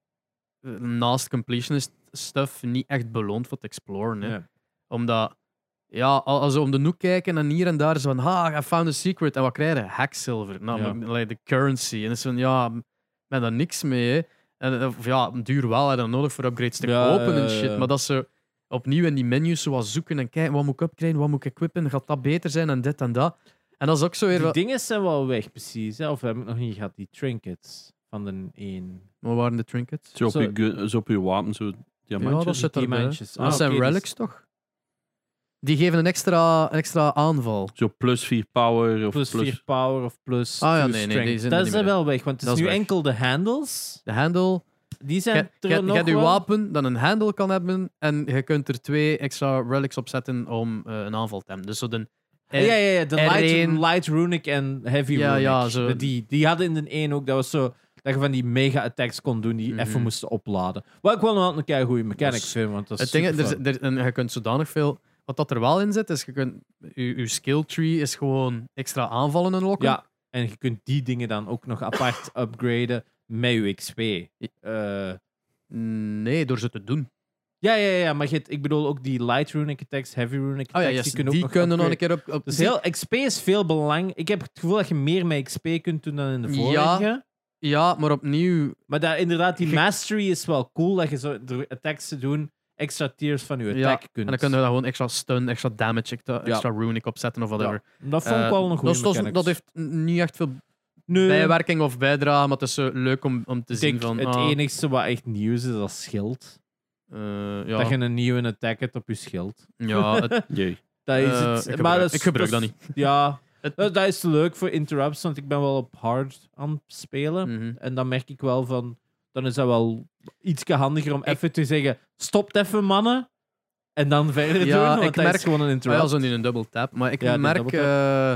[SPEAKER 2] eh, naast completionist stuff niet echt beloond voor het exploren. Hè.
[SPEAKER 3] Ja.
[SPEAKER 2] Omdat, ja, al- als we om de noek kijken en hier en daar is van, ha, I found a secret. En wat krijg je? Hacksilver. Nou, like de currency. En dan is van, ja, m- met daar niks mee. hè. En, eh, of ja, duur wel, hè, dan nodig voor upgrades te
[SPEAKER 3] Ja,
[SPEAKER 2] kopen
[SPEAKER 3] ja,
[SPEAKER 2] en
[SPEAKER 3] ja, ja.
[SPEAKER 2] shit. Maar dat ze opnieuw in die menus zo wat zoeken en kijken, wat moet ik upgraden, wat moet ik equippen, gaat dat beter zijn en dit en dat. En dat is ook zo weer...
[SPEAKER 3] Die
[SPEAKER 2] wat-
[SPEAKER 3] dingen zijn wel weg, precies. Hè? Of heb ik nog niet gehad, die trinkets van de één.
[SPEAKER 2] Wat waren de trinkets?
[SPEAKER 1] Zo op,
[SPEAKER 3] zo-
[SPEAKER 1] je, gun- zo op je wapen, zo diamantjes.
[SPEAKER 2] Ja, dat zit
[SPEAKER 3] die
[SPEAKER 2] erbij.
[SPEAKER 3] diamantjes.
[SPEAKER 2] Dat
[SPEAKER 3] Ah,
[SPEAKER 2] zijn
[SPEAKER 3] oké, dus-
[SPEAKER 2] relics, toch? Die geven een extra, een extra aanval.
[SPEAKER 1] Zo plus 4 power of
[SPEAKER 3] Plus
[SPEAKER 1] plus...
[SPEAKER 3] 4 power of plus
[SPEAKER 2] Ah, ja,
[SPEAKER 3] two
[SPEAKER 2] nee, nee, die
[SPEAKER 3] strength.
[SPEAKER 2] zijn er
[SPEAKER 3] dat
[SPEAKER 2] niet
[SPEAKER 3] is
[SPEAKER 2] meer.
[SPEAKER 3] wel weg, want het is
[SPEAKER 2] Dat is
[SPEAKER 3] nu
[SPEAKER 2] weg.
[SPEAKER 3] enkel de handles.
[SPEAKER 2] De handle.
[SPEAKER 3] Die zijn
[SPEAKER 2] Je
[SPEAKER 3] er nog
[SPEAKER 2] hebt je
[SPEAKER 3] wel.
[SPEAKER 2] wapen dat een handle kan hebben. En je kunt er twee extra relics op zetten om eh, een aanval te hebben. Dus zo de...
[SPEAKER 3] Ah, Ja, ja, ja. De
[SPEAKER 2] R1.
[SPEAKER 3] light, light runic en heavy
[SPEAKER 2] Ja,
[SPEAKER 3] runic.
[SPEAKER 2] ja, zo.
[SPEAKER 3] Die, die hadden in de één ook. Dat was zo dat je van die mega-attacks kon doen die even
[SPEAKER 2] Mhm.
[SPEAKER 3] moesten opladen. Wat ik wel nog een keer goede mechanic
[SPEAKER 2] Dat is-
[SPEAKER 3] vind, want dat is
[SPEAKER 2] Het ding, is,
[SPEAKER 3] superfun.
[SPEAKER 2] er, is- er- en je kunt zodanig veel. Wat dat er wel in zit, is je kunt. Je, je skill tree is gewoon extra aanvallen unlocken.
[SPEAKER 3] Ja, en je kunt die dingen dan ook nog apart upgraden met je XP. Eh,
[SPEAKER 2] Nee, door ze te doen.
[SPEAKER 3] ja, ja, ja, maar je hebt- ik bedoel ook die light runic attacks, heavy runic
[SPEAKER 2] Oh
[SPEAKER 3] attacks.
[SPEAKER 2] ja, yes, die,
[SPEAKER 3] Ah, die kunnen ook nog
[SPEAKER 2] kunnen nog
[SPEAKER 3] upgraden.
[SPEAKER 2] een keer op. op
[SPEAKER 3] Dus heel, XP is veel belang. Ik heb het gevoel dat je meer met XP kunt doen dan in de
[SPEAKER 2] Ja.
[SPEAKER 3] vorige.
[SPEAKER 2] Ja, maar opnieuw.
[SPEAKER 3] Maar daar, inderdaad, die
[SPEAKER 2] Je-
[SPEAKER 3] mastery is wel cool. Dat je zo door attacks te doen extra tiers van
[SPEAKER 2] Ja,
[SPEAKER 3] je attack
[SPEAKER 2] En
[SPEAKER 3] kunt.
[SPEAKER 2] dan kunnen we daar gewoon extra stun, extra damage, extra, extra runic opzetten of whatever.
[SPEAKER 3] Dat vond ik wel een Eh.
[SPEAKER 2] Eh,
[SPEAKER 3] goede
[SPEAKER 2] dat, is- dat is-
[SPEAKER 3] mechanic.
[SPEAKER 2] dat heeft n- niet echt veel
[SPEAKER 3] nu,
[SPEAKER 2] bijwerking of bijdrage, maar het is zo leuk om, om te
[SPEAKER 3] ik
[SPEAKER 2] zien
[SPEAKER 3] denk
[SPEAKER 2] van...
[SPEAKER 3] het
[SPEAKER 2] ah,
[SPEAKER 3] enigste wat echt nieuw is, is dat schild.
[SPEAKER 2] eh, ja,
[SPEAKER 3] Dat je een nieuwe attack hebt op je schild.
[SPEAKER 2] ja, het-
[SPEAKER 1] Jee.
[SPEAKER 3] Dat is
[SPEAKER 2] eh,
[SPEAKER 3] het.
[SPEAKER 2] ik gebruik, ik gebruik dat niet.
[SPEAKER 3] Ja, Eh,
[SPEAKER 2] Het-
[SPEAKER 3] dat dat is leuk voor interrupts, want ik ben wel op hard aan het spelen.
[SPEAKER 2] Mhm.
[SPEAKER 3] En dan merk ik wel van, dan is dat wel iets handiger om even te zeggen, stopt even mannen, en dan verder
[SPEAKER 2] Ja,
[SPEAKER 3] doen, want
[SPEAKER 2] ik
[SPEAKER 3] dat
[SPEAKER 2] merk-
[SPEAKER 3] is gewoon een
[SPEAKER 2] Ah, ja,
[SPEAKER 3] interrupt.
[SPEAKER 2] zo in een double tap. Maar ik
[SPEAKER 3] Ja, die
[SPEAKER 2] merk
[SPEAKER 3] double
[SPEAKER 2] eh,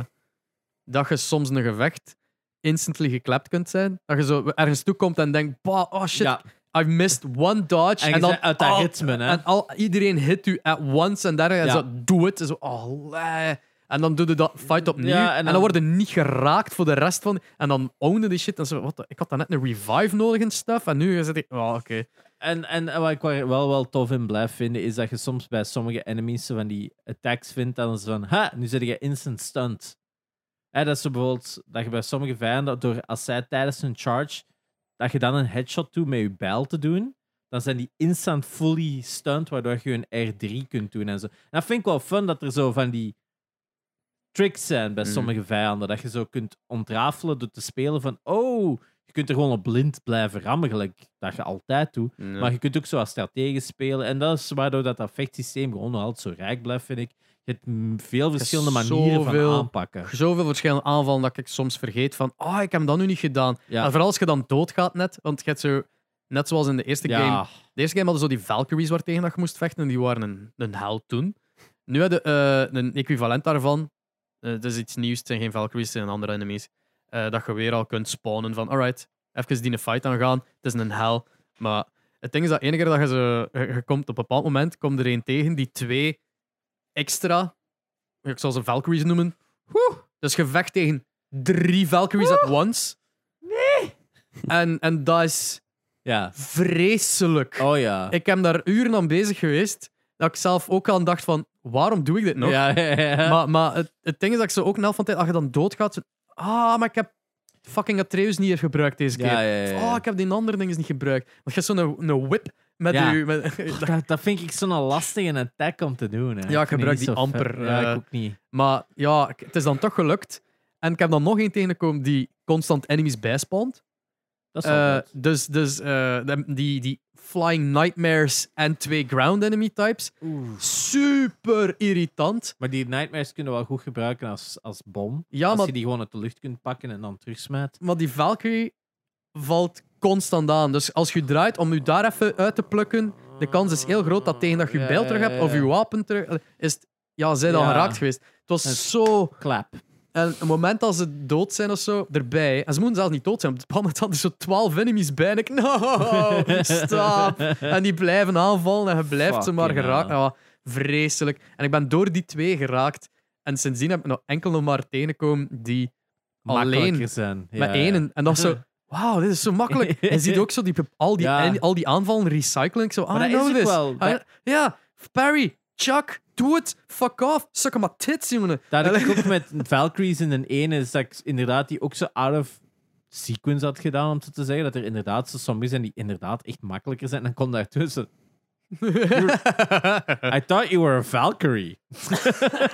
[SPEAKER 2] dat je soms een gevecht instantly geklapt kunt zijn. Dat je zo ergens toe komt en denkt, bah, oh shit,
[SPEAKER 3] Ja.
[SPEAKER 2] I missed one dodge.
[SPEAKER 3] En,
[SPEAKER 2] En,
[SPEAKER 3] je
[SPEAKER 2] dan
[SPEAKER 3] zei uit dat
[SPEAKER 2] al-
[SPEAKER 3] ritme, hè.
[SPEAKER 2] En al, iedereen hit u at once en daar en
[SPEAKER 3] Ja.
[SPEAKER 2] zo, doe het. En Zo, oh, lei. En dan doe je dat fight opnieuw.
[SPEAKER 3] Ja, en
[SPEAKER 2] en, dan,
[SPEAKER 3] dan-
[SPEAKER 2] worden niet geraakt voor de rest van. En dan ownen die shit. En zo, wat, de- ik had dan net een revive nodig en stuff. En nu zit ik. Oh, oké.
[SPEAKER 3] En, en, en wat ik wel wel tof in blijf vinden, is dat je soms bij sommige enemies zo van die attacks vindt, dan is van, ha, nu zit je instant stunned. Hè, dat is zo bijvoorbeeld dat je bij sommige vijanden, door, als zij tijdens hun charge, dat je dan een headshot doet met je bijl te doen, dan zijn die instant fully stunned, waardoor je een R3 kunt doen en zo. En dat vind ik wel fun, dat er zo van die tricks zijn bij
[SPEAKER 2] Mhm.
[SPEAKER 3] sommige vijanden, dat je zo kunt ontrafelen door te spelen van, oh, je kunt er gewoon op blind blijven rammen, gelijk dat je altijd doet. Maar je kunt ook zo als strategisch spelen. En dat is waardoor dat vechtsysteem gewoon nog altijd zo rijk blijft, vind ik. Je hebt mm, veel verschillende manieren
[SPEAKER 2] zoveel-
[SPEAKER 3] van aanpakken.
[SPEAKER 2] Zoveel verschillende aanvallen dat ik soms vergeet van. Oh, ik heb dat nu niet gedaan.
[SPEAKER 3] Ja.
[SPEAKER 2] En vooral als je dan doodgaat net. Want je hebt zo. Net zoals in de eerste game.
[SPEAKER 3] Ja,
[SPEAKER 2] De eerste game hadden zo die Valkyries waar tegen dat je moest vechten. En die waren een, een hel toen. Nu hadden eh een equivalent daarvan. Eh, het is iets nieuws. Het zijn geen Valkyries, het zijn andere enemies. eh, dat je weer al kunt spawnen van... Alright, even die een fight aangaan. Het is een hel. Maar het ding is dat enige dat je ze... Je, je komt op een bepaald moment komt er een tegen die twee extra... Ik zal ze Valkyries noemen. Woe! Dus je vecht tegen drie Valkyries at once. Nee! En, en dat is
[SPEAKER 3] ja.
[SPEAKER 2] vreselijk.
[SPEAKER 3] Oh ja.
[SPEAKER 2] Ik heb daar uren aan bezig geweest. Dat ik zelf ook aan dacht van, waarom doe ik dit nog?
[SPEAKER 3] Ja, ja, ja.
[SPEAKER 2] Maar, maar het, het ding is dat ik ze ook na van tijd, als je dan doodgaat, zo, ah, maar ik heb fucking Atreus niet gebruikt deze keer.
[SPEAKER 3] ja, ja, ja, ja.
[SPEAKER 2] Oh, ik heb die andere dingen niet gebruikt. Want je hebt zo'n een whip met
[SPEAKER 3] Ja.
[SPEAKER 2] je... Met,
[SPEAKER 3] dat, dat vind ik zo'n lastige attack om te doen. Hè.
[SPEAKER 2] Ja, ik
[SPEAKER 3] vind
[SPEAKER 2] gebruik
[SPEAKER 3] die
[SPEAKER 2] die
[SPEAKER 3] zo vet.
[SPEAKER 2] amper,
[SPEAKER 3] Ja,
[SPEAKER 2] eh,
[SPEAKER 3] ik ook niet.
[SPEAKER 2] Maar ja, ik- het is dan toch gelukt. En ik heb dan nog één tegengekomen die constant enemies bijspawnt.
[SPEAKER 3] Dat is wel
[SPEAKER 2] Eh,
[SPEAKER 3] goed.
[SPEAKER 2] dus dus eh, die, die Flying Nightmares en twee Ground Enemy types. Super irritant.
[SPEAKER 3] Maar die nightmares kunnen we wel goed gebruiken als, als bom.
[SPEAKER 2] Ja,
[SPEAKER 3] als
[SPEAKER 2] maar
[SPEAKER 3] je die gewoon uit de lucht kunt pakken en dan terugsmijt.
[SPEAKER 2] maar die Valkyrie valt constant aan. Dus als je draait om je daar even uit te plukken, de kans is heel groot dat tegen dat je
[SPEAKER 3] Ja,
[SPEAKER 2] je bijl terug
[SPEAKER 3] ja,
[SPEAKER 2] hebt of
[SPEAKER 3] ja.
[SPEAKER 2] je wapen terug, is het, ja, zij dan
[SPEAKER 3] Ja.
[SPEAKER 2] geraakt geweest. Het was
[SPEAKER 3] Het-
[SPEAKER 2] zo...
[SPEAKER 3] Klap.
[SPEAKER 2] En een moment als ze dood zijn of zo, erbij... En ze moeten zelfs niet dood zijn. Op het moment hadden ze zo twaalf enemies bij. En ik, no, stop. En die blijven aanvallen en je blijft ze maar
[SPEAKER 3] Fucking
[SPEAKER 2] geraakt. Ja, vreselijk. En ik ben door die twee geraakt. En sindsdien heb ik nog enkel nog maar tegengekomen die alleen
[SPEAKER 3] Makkelijker zijn. Ja,
[SPEAKER 2] met
[SPEAKER 3] ja.
[SPEAKER 2] één. En- En dan zo, wauw, dit is zo makkelijk. En je ziet ook zo die, al, die,
[SPEAKER 3] Ja.
[SPEAKER 2] en- al die aanvallen recyclen. Ik Zo, "Ah, I
[SPEAKER 3] Maar dat is
[SPEAKER 2] know
[SPEAKER 3] ook
[SPEAKER 2] this.
[SPEAKER 3] wel.
[SPEAKER 2] I-
[SPEAKER 3] Dat-
[SPEAKER 2] ja, Parry, Chuck, doe het. Fuck off. Suck on my tits, jongen.
[SPEAKER 3] Daar had ik ook met Valkyries in een ene, is dat ik inderdaad die ook zo out of sequence had gedaan, om zo te zeggen. Dat er inderdaad zo sommigen zijn die inderdaad echt makkelijker zijn. En dan komt daartussen. I thought you were a Valkyrie.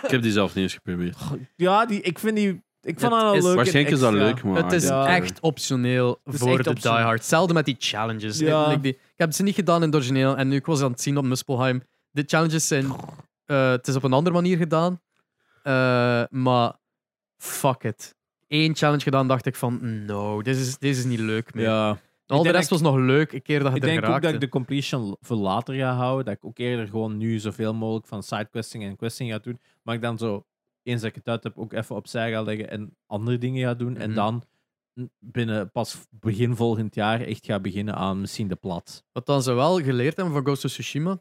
[SPEAKER 1] Ik heb die zelf niet eens geprobeerd.
[SPEAKER 3] Ja, die, ik vind die. Ik vond
[SPEAKER 2] Het
[SPEAKER 3] dat wel
[SPEAKER 2] is-
[SPEAKER 3] leuk. en
[SPEAKER 1] Waarschijnlijk is dat
[SPEAKER 3] extra.
[SPEAKER 1] leuk, maar...
[SPEAKER 2] Het is
[SPEAKER 3] Ja.
[SPEAKER 2] echt optioneel
[SPEAKER 3] is
[SPEAKER 2] voor
[SPEAKER 3] echt
[SPEAKER 2] de
[SPEAKER 3] optioneel.
[SPEAKER 2] diehard. Zelden met die challenges.
[SPEAKER 3] Ja.
[SPEAKER 2] Ik, ik- die- ik heb ze niet gedaan in het origineel. En nu ik was aan het zien op Muspelheim. De challenges zijn... eh, het is op een andere manier gedaan. Eh, maar fuck it. Eén challenge gedaan, dacht ik van... "Mm, No, dit is, dit is niet leuk meer.
[SPEAKER 3] Ja.
[SPEAKER 2] Al
[SPEAKER 3] Ik
[SPEAKER 2] de
[SPEAKER 3] denk
[SPEAKER 2] rest
[SPEAKER 3] dat
[SPEAKER 2] was nog leuk, een keer dat je
[SPEAKER 3] Ik
[SPEAKER 2] er
[SPEAKER 3] denk ook
[SPEAKER 2] geraakte.
[SPEAKER 3] dat ik de completion voor later ga houden. Dat ik ook eerder gewoon nu zoveel mogelijk van sidequesting en questing ga doen. Maar ik dan zo, eens dat ik het uit heb, ook even opzij ga leggen en andere dingen ga doen. En
[SPEAKER 2] Mhm.
[SPEAKER 3] dan binnen pas begin volgend jaar echt gaat beginnen aan misschien de plat.
[SPEAKER 2] Wat dan ze wel geleerd hebben van Ghost of Tsushima,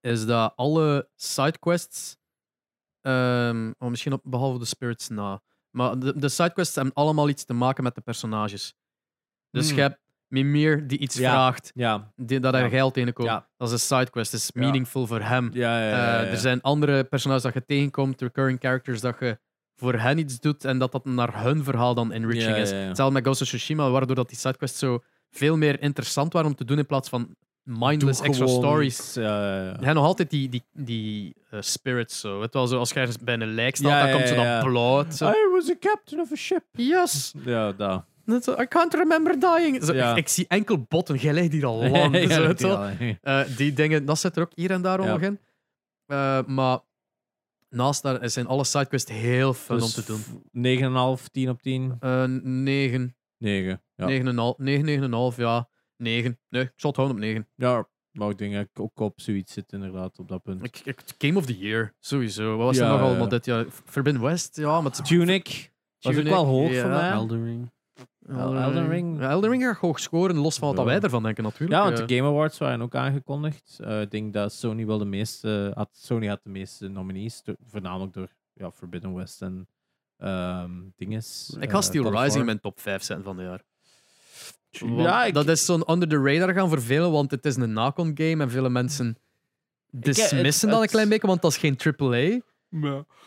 [SPEAKER 2] is dat alle sidequests, ehm oh, misschien op, behalve de spirits na, maar de, de sidequests hebben allemaal iets te maken met de personages. Dus
[SPEAKER 3] Hmm.
[SPEAKER 2] je hebt meer die iets
[SPEAKER 3] Ja.
[SPEAKER 2] vraagt,
[SPEAKER 3] Ja,
[SPEAKER 2] die, dat er
[SPEAKER 3] Ja.
[SPEAKER 2] geld tegenkomt.
[SPEAKER 3] Ja.
[SPEAKER 2] Dat is een sidequest, dat is
[SPEAKER 3] Ja.
[SPEAKER 2] meaningful voor hem.
[SPEAKER 3] ja, ja. ja,
[SPEAKER 2] Eh,
[SPEAKER 3] ja.
[SPEAKER 2] Er zijn andere personages dat je tegenkomt, recurring characters, dat je voor hen iets doet en dat dat naar hun verhaal dan enriching
[SPEAKER 3] Ja,
[SPEAKER 2] is.
[SPEAKER 3] ja, ja.
[SPEAKER 2] Hetzelfde met Ghost of Tsushima, waardoor dat die sidequests zo veel meer interessant waren om te doen in plaats van mindless
[SPEAKER 3] Doe
[SPEAKER 2] extra
[SPEAKER 3] gewoon
[SPEAKER 2] stories.
[SPEAKER 3] iets, ja, ja, ja.
[SPEAKER 2] Er zijn nog altijd die, die, die eh, spirits zo. Het wel zo, als je ergens bij een lijk staat,
[SPEAKER 3] Ja,
[SPEAKER 2] dan
[SPEAKER 3] ja,
[SPEAKER 2] komt ze
[SPEAKER 3] ja,
[SPEAKER 2] dan
[SPEAKER 3] ja.
[SPEAKER 2] bloot. Zo.
[SPEAKER 3] I was a captain of a ship.
[SPEAKER 2] Yes!
[SPEAKER 3] Ja, daar.
[SPEAKER 2] Net zo, I can't remember dying. Zo,
[SPEAKER 3] Ja.
[SPEAKER 2] ik, ik zie enkel botten, jij ligt hier al lang.
[SPEAKER 3] Ja,
[SPEAKER 2] zo,
[SPEAKER 3] ja,
[SPEAKER 2] toch?
[SPEAKER 3] ja.
[SPEAKER 2] Eh, die dingen, dat zit er ook hier en daar
[SPEAKER 3] Ja.
[SPEAKER 2] nog in. Eh, maar naast daar zijn alle sidequests heel fun
[SPEAKER 3] Dus
[SPEAKER 2] om te doen.
[SPEAKER 3] f- 9,5, 10 op 10.
[SPEAKER 2] Eh 9,
[SPEAKER 3] 9. Ja,
[SPEAKER 2] 9,5, 9, 9,5, ja. 9. Nee, ik zal het houden op 9.
[SPEAKER 3] ja maar ik denk dat ik ook op zoiets zit, inderdaad, op dat punt.
[SPEAKER 2] Ik, ik- Game of the Year, sowieso. Wat was
[SPEAKER 3] Ja,
[SPEAKER 2] er nog
[SPEAKER 3] ja,
[SPEAKER 2] allemaal
[SPEAKER 3] ja.
[SPEAKER 2] dit jaar? Forbidden West, ja. Maar het is-
[SPEAKER 3] Tunic was ook
[SPEAKER 2] Tunic,
[SPEAKER 3] wel hoog
[SPEAKER 2] ja.
[SPEAKER 3] voor mij.
[SPEAKER 1] Elden Ring.
[SPEAKER 3] Elden Ring.
[SPEAKER 2] Ja, Eh, Elden Ring gaat hoog scoren, los van wat
[SPEAKER 3] Ja.
[SPEAKER 2] wij ervan denken natuurlijk.
[SPEAKER 3] Ja, want
[SPEAKER 2] Eh,
[SPEAKER 3] de Game Awards waren ook aangekondigd. Eh, ik denk dat Sony wel de meeste had. Sony had de meeste nominees, do- voornamelijk door ja, Forbidden West en ehm dinges.
[SPEAKER 2] ik ga
[SPEAKER 3] eh,
[SPEAKER 2] Steel
[SPEAKER 3] God of
[SPEAKER 2] Rising in
[SPEAKER 3] War.
[SPEAKER 2] mijn top 5 zetten van dit jaar. Want
[SPEAKER 3] Ja, ik,
[SPEAKER 2] Dat is zo'n under the radar gaan voor velen, want het is een Nacon game en vele mensen dismissen
[SPEAKER 3] het-
[SPEAKER 2] dat een
[SPEAKER 3] het-
[SPEAKER 2] klein beetje, want dat is geen AAA.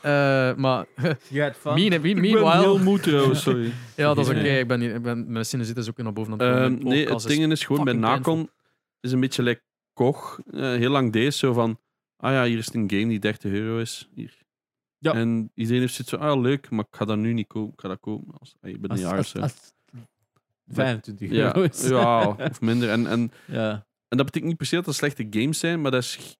[SPEAKER 2] Eh maar
[SPEAKER 3] you had fun.
[SPEAKER 2] mean, mean-
[SPEAKER 1] Ik ben heel
[SPEAKER 2] meanwhile,
[SPEAKER 1] moe trouwens, sorry.
[SPEAKER 2] ja, dat is oké.
[SPEAKER 3] Ja.
[SPEAKER 2] Ik ben hier, ik ben, mijn sinus is ook naar boven. aan het
[SPEAKER 1] Ehm,
[SPEAKER 2] komen. Mijn
[SPEAKER 1] nee, het
[SPEAKER 2] podcast dus
[SPEAKER 1] ding is gewoon bij
[SPEAKER 2] fucking
[SPEAKER 1] Nacon is een beetje like Koch. eh, heel lang deze zo van, ah ja, hier is een game die 30 euro is. Hier.
[SPEAKER 3] Ja.
[SPEAKER 1] En iedereen heeft zoiets van, ah leuk, maar ik ga dat nu niet kopen. Ik ga dat kopen als, ah, je bent een
[SPEAKER 3] Als-
[SPEAKER 1] jaar of
[SPEAKER 3] als-
[SPEAKER 1] zo.
[SPEAKER 3] als 25
[SPEAKER 1] Ja,
[SPEAKER 3] euro is.
[SPEAKER 1] ja, of minder. En, en,
[SPEAKER 3] ja.
[SPEAKER 1] en dat betekent niet per se dat het slechte games zijn, maar dat is, g-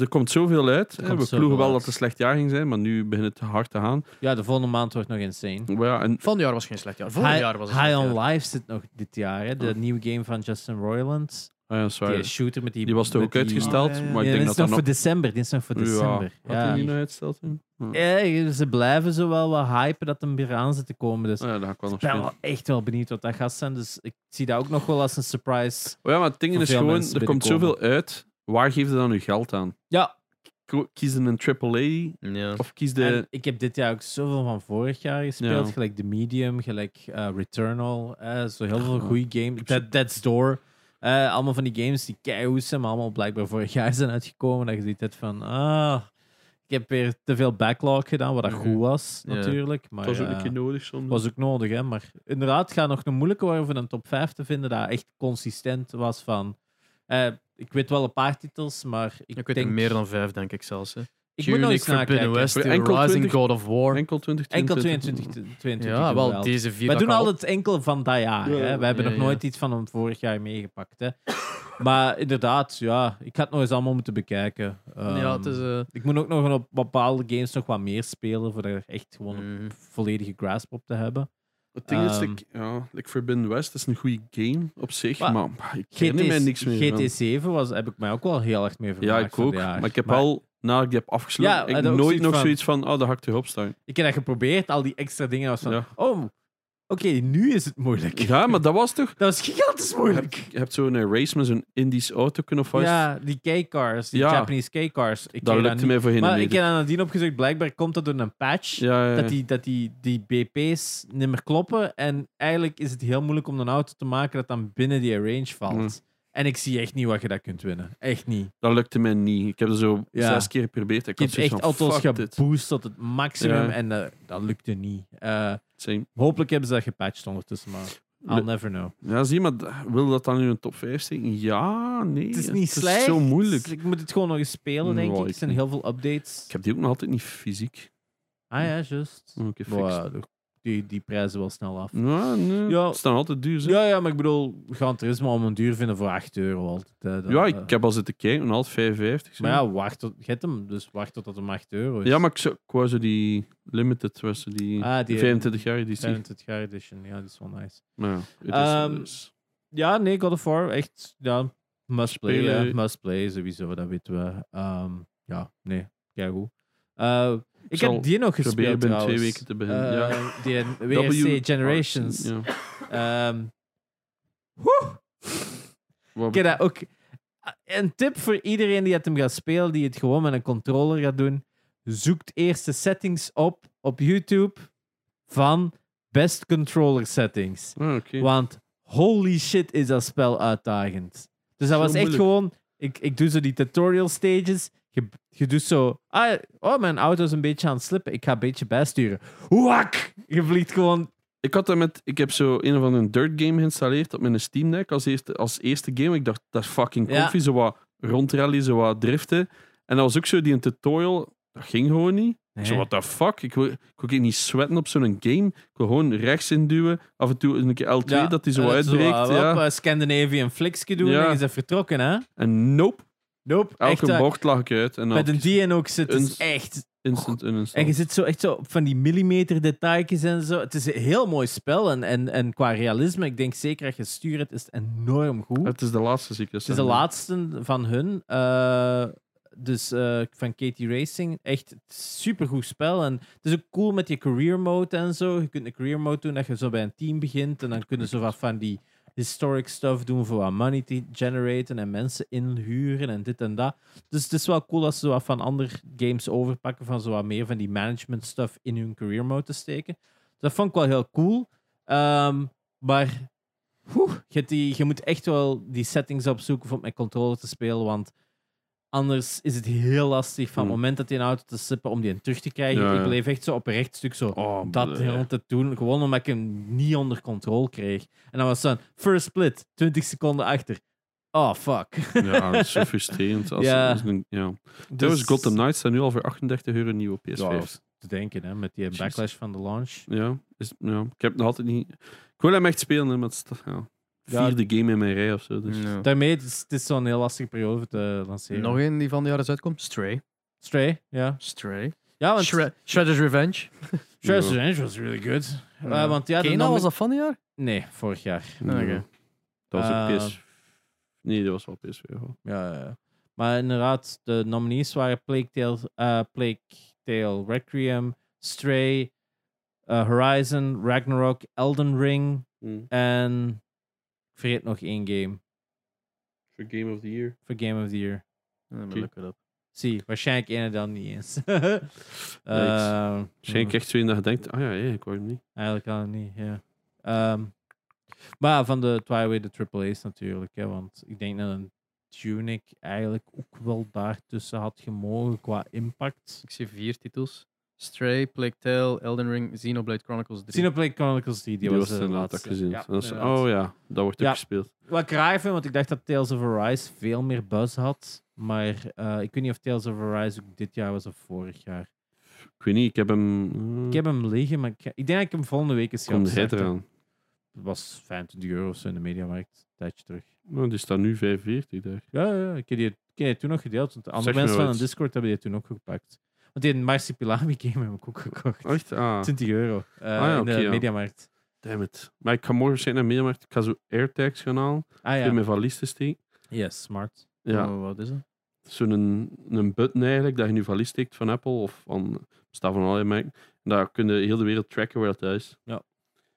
[SPEAKER 1] er komt zoveel uit. hè.
[SPEAKER 3] komt
[SPEAKER 1] We
[SPEAKER 3] zoveel
[SPEAKER 1] ploegen wel
[SPEAKER 3] uit.
[SPEAKER 1] dat het een slecht jaar ging zijn, maar nu begint het te hard te gaan.
[SPEAKER 3] ja, de volgende maand wordt nog insane.
[SPEAKER 1] Maar ja, en
[SPEAKER 2] Van het jaar was geen slecht jaar. Vorig
[SPEAKER 3] High,
[SPEAKER 2] jaar was het
[SPEAKER 3] High
[SPEAKER 2] slecht
[SPEAKER 3] on
[SPEAKER 2] jaar.
[SPEAKER 3] Life zit nog dit jaar. Hè? De
[SPEAKER 1] Oh.
[SPEAKER 3] nieuwe game van Justin Roiland.
[SPEAKER 1] Ah ja, sorry.
[SPEAKER 3] Die shooter met die...
[SPEAKER 1] Die was toch
[SPEAKER 3] met
[SPEAKER 1] ook uitgesteld,
[SPEAKER 2] Ah, ja, ja.
[SPEAKER 1] maar ik
[SPEAKER 3] ja,
[SPEAKER 1] denk
[SPEAKER 3] dit
[SPEAKER 1] dat dat
[SPEAKER 3] is nog
[SPEAKER 1] nog...
[SPEAKER 3] voor december. Dit is nog voor december.
[SPEAKER 1] Ja, had
[SPEAKER 3] Ja.
[SPEAKER 1] hij die nou uitgesteld? toen? Ja.
[SPEAKER 3] Ja, ze blijven zo wel wat hypen dat hem weer aan zit te komen. Dus
[SPEAKER 1] Ah ja, dat ga ik wel nog
[SPEAKER 3] ik ben
[SPEAKER 1] spelen.
[SPEAKER 3] wel echt wel benieuwd wat dat gaat zijn. Dus ik zie dat ook nog wel als een surprise.
[SPEAKER 1] Oh ja, maar het ding
[SPEAKER 3] Voor
[SPEAKER 1] is
[SPEAKER 3] veel
[SPEAKER 1] gewoon,
[SPEAKER 3] mensen
[SPEAKER 1] er komt
[SPEAKER 3] binnenkomen.
[SPEAKER 1] zoveel uit. Waar geef je dan je geld aan?
[SPEAKER 3] Ja.
[SPEAKER 1] Ko- Kies een AAA
[SPEAKER 2] Ja.
[SPEAKER 1] of kies
[SPEAKER 3] En
[SPEAKER 1] de...
[SPEAKER 3] ik heb dit jaar ook zoveel van vorig jaar gespeeld.
[SPEAKER 1] Ja.
[SPEAKER 3] Gelijk The Medium, gelijk eh, Returnal. eh, zo heel veel
[SPEAKER 1] Ja.
[SPEAKER 3] goede games.
[SPEAKER 1] Ik
[SPEAKER 3] Dead,
[SPEAKER 1] zit-
[SPEAKER 3] Dead's Door. eh, allemaal van die games die keigoed zijn, maar allemaal blijkbaar vorig jaar zijn uitgekomen. Dat je ziet het van, ah, ik heb weer te veel backlog gedaan, wat dat
[SPEAKER 1] Mhm.
[SPEAKER 3] goed was
[SPEAKER 2] Ja.
[SPEAKER 3] natuurlijk. Maar,
[SPEAKER 1] Dat was ook
[SPEAKER 3] Oh ja.
[SPEAKER 1] een keer nodig soms.
[SPEAKER 3] was ook nodig, hè. Maar inderdaad, het gaat nog een moeilijke worden voor een top 5 te vinden dat echt consistent was van... eh, ik weet wel een paar titels, maar ik,
[SPEAKER 2] Ik weet
[SPEAKER 3] denk...
[SPEAKER 2] er meer dan vijf, denk ik zelfs. Hè.
[SPEAKER 3] Ik moet nog eens
[SPEAKER 2] Forbidden
[SPEAKER 3] nakijken.
[SPEAKER 2] West,
[SPEAKER 1] Voor
[SPEAKER 2] The
[SPEAKER 1] enkel
[SPEAKER 2] Rising
[SPEAKER 1] 20
[SPEAKER 2] God of War.
[SPEAKER 1] Enkel 20,
[SPEAKER 3] Enkel 22. 22
[SPEAKER 2] Ja,
[SPEAKER 3] doen we
[SPEAKER 2] wel,
[SPEAKER 3] altijd.
[SPEAKER 2] deze vier.
[SPEAKER 3] Wij
[SPEAKER 2] dat
[SPEAKER 3] doen
[SPEAKER 2] ik al-
[SPEAKER 3] altijd enkel van dat jaar.
[SPEAKER 1] Ja, ja.
[SPEAKER 3] Hè? We hebben
[SPEAKER 2] Ja,
[SPEAKER 3] nog
[SPEAKER 2] ja.
[SPEAKER 3] nooit iets van hem vorig jaar meegepakt. Hè? maar inderdaad, ja, ik had het nog eens allemaal moeten bekijken.
[SPEAKER 2] Ja,
[SPEAKER 3] Ehm,
[SPEAKER 2] het is... eh,
[SPEAKER 3] Ik moet ook nog een op bepaalde games nog wat meer spelen, voor er echt gewoon een
[SPEAKER 2] mm.
[SPEAKER 3] volledige grasp op te hebben.
[SPEAKER 1] Het ding is,
[SPEAKER 3] Ehm.
[SPEAKER 1] ik, ja, ik Forbidden West is een goede game op zich,
[SPEAKER 3] Maar
[SPEAKER 1] maar, ik herinner mij niks meer van.
[SPEAKER 3] GT7 was, heb ik mij ook wel heel erg mee
[SPEAKER 1] Ja,
[SPEAKER 3] vermaakt.
[SPEAKER 1] ik ook.
[SPEAKER 3] dit jaar.
[SPEAKER 1] Maar ik heb al, nadat ik die heb afgesloten,
[SPEAKER 3] Ja,
[SPEAKER 1] ik
[SPEAKER 3] en
[SPEAKER 1] heb
[SPEAKER 3] ook
[SPEAKER 1] nooit
[SPEAKER 3] zoiets
[SPEAKER 1] nog
[SPEAKER 3] van-
[SPEAKER 1] zoiets van, oh, daar ga ik tegenop staan.
[SPEAKER 3] Ik heb dat geprobeerd, al die extra dingen. was van,
[SPEAKER 1] Ja.
[SPEAKER 3] oh, oké, nu is het moeilijk.
[SPEAKER 1] Ja, maar dat was toch...
[SPEAKER 3] Dat was gigantisch
[SPEAKER 1] Je hebt,
[SPEAKER 3] moeilijk.
[SPEAKER 1] je hebt zo'n race met zo'n Indisch auto kunnen of wat is het?
[SPEAKER 3] Ja, die K-cars, die
[SPEAKER 1] Ja.
[SPEAKER 3] Japanese K-cars. Ik
[SPEAKER 1] Dat
[SPEAKER 3] ken
[SPEAKER 1] lukte
[SPEAKER 3] niet.
[SPEAKER 1] mij voorheen
[SPEAKER 3] Maar
[SPEAKER 1] niet.
[SPEAKER 3] ik heb aan nadien opgezocht, blijkbaar komt dat door een patch.
[SPEAKER 1] Ja, ja, ja.
[SPEAKER 3] Dat, die, dat die, die BP's niet meer kloppen. En eigenlijk is het heel moeilijk om een auto te maken dat dan binnen die range valt.
[SPEAKER 1] Hmm.
[SPEAKER 3] En ik zie echt niet wat je dat kunt winnen. Echt niet.
[SPEAKER 1] Dat lukte mij niet. Ik heb er zo
[SPEAKER 3] Ja.
[SPEAKER 1] zes keer geprobeerd. Ik
[SPEAKER 3] Ik heb
[SPEAKER 1] had
[SPEAKER 3] echt
[SPEAKER 1] zoiets dus van,
[SPEAKER 3] auto's
[SPEAKER 1] fuck dit.
[SPEAKER 3] geboost tot het maximum
[SPEAKER 1] Ja.
[SPEAKER 3] en eh, dat lukte niet. Eh,
[SPEAKER 1] Same.
[SPEAKER 3] hopelijk hebben ze dat gepatcht ondertussen, maar I'll
[SPEAKER 1] Le-
[SPEAKER 3] never know.
[SPEAKER 1] Ja, zie maar, d- wil dat dan in een top 5 steken? Ja, nee.
[SPEAKER 3] Het is niet slecht.
[SPEAKER 1] zo moeilijk.
[SPEAKER 3] Ik moet het gewoon nog eens spelen, denk
[SPEAKER 1] Nou,
[SPEAKER 3] ik.
[SPEAKER 1] ik
[SPEAKER 3] Er zijn heel veel updates.
[SPEAKER 1] Ik heb die ook nog altijd niet fysiek.
[SPEAKER 3] Ah ja, juist.
[SPEAKER 1] Moet ik even fixen.
[SPEAKER 3] Wow, die, die prijzen wel snel af.
[SPEAKER 1] Ja, nee.
[SPEAKER 3] Ja.
[SPEAKER 1] Het is dan altijd duur. zeg.
[SPEAKER 3] Ja, ja, maar ik bedoel, Gran Turismo om een duur vinden voor 8 euro altijd. hè. Dat,
[SPEAKER 1] Ja,
[SPEAKER 3] eh,
[SPEAKER 1] ik heb al zitten kijken, een half 55. zo.
[SPEAKER 3] Maar ja, wacht tot, je hebt hem, dus wacht tot dat hem 8 euro is.
[SPEAKER 1] ja, maar ik, zou- ik wou zo die limited, was zo die,
[SPEAKER 3] Ah, die-
[SPEAKER 1] 25 jaar editie.
[SPEAKER 3] 25 jaar edition, ja, die is wel nice.
[SPEAKER 1] Maar ja, het is, dus
[SPEAKER 3] Ehm,
[SPEAKER 1] het is-
[SPEAKER 3] Ja, nee, God of War, echt, ja, must play.
[SPEAKER 1] Spelen.
[SPEAKER 3] hè. Must play, sowieso, dat weten we. Ehm, ja, nee, kijk hoe. Ik
[SPEAKER 1] zal
[SPEAKER 3] heb die nog
[SPEAKER 1] Probeer
[SPEAKER 3] gespeeld
[SPEAKER 1] binnen
[SPEAKER 3] trouwens.
[SPEAKER 1] twee weken te beginnen.
[SPEAKER 3] Eh,
[SPEAKER 1] ja.
[SPEAKER 3] Die WRC
[SPEAKER 1] W-
[SPEAKER 3] Generations.
[SPEAKER 1] Ja.
[SPEAKER 3] Ehm,
[SPEAKER 1] Wat
[SPEAKER 3] ik heb dat ook. Een tip voor iedereen die het hem gaat spelen, die het gewoon met een controller gaat doen. Zoek eerst de settings op op YouTube van best controller settings.
[SPEAKER 1] Ah, oké.
[SPEAKER 3] Want holy shit is dat spel uitdagend. Dus dat
[SPEAKER 1] Zo
[SPEAKER 3] was echt
[SPEAKER 1] moeilijk.
[SPEAKER 3] gewoon... Ik, ik doe zo die tutorial stages. Je, je doet zo... Ah, oh, mijn auto is een beetje aan het slippen. Ik ga een beetje bijsturen. Wak! Je vliegt gewoon...
[SPEAKER 1] Ik had dat met, ik heb zo een of andere dirt game geïnstalleerd op mijn Steam Deck als eerste, als eerste game. Ik dacht, dat is fucking
[SPEAKER 3] Ja.
[SPEAKER 1] comfy, zo wat rondrally, zo wat driften. En dat was ook zo die een tutorial, dat ging gewoon niet. Ik zo,
[SPEAKER 3] Nee.
[SPEAKER 1] what the fuck? Ik wil, ik wil ook niet sweaten op zo'n game. Ik wil gewoon rechts induwen, af en toe een keer L2,
[SPEAKER 3] Ja,
[SPEAKER 1] dat die zo
[SPEAKER 3] en
[SPEAKER 1] uitbreekt.
[SPEAKER 3] ah,
[SPEAKER 1] ja.
[SPEAKER 3] Op, eh, Scandinavian fliksje doen
[SPEAKER 1] Ja.
[SPEAKER 3] en je bent vertrokken, hè?
[SPEAKER 1] En nope,
[SPEAKER 3] Nope.
[SPEAKER 1] elke
[SPEAKER 3] echt, waar.
[SPEAKER 1] bocht lag ik uit. En dan
[SPEAKER 3] met een die en ook zit
[SPEAKER 1] Een-
[SPEAKER 3] is echt...
[SPEAKER 1] instant uninstall.
[SPEAKER 3] En je zit zo echt zo op van die millimeter detailjes en zo. Het is een heel mooi spel. En, en, en qua realisme, ik denk zeker dat je stuurt, is het enorm goed.
[SPEAKER 1] Het is de laatste ziektes.
[SPEAKER 3] Het is de laatste van hun. eh, dus eh, van KT Racing. Echt supergoed spel. En het is ook cool met je career mode en zo. Je kunt een career mode doen dat je zo bij een team begint. En dan kunnen ze wat van die historic stuff doen voor wat money te generaten. En mensen inhuren en dit en dat. Dus het is wel cool dat ze zo wat van andere games overpakken. Van zo wat meer van die management stuff in hun career mode te steken. Dat vond ik wel heel cool. Ehm, maar Oeh, je, hebt die- je moet echt wel die settings opzoeken om het met controller te spelen, want anders is het heel lastig van het
[SPEAKER 1] Hmm.
[SPEAKER 3] moment dat die een auto te slippen om die in terug te krijgen.
[SPEAKER 1] Ja, ja.
[SPEAKER 3] Ik bleef echt zo op een rechtstuk zo
[SPEAKER 1] Oh,
[SPEAKER 3] dat
[SPEAKER 1] bleh.
[SPEAKER 3] heel te doen, gewoon omdat ik hem niet onder controle kreeg. En dan was het dan first split, 20 seconden achter. Oh, fuck.
[SPEAKER 1] Ja, dat is zo frustrerend. Als,
[SPEAKER 3] Ja.
[SPEAKER 1] als een, ja.
[SPEAKER 3] Dat
[SPEAKER 1] Trouwens, Gotham Knights staat nu al voor 38 euro nieuw op PS5.
[SPEAKER 3] te denken, hè, met die
[SPEAKER 1] Jezus.
[SPEAKER 3] backlash van de launch.
[SPEAKER 1] Ja, is, ja, ik heb het nog altijd niet. Ik wil hem echt spelen, hè, maar het is toch, ja, vierde game in mijn rij of zo. Dus.
[SPEAKER 2] Ja.
[SPEAKER 3] Daarmee, het is, het is zo'n heel lastige periode voor te lanceren.
[SPEAKER 2] Nog één die van de jaren uitkomt? Stray.
[SPEAKER 3] Stray, Oh, ja.
[SPEAKER 2] Stray.
[SPEAKER 3] Ja, want
[SPEAKER 2] Shred- Shredder's Revenge.
[SPEAKER 3] Shredder's
[SPEAKER 1] Ja.
[SPEAKER 3] Revenge was really good. Eh, want ja, de
[SPEAKER 2] Kena,
[SPEAKER 3] nomi-
[SPEAKER 2] was dat van die jaar?
[SPEAKER 3] Nee, vorig jaar.
[SPEAKER 1] Ja.
[SPEAKER 2] Oké.
[SPEAKER 1] Dat was
[SPEAKER 3] Ah, Eh,
[SPEAKER 1] ook PS. Nee, dat was wel PS4. hoor.
[SPEAKER 3] Ja, ja, ja. Maar inderdaad, de nominees waren Plague Tale, eh, Plague Tale Requiem, Stray, eh, Horizon, Ragnarok, Elden Ring
[SPEAKER 1] Mm.
[SPEAKER 3] en ik vergeet nog één game
[SPEAKER 1] Voor Game of the Year.
[SPEAKER 3] voor Game of the Year.
[SPEAKER 2] Ja, maar
[SPEAKER 1] Oké.
[SPEAKER 2] look it up.
[SPEAKER 3] Zie, waarschijnlijk één en dan niet eens.
[SPEAKER 1] Yikes.
[SPEAKER 3] Ehm,
[SPEAKER 1] Waarschijnlijk echt zo in dat je denkt: ah ja, ja, ik hoor hem niet.
[SPEAKER 3] Eigenlijk al niet, ja. Ehm, maar ja, van de Twilight, de Triple A's natuurlijk. Hè, want ik denk dat een Tunic eigenlijk ook wel daartussen had gemogen qua impact.
[SPEAKER 2] Ik zie vier titels. Stray, Plague Tale, Elden Ring, Xenoblade Chronicles 3.
[SPEAKER 3] Xenoblade Chronicles 3, die,
[SPEAKER 1] Die
[SPEAKER 3] was,
[SPEAKER 1] was
[SPEAKER 3] de
[SPEAKER 1] inderdaad dat
[SPEAKER 3] laatste.
[SPEAKER 1] gezien.
[SPEAKER 3] Ja,
[SPEAKER 1] En dat is-
[SPEAKER 3] inderdaad.
[SPEAKER 1] oh ja, dat wordt ook
[SPEAKER 3] Ja.
[SPEAKER 1] gespeeld.
[SPEAKER 3] Wat ik raar vind, want ik dacht dat Tales of Arise veel meer buzz had. Maar eh, ik weet niet of Tales of Arise ook dit jaar was of vorig jaar.
[SPEAKER 1] Ik weet niet, ik heb hem. eh,
[SPEAKER 3] Ik heb hem liggen, maar ik, ga- ik denk dat ik hem volgende week eens ga
[SPEAKER 1] Komt hij
[SPEAKER 3] opstarten.
[SPEAKER 1] eraan?
[SPEAKER 3] Het was 25 euro of zo in de mediamarkt, een tijdje terug.
[SPEAKER 1] Nou, die staat nu 45 daar.
[SPEAKER 3] Ja, ja, ja, ik heb die, ik heb die toen nog gedeeld. Want de andere
[SPEAKER 1] me
[SPEAKER 3] mensen van
[SPEAKER 1] wat.
[SPEAKER 3] de Discord hebben die toen ook gepakt. Want die Marsipilami game heb ik ook gekocht.
[SPEAKER 1] Echt? Ah,
[SPEAKER 3] 20 euro eh,
[SPEAKER 1] ja,
[SPEAKER 3] in de
[SPEAKER 1] oké, ja.
[SPEAKER 3] mediamarkt.
[SPEAKER 1] damn it. Maar ik ga morgen zijn naar Mediamarkt. Ik ga zo AirTags gaan halen.
[SPEAKER 3] Ah
[SPEAKER 1] Ik heb
[SPEAKER 3] ja,
[SPEAKER 1] mijn valies te steken.
[SPEAKER 3] yes, smart.
[SPEAKER 1] Ja.
[SPEAKER 2] Oh, wat is dat?
[SPEAKER 1] zo'n een, een button eigenlijk, dat je nu valies steekt van Apple of van, staat van allerlei merken. En daar kun je heel de wereld tracken waar dat thuis is.
[SPEAKER 3] Ja.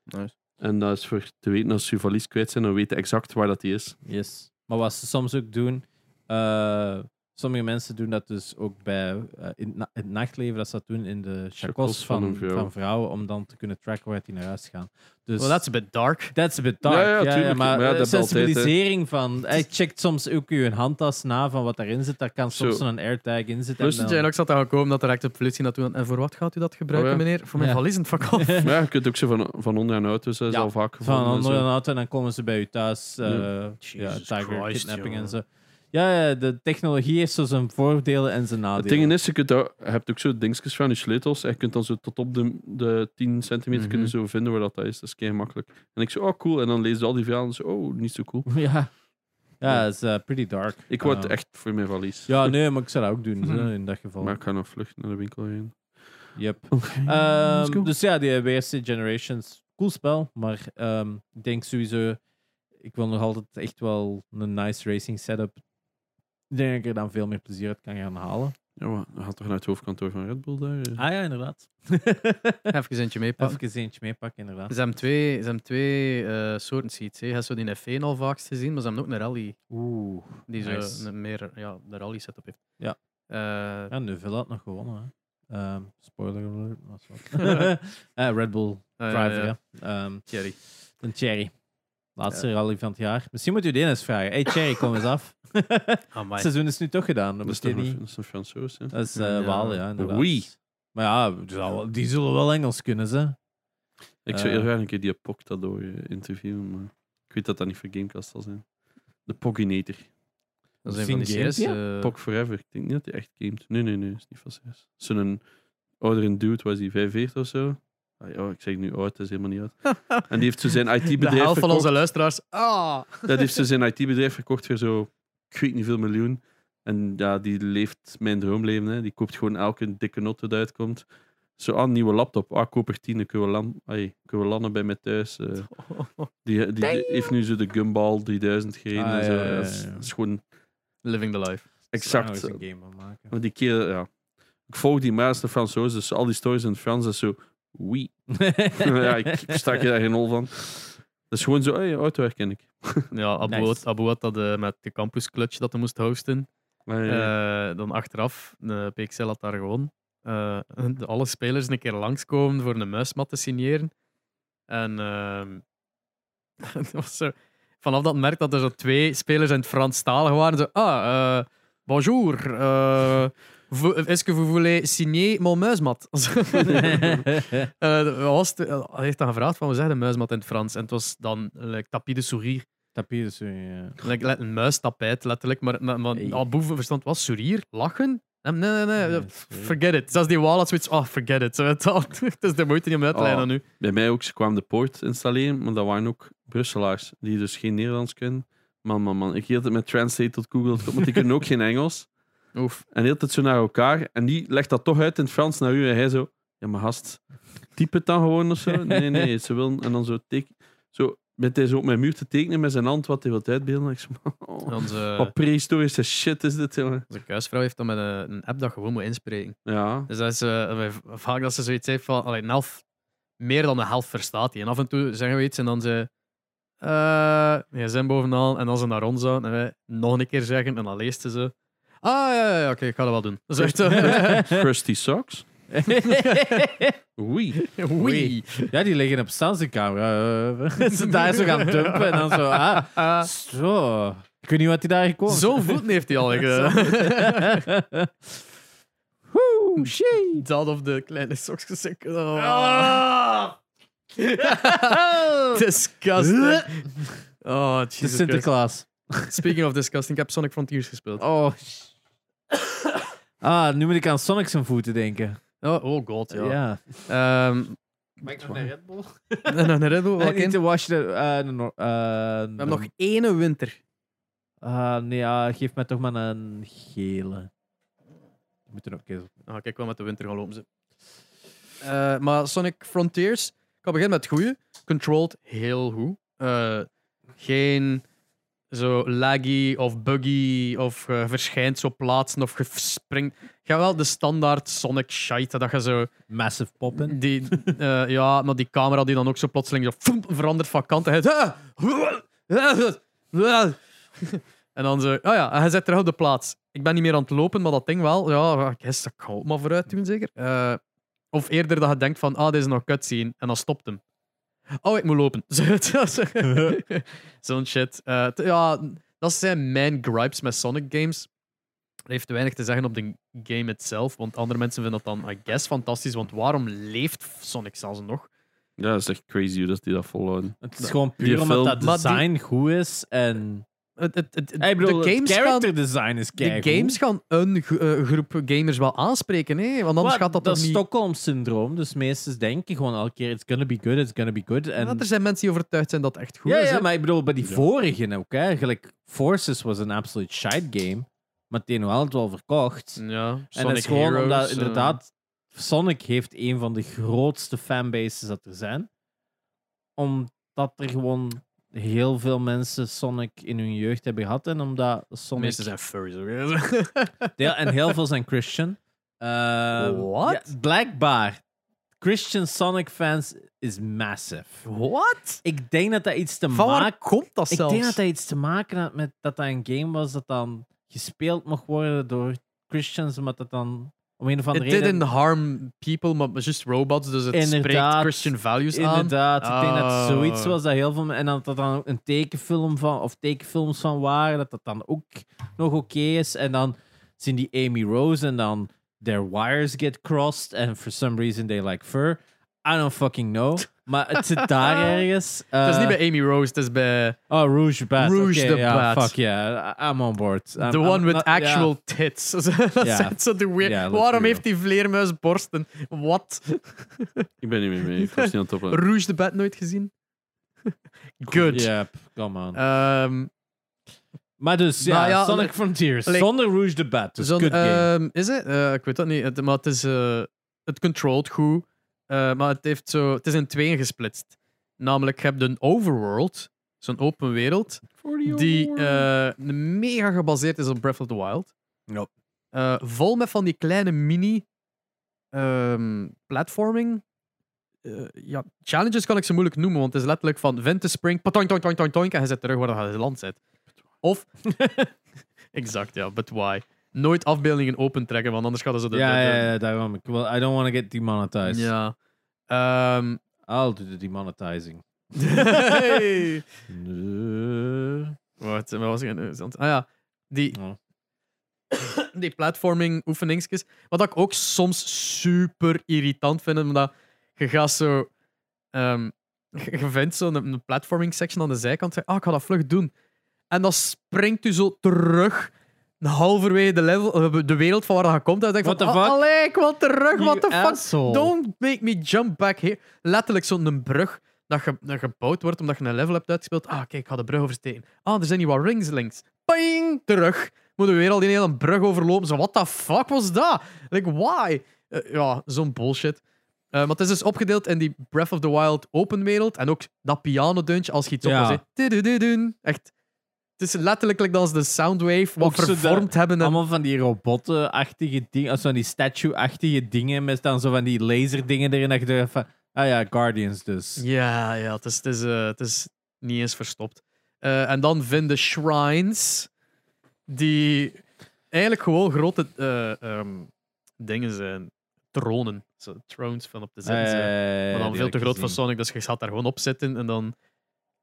[SPEAKER 2] Nice.
[SPEAKER 1] En dat is voor te weten als je je valies kwijt zijn, dan weet je exact waar dat die is.
[SPEAKER 3] Yes. Maar wat ze soms ook doen, eh, sommige mensen doen dat dus ook bij eh, in het na- het nachtleven, dat ze dat doen in de chacos
[SPEAKER 1] Chacos
[SPEAKER 3] van,
[SPEAKER 1] van
[SPEAKER 3] van,
[SPEAKER 1] een vrouw.
[SPEAKER 3] vrouwen, om dan te kunnen tracken waar die naar huis gaan. Dus
[SPEAKER 2] Well, that's a bit dark.
[SPEAKER 3] That's a bit dark.
[SPEAKER 1] Ja,
[SPEAKER 3] Ja,
[SPEAKER 1] ja,
[SPEAKER 3] ja,
[SPEAKER 1] tuurlijk.
[SPEAKER 3] maar
[SPEAKER 1] Maar ja,
[SPEAKER 3] eh,
[SPEAKER 1] dat belt
[SPEAKER 3] sensibilisering van... Hij checkt soms ook je handtas na van wat daarin zit. Daar kan soms
[SPEAKER 1] Zo.
[SPEAKER 3] een airtag in zitten.
[SPEAKER 1] Plus
[SPEAKER 3] en
[SPEAKER 2] Dus
[SPEAKER 3] dan-
[SPEAKER 2] jij ook zat aan gekomen dat direct de politie naartoe En voor wat gaat u dat gebruiken,
[SPEAKER 1] Oh ja.
[SPEAKER 2] meneer? Voor mijn
[SPEAKER 3] Ja.
[SPEAKER 2] valies in het vak af.
[SPEAKER 1] Maar ja, je kunt ook zo van, van onder aan auto's, dat is
[SPEAKER 3] Ja,
[SPEAKER 1] al vaak
[SPEAKER 3] van
[SPEAKER 1] gevonden en
[SPEAKER 3] onder
[SPEAKER 1] zo.
[SPEAKER 3] een auto en dan komen ze bij u thuis. eh, ja,
[SPEAKER 2] Jesus
[SPEAKER 3] tiger
[SPEAKER 2] Christ,
[SPEAKER 3] kidnapping en
[SPEAKER 2] jongen.
[SPEAKER 3] zo. Ja, ja, de technologie heeft zo zijn voordelen en zijn
[SPEAKER 1] Het
[SPEAKER 3] nadelen.
[SPEAKER 1] ding is, je, kunt dat, je hebt ook zo dingetjes van je sleutels en je kunt dan zo tot op de, de 10 centimeter
[SPEAKER 2] Mhm.
[SPEAKER 1] kunnen zo vinden waar dat is. Dat is kei makkelijk. En ik zo, oh cool. En dan lees je al die verhalen en zo, oh, niet zo cool.
[SPEAKER 3] Ja, ja het is eh, pretty dark.
[SPEAKER 1] Ik word
[SPEAKER 3] Eh,
[SPEAKER 1] echt voor mijn valies.
[SPEAKER 3] Ja, nee, maar ik zou dat ook doen zo, in dat geval.
[SPEAKER 1] Maar ik ga nog vlucht naar de winkel heen.
[SPEAKER 3] Yep.
[SPEAKER 1] Oké.
[SPEAKER 3] Ehm,
[SPEAKER 1] Let's go.
[SPEAKER 3] dus ja, die WRC Generations, cool spel, maar ehm, ik denk sowieso, ik wil nog altijd echt wel een nice racing setup. Ik denk dat ik er dan veel meer plezier uit kan gaan halen.
[SPEAKER 1] Ja, maar hij had toch naar het hoofdkantoor van Red Bull daar? eh?
[SPEAKER 3] Ah ja, inderdaad.
[SPEAKER 2] Even eentje meepakken.
[SPEAKER 3] Even eentje meepakken, inderdaad.
[SPEAKER 2] Ze hebben twee, ze hebben twee eh, soorten seats. Hè. Je hebt zo die F1 al vaakst gezien, maar ze hebben ook een rally
[SPEAKER 3] Oeh.
[SPEAKER 2] die zo
[SPEAKER 3] Nice.
[SPEAKER 2] een meer ja, de rally setup heeft.
[SPEAKER 3] Ja.
[SPEAKER 2] Eh,
[SPEAKER 3] Ja, Neuville had nog gewonnen. Hè. Ehm, spoiler alert. maar is wat. Eh, Red Bull
[SPEAKER 2] eh,
[SPEAKER 3] driver,
[SPEAKER 2] ja.
[SPEAKER 3] ja. Ehm,
[SPEAKER 2] Thierry.
[SPEAKER 3] een Thierry. Laatste rally van het jaar. Misschien moet u Dennis vragen. Hey Thierry, kom eens af. het
[SPEAKER 2] Amai.
[SPEAKER 3] seizoen is nu toch gedaan. Dat,
[SPEAKER 1] Dat is,
[SPEAKER 3] moet
[SPEAKER 1] toch
[SPEAKER 3] je
[SPEAKER 1] een,
[SPEAKER 3] niet.
[SPEAKER 1] dat is een Fransoos, hè?
[SPEAKER 3] Dat is eh
[SPEAKER 2] Ja.
[SPEAKER 3] Walen, ja. Inderdaad.
[SPEAKER 1] Oui.
[SPEAKER 3] Maar ja, die zullen- die zullen wel Engels kunnen, ze.
[SPEAKER 1] Ik zou
[SPEAKER 3] Eh.
[SPEAKER 1] heel graag een keer die Poctador eh, interviewen, maar ik weet dat dat niet voor Gamecast zal zijn. De Poginator.
[SPEAKER 2] Dat is een van die
[SPEAKER 3] Zingapia?
[SPEAKER 2] series. eh,
[SPEAKER 1] Pog Forever. Ik denk niet dat hij echt gamet. Nee, nee, nee. is niet van CS. Zo'n oudere dude, was hij 45 of zo? Ah, ja, ik zeg nu oud, dat is helemaal niet oud. en die heeft zo zijn
[SPEAKER 2] de
[SPEAKER 1] IT-bedrijf
[SPEAKER 2] helft
[SPEAKER 1] verkocht.
[SPEAKER 2] van onze luisteraars. Ah!
[SPEAKER 1] Dat heeft dus ze zijn IT-bedrijf verkocht voor zo, ik weet niet veel miljoen. En ja, die leeft mijn droomleven. Hè. Die koopt gewoon elke dikke not dat uitkomt. Zo, ah, nieuwe laptop. Ah, koop er tien. dan Kunnen we, lan- ai, kunnen we landen bij mij thuis. eh. die, die, die heeft nu zo de Gumball 3000 gereden.
[SPEAKER 3] Ah,
[SPEAKER 1] en zo.
[SPEAKER 3] ja, ja, ja,
[SPEAKER 1] Dat is-
[SPEAKER 3] ja.
[SPEAKER 1] dat is gewoon
[SPEAKER 2] Living the life.
[SPEAKER 1] exact.
[SPEAKER 3] Daar gaan we eens een game van maken.
[SPEAKER 1] Want die keer, ja. Ik volg die meeste Fransoos, dus al die stories in het Frans, dat is zo... Oui. ja, ik stak je daar geen hol van. Dat is gewoon zo, hey, auto herken ik.
[SPEAKER 2] Ja, Abu,
[SPEAKER 3] Nice.
[SPEAKER 2] had, Abu had dat eh, met de campus clutch dat hij moest hosten.
[SPEAKER 1] Maar, eh,
[SPEAKER 2] Eh, dan achteraf, de PXL had daar gewoon eh, de- alle spelers een keer langskomen voor een muismat te signeren. En ehm, dat was zo, vanaf dat merk dat er zo twee spelers in het Franstalig waren. Zo, ah, eh, bonjour. eh, vous- Est-ce que vous voulez signer mon muismat? Eh, was het- eh, Hij heeft dan gevraagd van, we zeggen muismat in het Frans. En het was dan like, tapis de sourire.
[SPEAKER 3] Tapir is weer, ja.
[SPEAKER 2] Like, le- een muistapijt, letterlijk. Maar, maar, maar
[SPEAKER 3] Hey.
[SPEAKER 2] Abu verstand was sourier, lachen. Hem, Nee, nee, nee.
[SPEAKER 3] Ja,
[SPEAKER 2] eh, f-
[SPEAKER 3] sorry.
[SPEAKER 2] Forget it. Zelfs die wal had zoiets. Oh, forget it. Zo, Het had- het is de moeite niet om uit te lijnen
[SPEAKER 1] Oh.
[SPEAKER 2] nu.
[SPEAKER 1] Bij mij ook, ze kwamen de poort installeren, maar dat waren ook Brusselaars, die dus geen Nederlands kunnen. Man, man, man. Ik hield het met Translate tot Google, want die kunnen ook geen Engels.
[SPEAKER 2] Oef.
[SPEAKER 1] En hield het zo naar elkaar. En die legt dat toch uit in het Frans naar u. En hij zo, ja, maar gast, typ het dan gewoon of zo. Nee, nee, ze willen... En dan zo, teken, zo met hij zo op mijn muur te tekenen met zijn hand wat hij wil uitbeelden. Ik zo, oh,
[SPEAKER 2] Onze,
[SPEAKER 1] wat prehistorische shit is dit, jongen.
[SPEAKER 2] onze kuisvrouw heeft dan met een, een app dat gewoon moet inspreken.
[SPEAKER 1] Ja.
[SPEAKER 2] Dus dat is, eh, wij- vaak dat ze zoiets heeft van. Allee, een helft, meer dan de helft verstaat hij. En af en toe zeggen we iets en dan ze. eh ja, zijn bovenaan. En als ze naar ons zouden en wij nog een keer zeggen en dan leest ze ze. Ah ja, ja, ja, oké, ik ga dat wel doen. Dat is echt zo.
[SPEAKER 1] Crusty socks? Oei.
[SPEAKER 2] Oei.
[SPEAKER 3] ja, die liggen op Sansencamera. camera. ze daar zo gaan dumpen en dan zo. Ah,
[SPEAKER 2] Ah.
[SPEAKER 3] zo. Ik weet niet wat hij daar gekomen
[SPEAKER 2] Zo'n voeten heeft hij al.
[SPEAKER 3] Woe, shit.
[SPEAKER 2] Dat of de kleine sokjes. ik- Oh. Disgusting. Oh,
[SPEAKER 3] Het
[SPEAKER 2] Jesus
[SPEAKER 3] is
[SPEAKER 2] Christ.
[SPEAKER 3] Sinterklaas.
[SPEAKER 2] Speaking of disgusting, ik heb Sonic Frontiers gespeeld. Oh,
[SPEAKER 3] Oh. sh- Ah, nu moet ik aan Sonic zijn voeten denken.
[SPEAKER 2] oh, god,
[SPEAKER 3] Ja.
[SPEAKER 2] ja. Ehm
[SPEAKER 3] Maak nog een Red Bull?
[SPEAKER 2] en dan Red Bull, welke
[SPEAKER 3] Niet
[SPEAKER 2] in?
[SPEAKER 3] de
[SPEAKER 2] We
[SPEAKER 3] Washington. eh, de Nor- eh, de-
[SPEAKER 2] hebben nog één winter.
[SPEAKER 3] Ah, nee, ja, geef mij toch maar een gele. We moeten ook kiezen.
[SPEAKER 2] Ah, kijk wel met de winter gaan lopen ze. Eh, maar Sonic Frontiers, ik ga beginnen met het goede. Controlled heel goed. Eh, geen zo laggy of buggy of eh, verschijnt zo plaatsen of ge- springt. Ga wel de standaard Sonic shite dat je zo
[SPEAKER 3] Massive poppen.
[SPEAKER 2] die, eh, ja, maar die camera die dan ook zo plotseling zo foem, verandert van kant. En, "Ah, hij zo- ah, en dan zo, oh ja, en hij zit terug op de plaats. Ik ben niet meer aan het lopen, maar dat ding wel. Ja, ik guess dat kan ook maar vooruit doen, zeker. Eh, of eerder dat je denkt van, ah, dit is nog cutscene. En dan stopt hem. Oh, ik moet lopen. Zo- zo- zo- Zo'n shit. Eh, t- ja, dat zijn mijn gripes met Sonic games. Dat heeft weinig te zeggen op de game itself, want andere mensen vinden dat dan, I guess, fantastisch. Want waarom leeft Sonic zelfs nog?
[SPEAKER 1] Ja, dat is echt crazy hoe dat die dat volhouden.
[SPEAKER 3] Het is gewoon
[SPEAKER 1] Die
[SPEAKER 3] puur omdat
[SPEAKER 1] film-
[SPEAKER 3] dat
[SPEAKER 2] Maar die-
[SPEAKER 3] design goed is en...
[SPEAKER 2] Het, het, het,
[SPEAKER 3] Ik bedoel,
[SPEAKER 2] de games,
[SPEAKER 3] het
[SPEAKER 2] gaan,
[SPEAKER 3] character design is
[SPEAKER 2] de
[SPEAKER 3] keigoed.
[SPEAKER 2] games gaan een gro- eh, groep gamers wel aanspreken, hè? want anders
[SPEAKER 3] Maar
[SPEAKER 2] gaat dat,
[SPEAKER 3] dat
[SPEAKER 2] toch
[SPEAKER 3] is
[SPEAKER 2] niet...
[SPEAKER 3] Stockholm-syndroom, dus meesters denken gewoon elke keer, it's gonna be good, it's gonna be good. En...
[SPEAKER 2] Ja, er zijn mensen die overtuigd zijn dat het echt goed
[SPEAKER 3] ja,
[SPEAKER 2] is.
[SPEAKER 3] ja,
[SPEAKER 2] hè.
[SPEAKER 3] maar ik bedoel, bij die
[SPEAKER 1] Ja.
[SPEAKER 3] vorige ook, hè. Gelijk, Forces was een absolute shite game, maar het een wel het wel
[SPEAKER 2] Mm.
[SPEAKER 3] verkocht.
[SPEAKER 2] ja,
[SPEAKER 3] en dat is gewoon omdat, inderdaad,
[SPEAKER 2] eh.
[SPEAKER 3] Sonic heeft een van de grootste fanbases dat er zijn. Omdat er gewoon heel veel mensen Sonic in hun jeugd hebben gehad. En omdat
[SPEAKER 2] De
[SPEAKER 3] Sonic...
[SPEAKER 2] meeste zijn furries. hoor.
[SPEAKER 3] Ja, en heel veel zijn Christian. Ehm,
[SPEAKER 2] What?
[SPEAKER 3] ja, blijkbaar. Christian Sonic fans is massive.
[SPEAKER 2] What?
[SPEAKER 3] Ik denk dat dat iets te
[SPEAKER 2] Van waar
[SPEAKER 3] maken...
[SPEAKER 2] komt dat
[SPEAKER 3] Ik
[SPEAKER 2] zelfs?
[SPEAKER 3] denk dat dat iets te maken had met dat dat een game was dat dan gespeeld mocht worden door Christians, maar dat dan om een
[SPEAKER 2] It
[SPEAKER 3] of andere reden...
[SPEAKER 2] didn't harm people, maar just robots. Dus het spreekt
[SPEAKER 3] Inderdaad.
[SPEAKER 2] Christian values aan.
[SPEAKER 3] Dus Inderdaad, ik denk dat het zoiets
[SPEAKER 2] Ah.
[SPEAKER 3] was dat heel veel... men- En dat dat dan ook een tekenfilm van, of tekenfilms van waren, dat dat dan ook nog oké is. En dan zien die Amy Rose en dan their wires get crossed and for some reason they like fur. I don't fucking know. Maar het zit daar ergens.
[SPEAKER 2] Het is
[SPEAKER 3] Eh,
[SPEAKER 2] niet bij Amy Rose, het is bij
[SPEAKER 3] Oh, Rouge the Bat.
[SPEAKER 2] Rouge
[SPEAKER 3] Oké,
[SPEAKER 2] the
[SPEAKER 3] ja,
[SPEAKER 2] Bat.
[SPEAKER 3] Fuck yeah, I- I'm on board. I'm-
[SPEAKER 2] the
[SPEAKER 3] I'm
[SPEAKER 2] one with
[SPEAKER 3] not- ja.
[SPEAKER 2] actual tits. dat zijn zo de weird.
[SPEAKER 3] Ja, let's
[SPEAKER 2] Waarom
[SPEAKER 3] be
[SPEAKER 2] heeft die vleermuis borsten? Wat?
[SPEAKER 1] Ik ben niet meer mee. Ik was niet aan het opletten.
[SPEAKER 2] Rouge the Bat nooit gezien? Good.
[SPEAKER 3] Yep, come on.
[SPEAKER 2] Ehm,
[SPEAKER 3] maar dus, ja,
[SPEAKER 2] nou ja,
[SPEAKER 3] Sonic
[SPEAKER 2] like-
[SPEAKER 3] Frontiers.
[SPEAKER 2] like-
[SPEAKER 3] zonder Rouge the Bat. Dus
[SPEAKER 2] zo'n,
[SPEAKER 3] good game.
[SPEAKER 2] ehm, is het? Eh, ik weet dat niet, het- maar het is... eh, het controlt goed, eh, maar het, heeft zo, het is in tweeën gesplitst. Namelijk, je hebt een overworld, zo'n open wereld, die eh, mega gebaseerd is op Breath of the Wild.
[SPEAKER 1] Ja.
[SPEAKER 2] Eh, vol met van die kleine mini ehm, platforming. Eh, ja, challenges kan ik ze moeilijk noemen, want het is letterlijk van vent te spring, patoink, toink, toink, toink, toink, en je zit terug waar je land zit. Of, exact, ja, but why? Nooit afbeeldingen opentrekken, want anders gaan ze de...
[SPEAKER 3] ja,
[SPEAKER 2] de- de-
[SPEAKER 3] ja, ja, daarom. Ik wil, I don't want to get demonetized.
[SPEAKER 2] ja. Ehm,
[SPEAKER 3] I'll do the demonetizing.
[SPEAKER 2] hey.
[SPEAKER 3] Nee.
[SPEAKER 2] Wat, wat was ik aan het zeggen? Ah ja, die,
[SPEAKER 3] Ja.
[SPEAKER 2] die platforming oefeningsjes. Wat ik ook soms super irritant vind, omdat je gaat zo... ehm, je vindt zo'n een platforming section aan de zijkant. Zeg, ah, ik ga dat vlug doen. En dan springt u zo terug halverwege de, level, eh, de wereld van waar dat je komt. En dan denk ik van,
[SPEAKER 3] What the
[SPEAKER 2] "Ah,
[SPEAKER 3] fuck?
[SPEAKER 2] allee, ik wil terug.
[SPEAKER 3] You
[SPEAKER 2] What the fuck?
[SPEAKER 3] asshole.
[SPEAKER 2] Don't make me jump back here. Letterlijk zo'n brug dat, ge, dat gebouwd wordt omdat je een level hebt uitgespeeld. Ah, kijk, ik ga de brug oversteken. Ah, er zijn hier wat rings links. Ping! Terug. Moeten we weer al die hele brug overlopen. Zo, what the fuck was dat? Like, why? Eh, ja, zo'n bullshit. Eh, maar het is dus opgedeeld in die Breath of the Wild open wereld. En ook dat pianoduntje als je iets
[SPEAKER 3] Ja.
[SPEAKER 2] op wil zeggen. Echt. Het is letterlijk like dat als de soundwave wat
[SPEAKER 3] Ook zo de-
[SPEAKER 2] vervormd hebben. En...
[SPEAKER 3] Allemaal van die robotten-achtige dingen, als van die statue-achtige dingen, met dan zo van die laserdingen erin, dat je denkt van, ah ja, Guardians dus.
[SPEAKER 2] Ja, ja het, is, het, is, eh, het is niet eens verstopt. Eh, en dan vinden shrines, die eigenlijk gewoon grote eh, ehm, dingen zijn. Tronen. Zo, thrones van op de zin. zijn.
[SPEAKER 3] Eh,
[SPEAKER 2] maar dan
[SPEAKER 3] die
[SPEAKER 2] veel
[SPEAKER 3] heb
[SPEAKER 2] te
[SPEAKER 3] ik
[SPEAKER 2] groot voor
[SPEAKER 3] gezien.
[SPEAKER 2] Sonic, dus je gaat daar gewoon op zitten en dan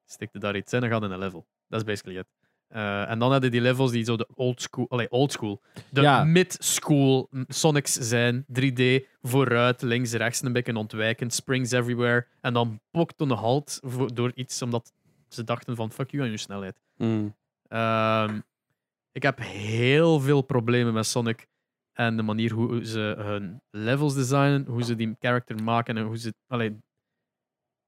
[SPEAKER 2] steekt je daar iets in en gaat in een level. Dat is basically het. Eh, en dan hadden die levels die zo de old school, allee, old school de
[SPEAKER 3] Ja.
[SPEAKER 2] mid-school mm, Sonics zijn. 3D, vooruit, links, rechts, een beetje ontwijkend, springs everywhere. En dan pokte een halt voor- door iets omdat ze dachten van fuck you aan je snelheid.
[SPEAKER 1] Mm.
[SPEAKER 2] Ehm, ik heb heel veel problemen met Sonic en de manier hoe ze hun levels designen, hoe ze die character maken en hoe ze. Allee,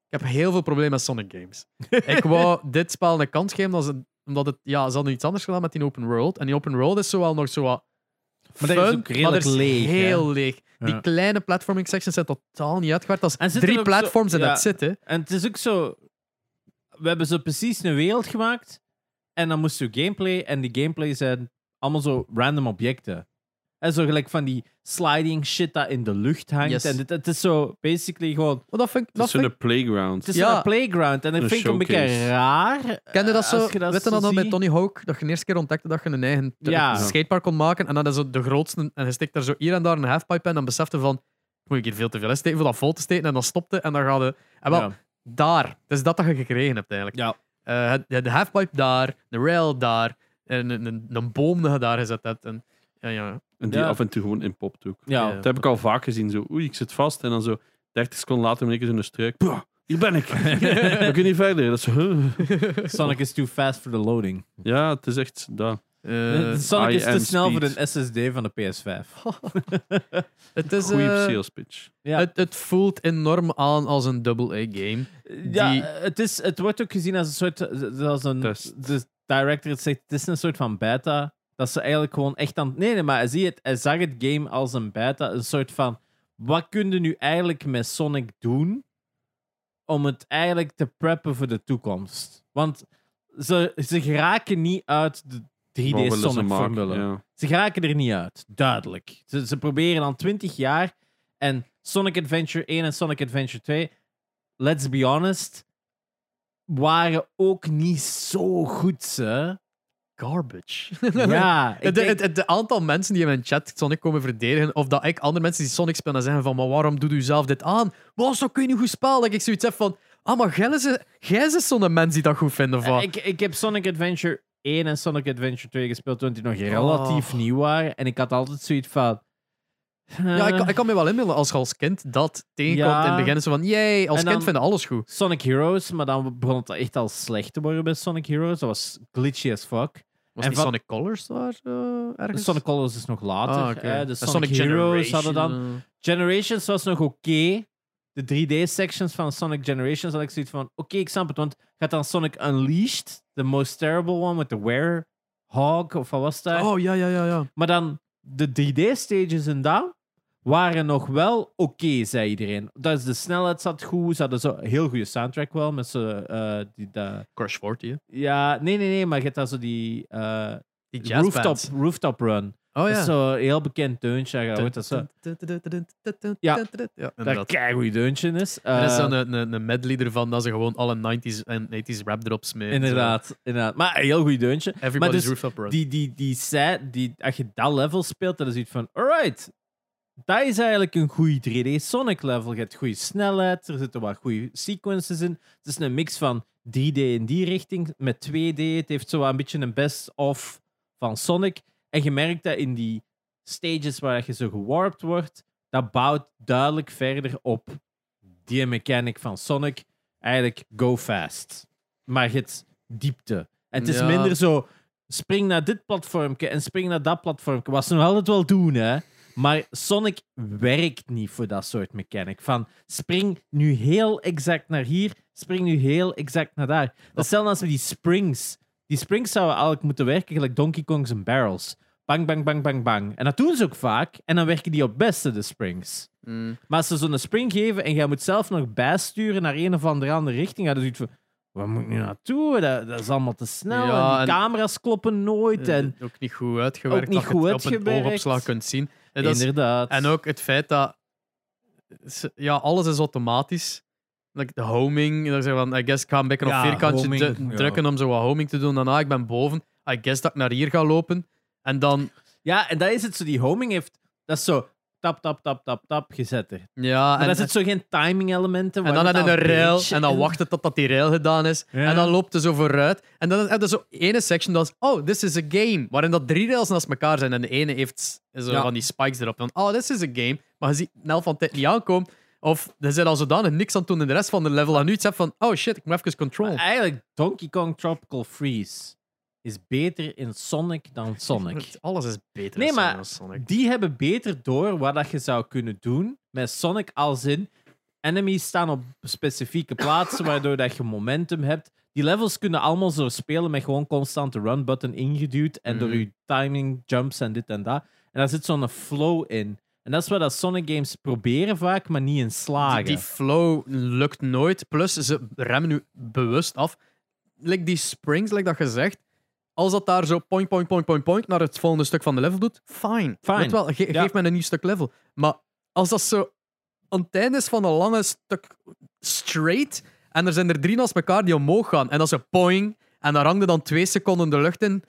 [SPEAKER 2] ik heb heel veel problemen met Sonic games. ik wou dit spel een kans geven omdat ze, omdat het, ja, ze hadden iets anders gedaan met die open world. En die open world is zowel nog zo wat.
[SPEAKER 3] Maar dat is
[SPEAKER 2] fun,
[SPEAKER 3] ook redelijk
[SPEAKER 2] maar dat is
[SPEAKER 3] leeg, hè?
[SPEAKER 2] Heel leeg. Die
[SPEAKER 3] Ja.
[SPEAKER 2] kleine platforming sections zijn totaal niet uitgewerkt. Dat
[SPEAKER 3] En
[SPEAKER 2] is
[SPEAKER 3] zitten
[SPEAKER 2] drie
[SPEAKER 3] ook zo-
[SPEAKER 2] platforms en
[SPEAKER 3] ja.
[SPEAKER 2] dat zitten.
[SPEAKER 3] En het is ook zo, we hebben zo precies een wereld gemaakt, en dan moest je gameplay, en die gameplay zijn allemaal zo random objecten. En zo gelijk van die sliding shit dat in de lucht hangt.
[SPEAKER 2] Yes.
[SPEAKER 3] En dit, het is zo basically gewoon
[SPEAKER 2] Maar dat vind ik.
[SPEAKER 1] Het
[SPEAKER 2] Dat
[SPEAKER 1] is
[SPEAKER 2] vind ik
[SPEAKER 1] zo'n playground.
[SPEAKER 3] Het is
[SPEAKER 2] Ja.
[SPEAKER 3] een playground en dat
[SPEAKER 1] Een
[SPEAKER 3] vind ik een beetje
[SPEAKER 1] showcase.
[SPEAKER 3] raar.
[SPEAKER 2] Kende dat
[SPEAKER 3] eh,
[SPEAKER 2] zo?
[SPEAKER 3] als
[SPEAKER 2] Weet je dat
[SPEAKER 3] zo
[SPEAKER 2] dan bij
[SPEAKER 3] ziet.
[SPEAKER 2] Tony Hawk? Dat je de eerste keer ontdekte dat je een eigen t-
[SPEAKER 3] Ja.
[SPEAKER 2] skatepark kon maken. En dan is het de grootste. En je steekt daar zo hier en daar een halfpipe in. En dan besefte van. Moet ik hier veel te veel in steken voor dat vol te steken? En dan stopte. En dan gaat het. En
[SPEAKER 1] Ah,
[SPEAKER 2] wel,
[SPEAKER 3] Ja.
[SPEAKER 2] daar. Het is dat dat je gekregen hebt eigenlijk.
[SPEAKER 3] Ja.
[SPEAKER 2] Eh, het- de halfpipe daar, de rail daar. En een, een, een boom dat je daar gezet hebt. En, ja, ja.
[SPEAKER 1] En die
[SPEAKER 3] Ja.
[SPEAKER 1] af en toe gewoon in popt ook.
[SPEAKER 3] Ja.
[SPEAKER 2] Ja.
[SPEAKER 1] Dat heb ik al vaak gezien. Zo, oei, ik zit vast. En dan zo 30 seconden later ben ik eens in een struik. Pah, hier ben ik. We kunnen niet verder. Dat is, huh.
[SPEAKER 3] Sonic is too fast for the loading.
[SPEAKER 1] Ja, het is echt daar.
[SPEAKER 2] Eh,
[SPEAKER 3] Sonic
[SPEAKER 1] I
[SPEAKER 3] is
[SPEAKER 1] am
[SPEAKER 3] te snel
[SPEAKER 1] speed.
[SPEAKER 3] voor een SSD van de PS5.
[SPEAKER 2] het, is,
[SPEAKER 1] Goeie
[SPEAKER 2] eh,
[SPEAKER 1] sales pitch.
[SPEAKER 3] Ja.
[SPEAKER 2] het, het voelt enorm aan als een double-A-game.
[SPEAKER 3] ja,
[SPEAKER 2] die-
[SPEAKER 3] het, is, het wordt ook gezien als een soort. Als een,
[SPEAKER 1] Test.
[SPEAKER 3] De director het zegt, het is een soort van beta. Dat ze eigenlijk gewoon echt aan. Nee, nee, maar hij, zie het, hij zag het game als een beta. Een soort van. Wat kun je nu eigenlijk met Sonic doen? om het eigenlijk te preppen voor de toekomst. Want ze, ze geraken niet uit de
[SPEAKER 1] Wat willen ze
[SPEAKER 3] 3D-Sonic-formule.
[SPEAKER 1] maken? Ja.
[SPEAKER 3] Ze geraken er niet uit, duidelijk. Ze, ze proberen al 20 jaar en Sonic Adventure 1 en Sonic Adventure 2, let's be honest, waren ook niet zo goed, ze.
[SPEAKER 2] Garbage.
[SPEAKER 3] Ja,
[SPEAKER 2] Het
[SPEAKER 3] ik
[SPEAKER 2] de,
[SPEAKER 3] denk-
[SPEAKER 2] het, het de aantal mensen die in mijn chat Sonic komen verdedigen, of dat ik andere mensen die Sonic spelen en zeggen van, maar waarom doet u zelf dit aan? Was dat kun je niet goed spelen? Dat ik zoiets heb van, ah, maar jij is, jij is zo'n mens die dat goed vinden van.
[SPEAKER 3] Ik, ik heb Sonic Adventure 1 en Sonic Adventure 2 gespeeld toen
[SPEAKER 2] Oh.
[SPEAKER 3] die nog relatief nieuw waren. En ik had altijd zoiets van...
[SPEAKER 2] ja, ik,
[SPEAKER 3] eh,
[SPEAKER 2] kan- ik kan me wel inbeelden als je als kind dat tegenkomt
[SPEAKER 3] Ja.
[SPEAKER 2] in het begin. Zo van, jee, als
[SPEAKER 3] En dan-
[SPEAKER 2] kind vinden alles goed.
[SPEAKER 3] Sonic Heroes, maar dan begon het echt al slecht te worden bij Sonic Heroes. Dat was glitchy as fuck.
[SPEAKER 2] Was
[SPEAKER 3] En
[SPEAKER 2] die
[SPEAKER 3] van-
[SPEAKER 2] Sonic Colors daar eh, ergens?
[SPEAKER 3] Dus Sonic Colors is nog later.
[SPEAKER 2] Ah, oké.
[SPEAKER 3] hè.
[SPEAKER 2] En
[SPEAKER 3] de Sonic, Heroes hadden dan. Generations was nog oké. De 3D-sections van Sonic Generations had ik zoiets van... Oké, ik snap het. Want gaat dan Sonic Unleashed, the most terrible one with the werehog, of wat was dat?
[SPEAKER 2] Oh, ja, ja, ja. ja.
[SPEAKER 3] Maar dan de 3D-stages en dat waren nog wel oké, zei iedereen. Dat is de snelheid zat goed. Ze hadden zo een heel goede soundtrack wel. Met zo, eh, die, dat-
[SPEAKER 2] Crash 40, hè.
[SPEAKER 3] ja, nee, nee, nee. Maar je hebt daar zo die eh,
[SPEAKER 2] Die
[SPEAKER 3] rooftop,
[SPEAKER 2] jazzbands.
[SPEAKER 3] rooftop run.
[SPEAKER 2] Oh,
[SPEAKER 3] Dat is
[SPEAKER 2] ja.
[SPEAKER 3] zo'n heel bekend deuntje. Je hoort Dat zo- Ja.
[SPEAKER 2] ja
[SPEAKER 3] dat
[SPEAKER 2] inderdaad.
[SPEAKER 3] een keigoed deuntje is.
[SPEAKER 2] Er is
[SPEAKER 3] Eh,
[SPEAKER 2] zo'n een, een, een medley ervan dat ze gewoon alle 90s en 80s rap erop smeren.
[SPEAKER 3] Inderdaad, inderdaad. Maar een heel goed deuntje.
[SPEAKER 2] Zo. Everybody's
[SPEAKER 3] Maar dus
[SPEAKER 2] Rooftop Run.
[SPEAKER 3] Die, die, die set, die, als je dat level speelt, dan is het van, alright, dat is eigenlijk een goede 3D Sonic level. Je hebt goede snelheid, er zitten wat goede sequences in. Het is een mix van 3D in die richting met 2D. Het heeft zo wat een beetje een best-of van Sonic. En je merkt dat in die stages waar je zo gewarpt wordt, dat bouwt duidelijk verder op die mechanic van Sonic. Eigenlijk go fast. Maar je hebt diepte. En het is
[SPEAKER 2] Ja.
[SPEAKER 3] minder zo, spring naar dit platformke en spring naar dat platformke. Wat ze nog altijd wel doen, hè. Maar Sonic werkt niet voor dat soort mechanic. Van spring nu heel exact naar hier, spring nu heel exact naar daar. Dat is hetzelfde als met die springs. Die springs zouden eigenlijk moeten werken gelijk Donkey Kong's en barrels. Bang, bang, bang, bang, bang. En dat doen ze ook vaak. En dan werken die op het beste, de springs.
[SPEAKER 2] Mm.
[SPEAKER 3] Maar als ze zo'n spring geven en jij moet zelf nog bijsturen naar een of andere andere richting, dan doe je het van... Waar moet ik nu naartoe? Dat, dat is allemaal te snel.
[SPEAKER 2] Ja,
[SPEAKER 3] en die
[SPEAKER 2] en-
[SPEAKER 3] camera's kloppen nooit.
[SPEAKER 2] Eh,
[SPEAKER 3] En...
[SPEAKER 2] Ook niet goed uitgewerkt.
[SPEAKER 3] Ook niet
[SPEAKER 2] dat je
[SPEAKER 3] goed
[SPEAKER 2] het op een
[SPEAKER 3] uitgewerkt.
[SPEAKER 2] oogopslag kunt zien. En, dat is-
[SPEAKER 3] Inderdaad.
[SPEAKER 2] en ook het feit dat... ze- Ja, alles is automatisch. Like de homing. Dat ze van, I guess, ik ga een beetje op
[SPEAKER 3] Ja,
[SPEAKER 2] vierkantje
[SPEAKER 3] homing,
[SPEAKER 2] du-
[SPEAKER 3] ja.
[SPEAKER 2] drukken om zo wat homing te doen. Daarna, ik ben boven. I guess dat ik naar hier ga lopen. En dan...
[SPEAKER 3] Ja, en dat is het zo. Die homing heeft... Dat is zo... Tap, tap, tap, tap, tap, gezet er.
[SPEAKER 2] Ja,
[SPEAKER 3] Maar
[SPEAKER 2] en,
[SPEAKER 3] daar zit zo geen timing elementen.
[SPEAKER 2] En dan
[SPEAKER 3] in
[SPEAKER 2] in een rail, en dan wacht het totdat die rail gedaan is.
[SPEAKER 3] Ja.
[SPEAKER 2] En dan loopt het zo vooruit. En dan heb je zo ene section dat is, oh, this is a game. Waarin dat drie rails naast elkaar zijn. En de ene heeft s- zo
[SPEAKER 3] Ja.
[SPEAKER 2] van die spikes erop. Dan, oh, this is a game. Maar je ziet Nel van tijd niet aankomen. Of er zijn al zodanig niks aan het doen in de rest van de level. En nu het zegt van, oh shit, ik moet even control.
[SPEAKER 3] Eigenlijk, Donkey Kong Tropical Freeze is beter in Sonic dan Sonic.
[SPEAKER 2] Alles is beter
[SPEAKER 3] Nee,
[SPEAKER 2] in Sonic
[SPEAKER 3] maar-
[SPEAKER 2] dan Sonic.
[SPEAKER 3] Die hebben beter door wat dat je zou kunnen doen met Sonic als in enemies staan op specifieke plaatsen waardoor dat je momentum hebt. Die levels kunnen allemaal zo spelen met gewoon constant de run button ingeduwd en door
[SPEAKER 2] Mhm.
[SPEAKER 3] je timing jumps en dit en dat. En daar zit zo'n flow in. En dat is wat dat Sonic games proberen vaak, maar niet in
[SPEAKER 2] Die,
[SPEAKER 3] slagen.
[SPEAKER 2] die flow lukt nooit. Plus, ze remmen nu bewust af. Like die springs, like dat gezegd. Als dat daar zo point, point, point, point, point naar het volgende stuk van de level doet, fine.
[SPEAKER 3] Fine.
[SPEAKER 2] Weet wel, ge-
[SPEAKER 3] Ja.
[SPEAKER 2] Geef mij een nieuw stuk level. Maar als dat zo aan het einde is van een lange stuk straight, en er zijn er drie naast elkaar die omhoog gaan, en dat ze poing, en daar hangt er dan twee seconden de lucht in,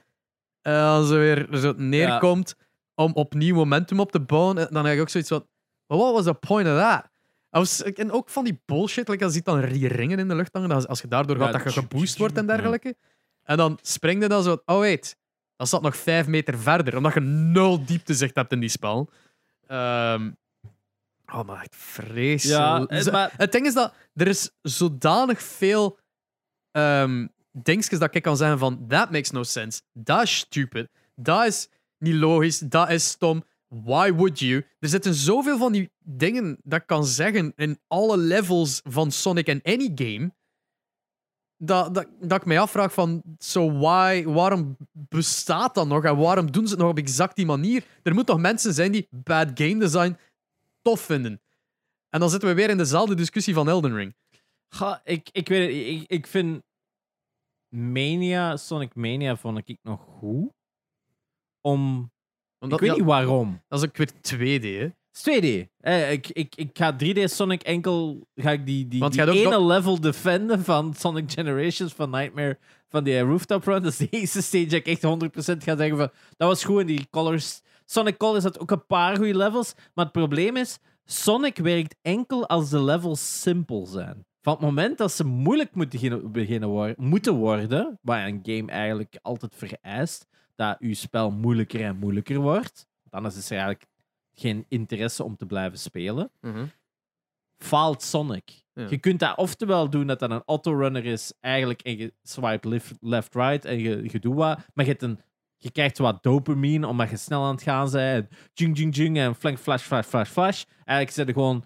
[SPEAKER 2] en dan ze weer zo neerkomt om opnieuw momentum op te bouwen, en dan heb ik ook zoiets van, "Well, what was the point of that? Als- En ook van die bullshit, like als je ziet dan die ringen in de lucht hangen, als- als je daardoor gaat
[SPEAKER 3] Ja,
[SPEAKER 2] dat je
[SPEAKER 3] tjoe,
[SPEAKER 2] geboost
[SPEAKER 3] tjoe,
[SPEAKER 2] wordt en
[SPEAKER 3] tjoe.
[SPEAKER 2] dergelijke. En dan spring je dan zo, oh wait, dat staat nog vijf meter verder, omdat je nul dieptezicht hebt in die spel. Ehm, oh, maar echt
[SPEAKER 3] ja,
[SPEAKER 2] vreselijk.
[SPEAKER 3] eh,
[SPEAKER 2] Zo-
[SPEAKER 3] maar
[SPEAKER 2] het ding is dat er is zodanig veel ehm dingetjes dat ik kan zeggen van that makes no sense, dat is stupid, dat is niet logisch, dat is stom. Why would you? Er zitten zoveel van die dingen dat ik kan zeggen in alle levels van Sonic en any game. Dat, dat, dat ik mij afvraag van, so why, waarom bestaat dat nog en waarom doen ze het nog op exact die manier? Er moeten toch mensen zijn die bad game design tof vinden. En dan zitten we weer in dezelfde discussie van Elden Ring.
[SPEAKER 3] Ga, ik, ik weet het, ik, ik vind Mania, Sonic Mania vond ik nog goed. Om,
[SPEAKER 2] Omdat,
[SPEAKER 3] ik weet
[SPEAKER 2] ja,
[SPEAKER 3] niet waarom.
[SPEAKER 2] Dat is ook weer 2D, hè?
[SPEAKER 3] Het is 2D. Eh, ik, ik, ik ga 3D Sonic enkel. Ga ik die, die,
[SPEAKER 2] Want
[SPEAKER 3] die
[SPEAKER 2] je gaat ook
[SPEAKER 3] ene level defenden van Sonic Generations van Nightmare. Van die eh, rooftop run. Dat is de eerste stage dat ik echt 100% ga zeggen van. Dat was goed. En die colors. Sonic Colors had ook een paar goede levels. Maar het probleem is. Sonic werkt enkel als de levels simpel zijn. Van het moment dat ze moeilijk moeten gin- beginnen wor- moeten worden, wat een game eigenlijk altijd vereist, dat uw spel moeilijker en moeilijker wordt, dan is het er eigenlijk geen interesse om te blijven spelen, faalt Sonic.
[SPEAKER 2] Ja.
[SPEAKER 3] Je kunt dat oftewel doen dat dat een autorunner is, eigenlijk, en je swipe lef- left, right en je, je doet wat, maar je, hebt een, je krijgt wat dopamine omdat je snel aan het gaan bent. En jing, jing, jing en flank, flash, flash, flash, flash. Eigenlijk zit er gewoon.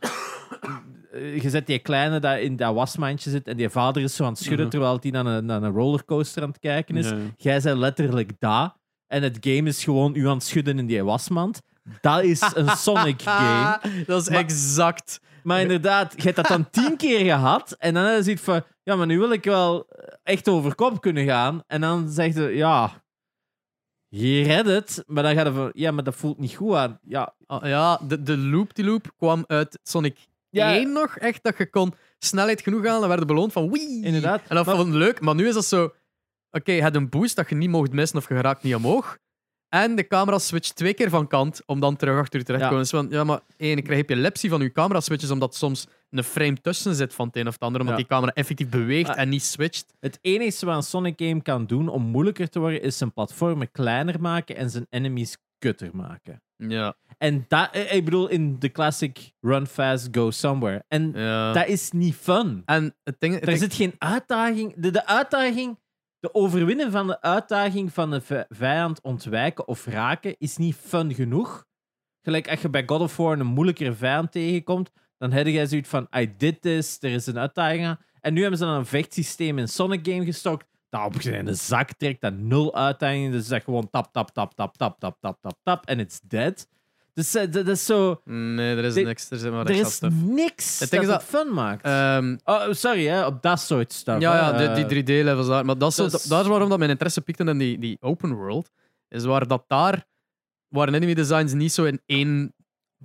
[SPEAKER 3] eh, Je zet die kleine dat in dat wasmandje zit en die vader is zo aan het schudden
[SPEAKER 1] Mhm.
[SPEAKER 3] terwijl hij naar een, naar een rollercoaster aan het kijken is. Jij bent letterlijk daar. En het game is gewoon u aan het schudden in die wasmand. Dat is een Sonic game.
[SPEAKER 2] Ah, dat is
[SPEAKER 3] Maar-
[SPEAKER 2] exact.
[SPEAKER 3] Maar inderdaad, je hebt dat dan tien keer gehad. En dan is het van, ja, maar nu wil ik wel echt over kop kunnen gaan. En dan zegt hij, ja, je redt het. Maar dan gaat hij van, ja, maar dat voelt niet goed aan. Ja,
[SPEAKER 2] Ah, ja, de, de loop die loop kwam uit Sonic
[SPEAKER 3] Ja.
[SPEAKER 2] 1 nog. Echt dat je kon snelheid genoeg halen en werden beloond van wie.
[SPEAKER 3] Inderdaad,
[SPEAKER 2] En dat
[SPEAKER 3] maar-
[SPEAKER 2] vond ik leuk, maar nu is dat zo. Oké, je hebt een boost dat je niet mocht missen of je geraakt niet omhoog. En de camera switcht twee keer van kant om dan terug achter je terecht te
[SPEAKER 3] Ja.
[SPEAKER 2] komen. Dus van, ja, maar één, krijg je epilepsie van je camera switches omdat soms een frame tussen zit van het een of het ander, omdat
[SPEAKER 3] Ja.
[SPEAKER 2] die camera effectief beweegt
[SPEAKER 3] Ah.
[SPEAKER 2] en niet switcht.
[SPEAKER 3] het enige wat een Sonic game kan doen om moeilijker te worden, is zijn platformen kleiner maken en zijn enemies kutter maken.
[SPEAKER 2] Ja.
[SPEAKER 3] En dat, eh, ik bedoel, in de classic run fast, go somewhere. En
[SPEAKER 2] ja.
[SPEAKER 3] dat is niet fun.
[SPEAKER 2] En het ding... het
[SPEAKER 3] Er
[SPEAKER 2] ding-
[SPEAKER 3] zit geen uitdaging. De, de uitdaging. De overwinnen van de uitdaging van de vi- vijand ontwijken of raken is niet fun genoeg. Gelijk als je bij God of War een moeilijkere vijand tegenkomt, dan heb jij zoiets van: I did this, er is een uitdaging aan. En nu hebben ze dan een vechtsysteem in Sonic Game gestokt. Dat op een zak trekt, dat nul uitdaging. Dus dat gewoon tap, tap, tap, tap, tap, tap, tap, tap, tap. En it's dead. Dus eh, dat dat is zo.
[SPEAKER 2] Nee, er is
[SPEAKER 3] Er-
[SPEAKER 2] niks. Er, zit maar
[SPEAKER 3] Er
[SPEAKER 2] extra
[SPEAKER 3] is
[SPEAKER 2] stuff. Het
[SPEAKER 3] niks dat,
[SPEAKER 2] ding is
[SPEAKER 3] het fun maakt.
[SPEAKER 2] Ehm,
[SPEAKER 3] oh, sorry, hè, op dat soort stuff.
[SPEAKER 2] Ja,
[SPEAKER 3] hè.
[SPEAKER 2] ja
[SPEAKER 3] Eh,
[SPEAKER 2] de- die 3D-levels daar. Maar dat is,
[SPEAKER 3] dat
[SPEAKER 2] da-
[SPEAKER 3] is-
[SPEAKER 2] dat is waarom dat mijn interesse piekte in die, die open world. Is waar dat daar waren enemy designs niet zo in één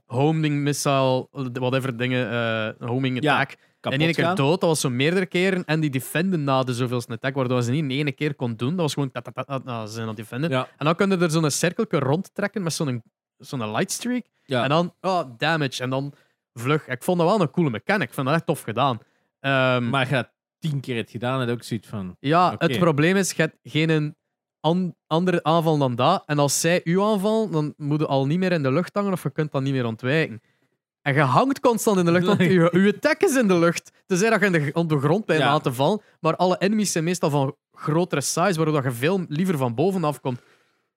[SPEAKER 2] homing missile, whatever dingen, eh, homing
[SPEAKER 3] Ja,
[SPEAKER 2] attack.
[SPEAKER 3] kapot
[SPEAKER 2] in één keer
[SPEAKER 3] gaan.
[SPEAKER 2] dood, dat was zo meerdere keren. En die defenden na de zoveelste attack, waardoor ze niet in één keer kon doen. Dat was gewoon... tat, tat, tat, tat, nou, ze zijn aan het defenden.
[SPEAKER 3] Ja.
[SPEAKER 2] En dan kun je er zo'n cirkelke rondtrekken met zo'n zo'n lightstreak.
[SPEAKER 3] Ja.
[SPEAKER 2] En dan, oh, damage. En dan vlug. Ik vond dat wel een coole mechanic. Ik vond dat echt tof gedaan. Ehm,
[SPEAKER 3] Maar je hebt tien keer het gedaan en ook zoiets van.
[SPEAKER 2] ja,
[SPEAKER 3] Oké.
[SPEAKER 2] het probleem is, je hebt geen an- andere aanval dan dat. En als zij u aanval, dan moet je al niet meer in de lucht hangen of je kunt dan niet meer ontwijken. En je hangt constant in de lucht, want
[SPEAKER 3] Nee.
[SPEAKER 2] je, je attack is in de lucht. Tenzij dat je in de, gr- op de grond bijna
[SPEAKER 3] Ja.
[SPEAKER 2] aan te vallen. Maar alle enemies zijn meestal van grotere size, waardoor dat je veel liever van bovenaf komt.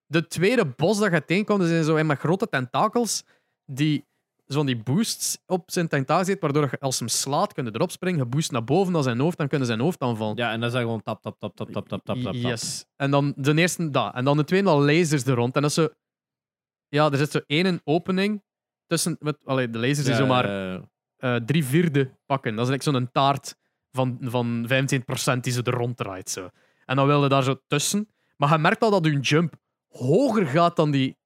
[SPEAKER 2] De tweede bos dat je tegenkomt, zijn zo een met grote tentakels die zo'n die boosts op zijn tentakel zit, waardoor je als hem slaat, kun je erop springen, je boost naar boven naar zijn hoofd, dan kunnen zijn hoofd aanvallen.
[SPEAKER 3] Ja, en dan is dat gewoon tap, tap, tap, tap, tap, tap, tap, tap.
[SPEAKER 2] Yes. En dan de eerste dat. En dan de tweede al lasers er rond. En dat is zo... Ja, er zit zo één opening tussen... Met, allee, de lasers die
[SPEAKER 3] Eh,
[SPEAKER 2] zomaar eh, drie vierde pakken. Dat is like zo'n taart van, van 25% die ze er ronddraait. Zo. En dan wilde daar zo tussen. Maar je merkt al dat hun jump hoger gaat dan die,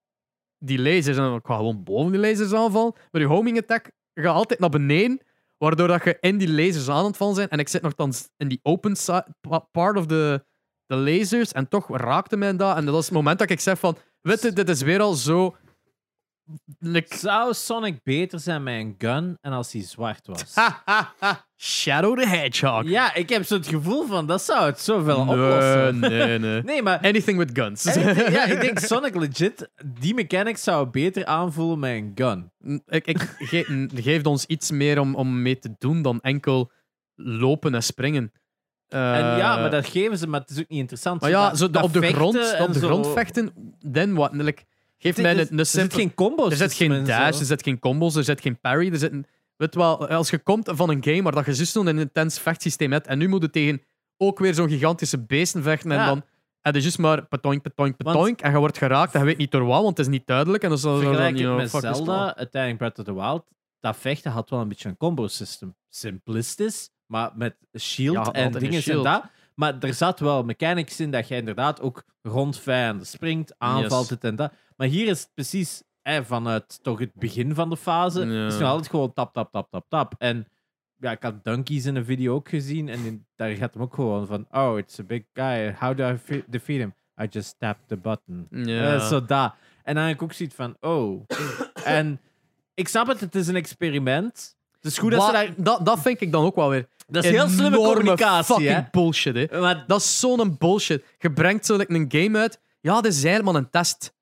[SPEAKER 2] die lasers. En ik ga gewoon boven die lasers aanvallen. Maar je homing attack gaat altijd naar beneden. Waardoor dat je in die lasers aan het vallen zijn. En ik zit nogthans in die open si- pa- part of the, de lasers. En toch raakte mij dat. En dat is het moment dat ik zeg van... Weet je, dit is weer al zo... like,
[SPEAKER 3] Zou Sonic beter zijn met een gun en als hij zwart was?
[SPEAKER 2] Shadow the Hedgehog.
[SPEAKER 3] Ja, ik heb zo het gevoel van dat zou het zoveel oplossen.
[SPEAKER 2] nee, nee.
[SPEAKER 3] Nee, maar.
[SPEAKER 2] Anything with guns.
[SPEAKER 3] Anything- ja, ik denk Sonic legit, die mechanic zou beter aanvoelen met een gun.
[SPEAKER 2] ik, ik, ge- n- geeft ons iets meer om, om mee te doen dan enkel lopen en springen. Eh,
[SPEAKER 3] En ja, maar dat geven ze, maar het is ook niet interessant.
[SPEAKER 2] maar ja,
[SPEAKER 3] dat-
[SPEAKER 2] zo, de-
[SPEAKER 3] dat
[SPEAKER 2] op de,
[SPEAKER 3] vechten
[SPEAKER 2] grond,
[SPEAKER 3] en
[SPEAKER 2] op de
[SPEAKER 3] zo- dus
[SPEAKER 2] grond vechten, then what? Like, geef
[SPEAKER 3] Er-
[SPEAKER 2] mij
[SPEAKER 3] er-
[SPEAKER 2] een, een
[SPEAKER 3] Er zit
[SPEAKER 2] simpel...
[SPEAKER 3] geen combo's.
[SPEAKER 2] er zit geen
[SPEAKER 3] tussen en
[SPEAKER 2] dash,
[SPEAKER 3] zo.
[SPEAKER 2] er zit geen combos, er zit geen parry. Er zit een, weet wel, als je komt van een game waar dat je zo snel een intens vechtsysteem hebt en nu moet je tegen ook weer zo'n gigantische beesten vechten en
[SPEAKER 3] Ja.
[SPEAKER 2] dan... En het is juist maar patoink, patoink,
[SPEAKER 3] Want-
[SPEAKER 2] patoink. En je wordt geraakt en je weet niet door wat, want het is niet duidelijk. En dan zal
[SPEAKER 3] Vergelijk
[SPEAKER 2] dan,
[SPEAKER 3] het
[SPEAKER 2] you
[SPEAKER 3] met
[SPEAKER 2] know, fuck is
[SPEAKER 3] Zelda, uiteindelijk Breath of the Wild. Dat vechten had wel een beetje een combo-system. Simplistisch, Maar met shield
[SPEAKER 5] Ja,
[SPEAKER 3] en
[SPEAKER 5] altijd een
[SPEAKER 3] dingen en
[SPEAKER 5] shield.
[SPEAKER 3] dat. Maar er zat wel mechanics in dat je inderdaad ook rond vijanden springt, aanvalt
[SPEAKER 5] Yes.
[SPEAKER 3] dit en dat. Maar hier is het precies eh, vanuit toch het begin van de fase.
[SPEAKER 5] Ja.
[SPEAKER 3] Het is nog altijd gewoon tap, tap, tap, tap, tap. En ja, ik had Dunkies in een video ook gezien. En in- daar gaat hem ook gewoon van: Oh, it's a big guy. How do I fe- defeat him? I just tap the button.
[SPEAKER 5] Ja.
[SPEAKER 3] Eh, Zo daar. En dan heb ik ook zoiets van: Oh. en ik snap het, het is een experiment. Het is goed dat ze
[SPEAKER 2] Wa-
[SPEAKER 3] daar.
[SPEAKER 2] dat, dat vind ik dan ook wel weer.
[SPEAKER 3] Dat is heel slimme
[SPEAKER 2] enorme
[SPEAKER 3] communicatie,
[SPEAKER 2] fucking
[SPEAKER 3] hè?
[SPEAKER 2] bullshit, hè.
[SPEAKER 3] Maar
[SPEAKER 2] Dat is zo'n bullshit. Je brengt zo like, een game uit. Ja, dit is eigenlijk maar een test.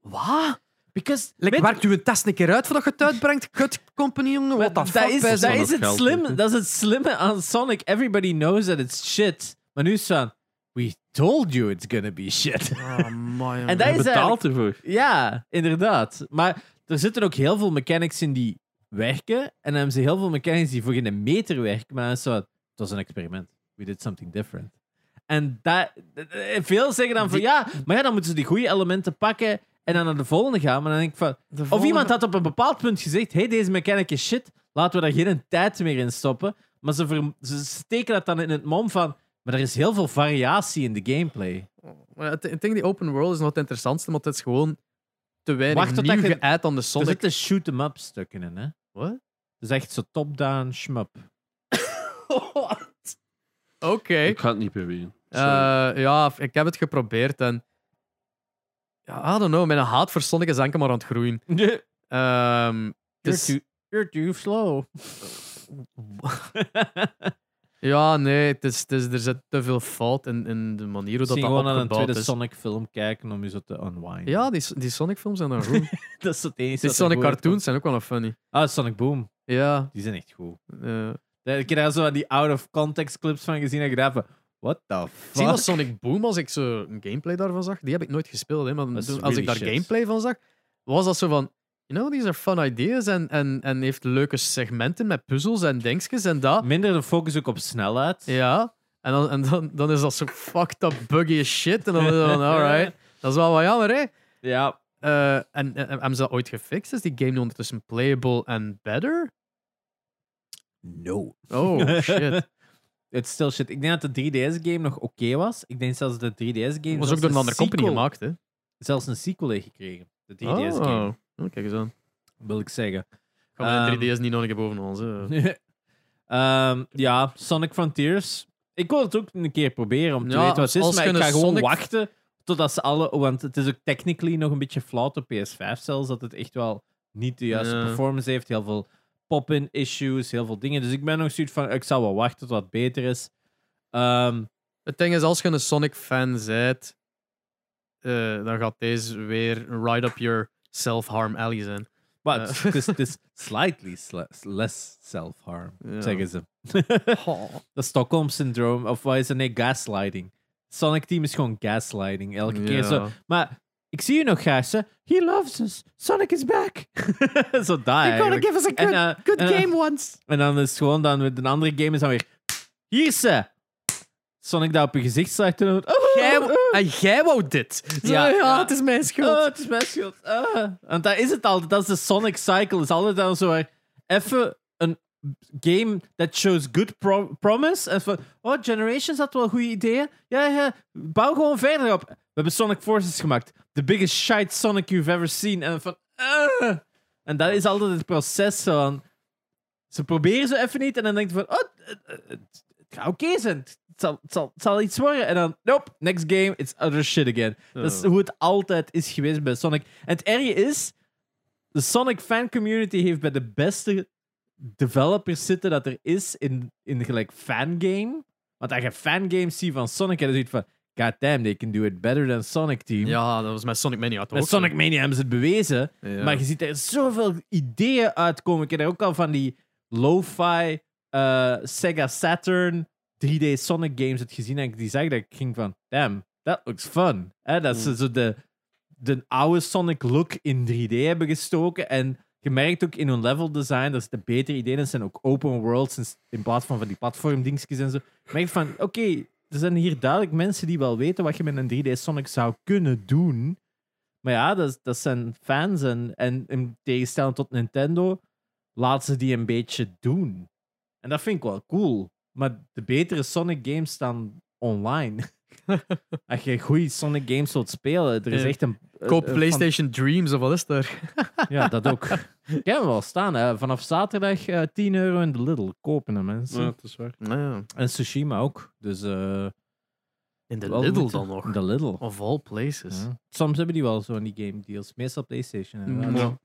[SPEAKER 2] Wat?
[SPEAKER 3] Because,
[SPEAKER 2] Like,
[SPEAKER 3] weet-
[SPEAKER 2] werkt u een test een keer uit voordat je het uitbrengt? Kut company, jongen. Wat
[SPEAKER 3] dat is,
[SPEAKER 2] wij
[SPEAKER 3] dat
[SPEAKER 2] zijn-
[SPEAKER 1] nog
[SPEAKER 3] is het
[SPEAKER 1] geld,
[SPEAKER 3] slimme.
[SPEAKER 1] hè?
[SPEAKER 3] Dat is het slimme aan Sonic. Everybody knows that it's shit. Maar nu is het van, we told you it's gonna be shit.
[SPEAKER 5] Ah, my,
[SPEAKER 3] en dat is eigenlijk-
[SPEAKER 1] Betaalt ervoor.
[SPEAKER 3] Ja, inderdaad. Maar er zitten ook heel veel mechanics in die werken. En dan hebben ze heel veel mechanics die voor geen meter werken. Maar dan is het zo, het was een experiment. We did something different. En dat, eh, veel zeggen dan van, ja, maar ja, dan moeten ze die goede elementen pakken en dan naar de volgende gaan. Maar dan denk ik van, of iemand had op een bepaald punt gezegd: hey, deze mechanic is shit, laten we daar geen tijd meer in stoppen. Maar ze, ver- ze steken dat dan in het mom van. Maar er is heel veel variatie in de gameplay.
[SPEAKER 2] Maar het- Ik denk die open world is nog het interessantste, want het is gewoon te weinig
[SPEAKER 3] Wacht tot
[SPEAKER 2] nieuw
[SPEAKER 3] dat je- Dus
[SPEAKER 2] geuit aan de
[SPEAKER 3] Er
[SPEAKER 2] Sonic.
[SPEAKER 3] zitten shoot-em-up stukken in, hè?
[SPEAKER 2] Wat?
[SPEAKER 3] Dat is echt zo top-down shmup.
[SPEAKER 2] Oké.
[SPEAKER 1] Ik ga het niet proberen. Sorry.
[SPEAKER 2] Eh, ja, f- ik heb het geprobeerd en... Ja, I don't know. Mijn haat voor Sonic is enkel maar aan het groeien. Ehm, het
[SPEAKER 3] You're,
[SPEAKER 2] is-
[SPEAKER 3] too, you're too slow.
[SPEAKER 2] ja, nee. Het is, het is, er zit te veel fout in, in de manier hoe dat,
[SPEAKER 3] Misschien
[SPEAKER 2] dat
[SPEAKER 3] gewoon naar een
[SPEAKER 2] opgebouwd
[SPEAKER 3] tweede
[SPEAKER 2] is.
[SPEAKER 3] Sonic-film kijken om je zo te unwinden.
[SPEAKER 2] Ja, die, die Sonic-films zijn dan goed.
[SPEAKER 3] dat is het
[SPEAKER 2] die
[SPEAKER 3] enige. wat er goed
[SPEAKER 2] Sonic-cartoons zijn ook wel nog funny.
[SPEAKER 3] uitkomt. Ah, Sonic Boom.
[SPEAKER 2] Ja.
[SPEAKER 3] Die zijn echt goed.
[SPEAKER 2] eh.
[SPEAKER 3] Ik heb daar zo aan die out-of-context clips van gezien en gedaan van... What the fuck?
[SPEAKER 2] Zie je dat Sonic Boom, als ik zo een gameplay daarvan zag, die heb ik nooit gespeeld, hè, maar
[SPEAKER 3] Dat is
[SPEAKER 2] toen- als
[SPEAKER 3] really
[SPEAKER 2] ik daar
[SPEAKER 3] shit.
[SPEAKER 2] gameplay van zag, was dat zo van, you know, these are fun ideas en, en, en heeft leuke segmenten met puzzels en dingetjes en dat.
[SPEAKER 3] Minder de focus ook op snelheid.
[SPEAKER 2] Ja. En dan, en dan, dan is dat zo fucked up buggy as shit. En dan is dat van, alright. Dat is wel wat jammer, hè.
[SPEAKER 3] Ja.
[SPEAKER 2] Eh, en, en, en hebben ze dat ooit gefixt? Is die game nu ondertussen playable and better?
[SPEAKER 3] No.
[SPEAKER 2] Oh, shit.
[SPEAKER 3] Het still shit. Ik denk dat de 3DS-game nog oké was. Ik denk zelfs dat de 3DS-game...
[SPEAKER 2] Dat was ook door een andere company gemaakt, hè.
[SPEAKER 3] Zelfs een sequel heeft gekregen. De 3DS-game,
[SPEAKER 2] Oh, Oh, kijk eens aan.
[SPEAKER 3] wil ik zeggen.
[SPEAKER 2] Gaan we
[SPEAKER 3] Ehm,
[SPEAKER 2] de 3DS niet nodig boven ons, hè.
[SPEAKER 3] Ehm, ja, Sonic Frontiers. Ik wil het ook een keer proberen om te
[SPEAKER 2] Ja,
[SPEAKER 3] weten wat het is,
[SPEAKER 2] als
[SPEAKER 3] maar
[SPEAKER 2] je
[SPEAKER 3] ik
[SPEAKER 2] een
[SPEAKER 3] ga gewoon
[SPEAKER 2] Sonic-
[SPEAKER 3] wachten totdat ze alle... Want het is ook technically nog een beetje flauw op PS5 zelfs, dat het echt wel niet de juiste
[SPEAKER 2] Ja.
[SPEAKER 3] performance heeft. Heel veel pop-in issues, heel veel dingen. Dus ik ben nog zoiets van, ik zal wel wachten tot het beter is. Ehm,
[SPEAKER 2] Het ding is, als je een Sonic-fan bent, eh, dan gaat deze weer right up your self-harm alley zijn.
[SPEAKER 3] maar
[SPEAKER 2] Eh.
[SPEAKER 3] het is- het is slightly sle- less self-harm,
[SPEAKER 2] Ja.
[SPEAKER 3] zeggen ze. Dat Stockholm-syndroom, of wat is het? Nee, gaslighting. Sonic Team is gewoon gaslighting. Elke keer zo, Maar ik zie je nog graag, ze. He loves us. Sonic is back. Zo daar. Ah, eigenlijk.
[SPEAKER 2] us a
[SPEAKER 3] En, eh, en, eh,
[SPEAKER 2] once.
[SPEAKER 3] En dan is het gewoon dan met een andere game is dan weer. Hier is ze. Sonic dat op je gezicht slaat. En dan- oh,
[SPEAKER 2] Jij,
[SPEAKER 3] oh,
[SPEAKER 2] en jij wou dit.
[SPEAKER 3] Ja,
[SPEAKER 2] Ja,
[SPEAKER 3] ja.
[SPEAKER 2] het is mijn schuld.
[SPEAKER 3] oh, het is mijn schuld. Ah. Want dat is het altijd. Dat is de Sonic cycle. Het is altijd dan zo waar. Even een game that shows good pro- promise. En van, oh, Generations had wel goede ideeën. Ja, ja, bouw gewoon verder op. We hebben Sonic Forces gemaakt. The biggest shite Sonic you've ever seen. En van, ah. En dat is altijd het proces van... Ze proberen zo even niet en dan denk je van, oh, het, het- het- het gaat oké zijn. Het zal, het zal, het zal iets worden. En dan, nope, next game, it's other shit again. Dat
[SPEAKER 2] Oh.
[SPEAKER 3] is hoe het altijd is geweest bij Sonic. En het erge is, de Sonic fan community heeft bij de beste developers zitten dat er is in, in gelijk fangame. Want als je fangames ziet van Sonic, en dan ziet van, god damn, they can do it better than Sonic Team.
[SPEAKER 2] Ja, dat was met Sonic Mania toch
[SPEAKER 3] Met
[SPEAKER 2] ook
[SPEAKER 3] Sonic Mania hebben ze het bewezen.
[SPEAKER 2] zo. Ja.
[SPEAKER 3] Maar je ziet er zoveel ideeën uitkomen. Ik heb er ook al van die lo-fi eh, Sega Saturn 3D Sonic games het gezien. En ik die zag dat ik ging van, damn, that looks fun. Hè, dat ze zo de, de oude Sonic look in 3D hebben gestoken. En je merkt ook in hun level design, dat de betere ideeën. Dat zijn ook open worlds in, in plaats van van die platform dingetjes en zo. Je merkt van, oké, er zijn hier duidelijk mensen die wel weten wat je met een 3D Sonic zou kunnen doen. Maar ja, dat, dat zijn fans. En, en in tegenstelling tot Nintendo, laten ze die een beetje doen. En dat vind ik wel cool. Maar de betere Sonic games staan online. Als je goede Sonic games wilt spelen, er is
[SPEAKER 2] Ja.
[SPEAKER 3] echt een.
[SPEAKER 2] Koop
[SPEAKER 3] een- een
[SPEAKER 2] PlayStation Dreams of wat is daar?
[SPEAKER 3] fan- Ja, dat ook. Kennen we wel staan. hè. Vanaf zaterdag eh, 10 euro in de Lidl. Kopen hem, mensen.
[SPEAKER 1] Ja, dat is waar.
[SPEAKER 3] En Tsushima ook. Dus, eh,
[SPEAKER 2] In de
[SPEAKER 3] wel
[SPEAKER 2] Lidl
[SPEAKER 3] moeten-
[SPEAKER 2] dan nog. Oh, dus.
[SPEAKER 3] De Lidl.
[SPEAKER 2] Of all places.
[SPEAKER 3] Ja. Soms hebben die wel zo'n die game deals. Meestal PlayStation. inderdaad.
[SPEAKER 2] Ja.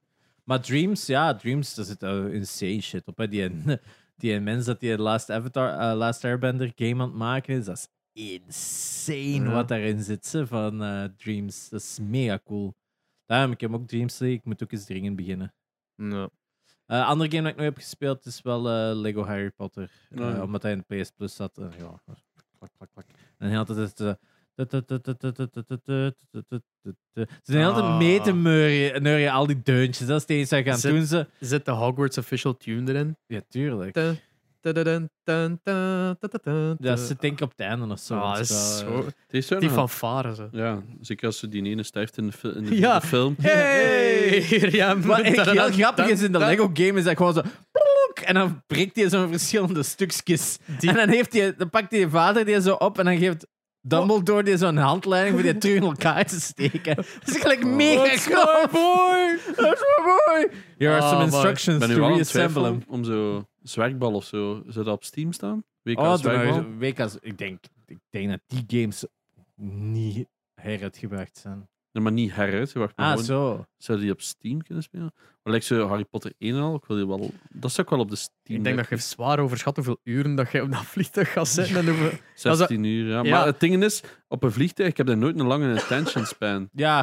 [SPEAKER 3] Maar Dreams, ja, Dreams, daar zit eh, insane shit op. Hè. Die, die mens dat die Last, Avatar, eh, Last Airbender game aan het maken is, dat is insane
[SPEAKER 2] Ja.
[SPEAKER 3] wat daarin zit ze, van eh, Dreams. Dat is mega cool. Daarom, ik heb ook Dreams liggen. Ik moet ook eens dringend beginnen.
[SPEAKER 2] Ja.
[SPEAKER 3] Eh, andere game dat ik nog heb gespeeld is wel eh, Lego Harry Potter. Eh,
[SPEAKER 1] Oh, ja.
[SPEAKER 3] Omdat hij in de PS Plus zat. En ja, klak, klak, klak. En hij had het... eh, Ze zijn altijd
[SPEAKER 2] Ah.
[SPEAKER 3] mee te neurien, neurien al die deuntjes. Dat is het enige dat ze gaan
[SPEAKER 2] Zit-
[SPEAKER 3] doen. Ze...
[SPEAKER 2] Zit de Hogwarts official tune erin?
[SPEAKER 3] Ja, tuurlijk.
[SPEAKER 2] Te- Tadadun, tun, tun, tadadun,
[SPEAKER 3] Dat
[SPEAKER 2] tun.
[SPEAKER 3] zit denk ik op het einde of zo.
[SPEAKER 2] Ah,
[SPEAKER 3] Dat
[SPEAKER 2] dat
[SPEAKER 3] is
[SPEAKER 2] is
[SPEAKER 3] wel, eh,
[SPEAKER 2] zo-
[SPEAKER 1] Oh, Het is er
[SPEAKER 2] Die
[SPEAKER 1] nog.
[SPEAKER 2] fanfare zo.
[SPEAKER 1] Ja, zeker als ze die ene stijft in de, fil- in de,
[SPEAKER 2] Ja.
[SPEAKER 1] in de film.
[SPEAKER 2] Hey!
[SPEAKER 3] Wat echt heel grappig is in de Lego game is dat gewoon zo... plonk, En dan prikt hij zo'n verschillende stukjes.
[SPEAKER 2] Die-
[SPEAKER 3] En dan, heeft hij, dan pakt hij vader die zo op en dan geeft Dumbledore die zo'n handleiding voor die terug in elkaar te steken. Dat is gelijk mega knap. boy! That's my boy! Here are
[SPEAKER 2] Oh,
[SPEAKER 3] some
[SPEAKER 2] boy.
[SPEAKER 3] instructions
[SPEAKER 1] Ik ben nu
[SPEAKER 3] to
[SPEAKER 1] wel aan het
[SPEAKER 3] reassemble
[SPEAKER 1] twijfelen
[SPEAKER 3] him.
[SPEAKER 1] om, om zo zwerkbal of zo. Zou dat op Steam staan? WK
[SPEAKER 2] Ah,
[SPEAKER 3] Oh,
[SPEAKER 1] zwerkbal?
[SPEAKER 3] de WK's. Ik denk, ik denk dat die games niet heruitgebracht zijn.
[SPEAKER 1] Nee, maar niet heruit. wacht, maar
[SPEAKER 3] Ah,
[SPEAKER 1] gewoon-
[SPEAKER 3] zo.
[SPEAKER 1] Zou die op Steam kunnen spelen? Maar lijkt zo Harry Potter 1 en al. Ik wil die wel... Dat zou ik wel op de Steam.
[SPEAKER 2] Ik denk dat je zwaar overschat hoeveel uren dat je op dat vliegtuig gaat zitten. En hoeveel...
[SPEAKER 1] 16 uur, ja.
[SPEAKER 2] Ja.
[SPEAKER 1] Maar het ding is, op een vliegtuig, ik heb daar nooit een lange attention span.
[SPEAKER 3] Ja.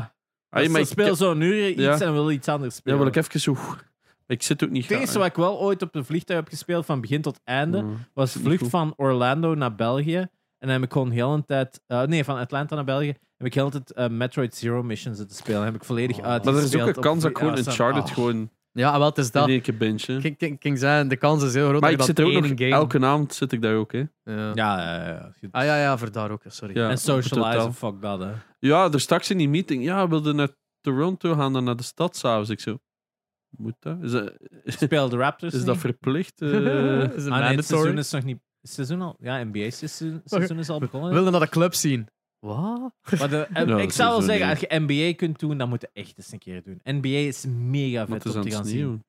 [SPEAKER 1] Ah,
[SPEAKER 3] Als
[SPEAKER 1] maar
[SPEAKER 3] ze
[SPEAKER 1] ik,
[SPEAKER 3] spelen zo'n uur iets
[SPEAKER 1] Ja.
[SPEAKER 3] en willen iets anders spelen.
[SPEAKER 1] ja, wil ik even zo... Ik zit ook niet
[SPEAKER 3] Het enige wat ik wel ooit op een vliegtuig heb gespeeld, van begin tot einde,
[SPEAKER 1] Ja.
[SPEAKER 3] was
[SPEAKER 1] Mm, Niet
[SPEAKER 3] vlucht
[SPEAKER 1] goed.
[SPEAKER 3] van Orlando naar België. En dan heb ik gewoon heel een tijd... eh, nee, van Atlanta naar België heb ik heel een tijd eh, Metroid Zero Mission zitten spelen. heb ik volledig
[SPEAKER 2] Oh.
[SPEAKER 3] uit.
[SPEAKER 1] Maar er is ook een kans dat ik gewoon in
[SPEAKER 2] Ah,
[SPEAKER 1] Charlotte gewoon
[SPEAKER 2] Ja, wel, het is dat.
[SPEAKER 1] in één keer binge.
[SPEAKER 2] Ik- ik- ik ging zeggen, de kans is heel groot
[SPEAKER 1] Maar
[SPEAKER 2] dat
[SPEAKER 1] ik
[SPEAKER 2] je
[SPEAKER 1] zit
[SPEAKER 2] dat
[SPEAKER 1] er ook nog...
[SPEAKER 2] één game...
[SPEAKER 1] Elke avond zit ik daar ook, hè.
[SPEAKER 2] Ja.
[SPEAKER 3] Ja, ja, ja, ja.
[SPEAKER 2] Ah ja, ja, voor daar ook, sorry.
[SPEAKER 1] Ja,
[SPEAKER 3] en socializen,
[SPEAKER 1] totaal.
[SPEAKER 3] fuck dat, hè.
[SPEAKER 1] Ja, er straks in die meeting. Ja, we wilden naar Toronto gaan dan naar de stad s'avonds. Ik zo... Moet dat? Is dat,
[SPEAKER 3] Speel de Raptors
[SPEAKER 1] is dat
[SPEAKER 3] niet?
[SPEAKER 1] verplicht? eh?
[SPEAKER 2] is het
[SPEAKER 3] Ah, nee, het seizoen
[SPEAKER 2] mandatory?
[SPEAKER 3] is nog niet... het Seizoen al... Ja, NBA-seizoen seizoen is al begonnen.
[SPEAKER 2] Wilde naar de club zien. Wat?
[SPEAKER 3] Maar de- eh,
[SPEAKER 1] dat
[SPEAKER 3] ik zou
[SPEAKER 1] seizoen
[SPEAKER 3] wel zeggen, als
[SPEAKER 1] niet.
[SPEAKER 3] je NBA kunt doen, dan moet je echt eens een keer doen. NBA is mega
[SPEAKER 1] Want
[SPEAKER 3] vet
[SPEAKER 1] het is
[SPEAKER 3] om
[SPEAKER 1] aan
[SPEAKER 3] te gaan
[SPEAKER 1] het
[SPEAKER 3] zien.
[SPEAKER 1] sneeuwen.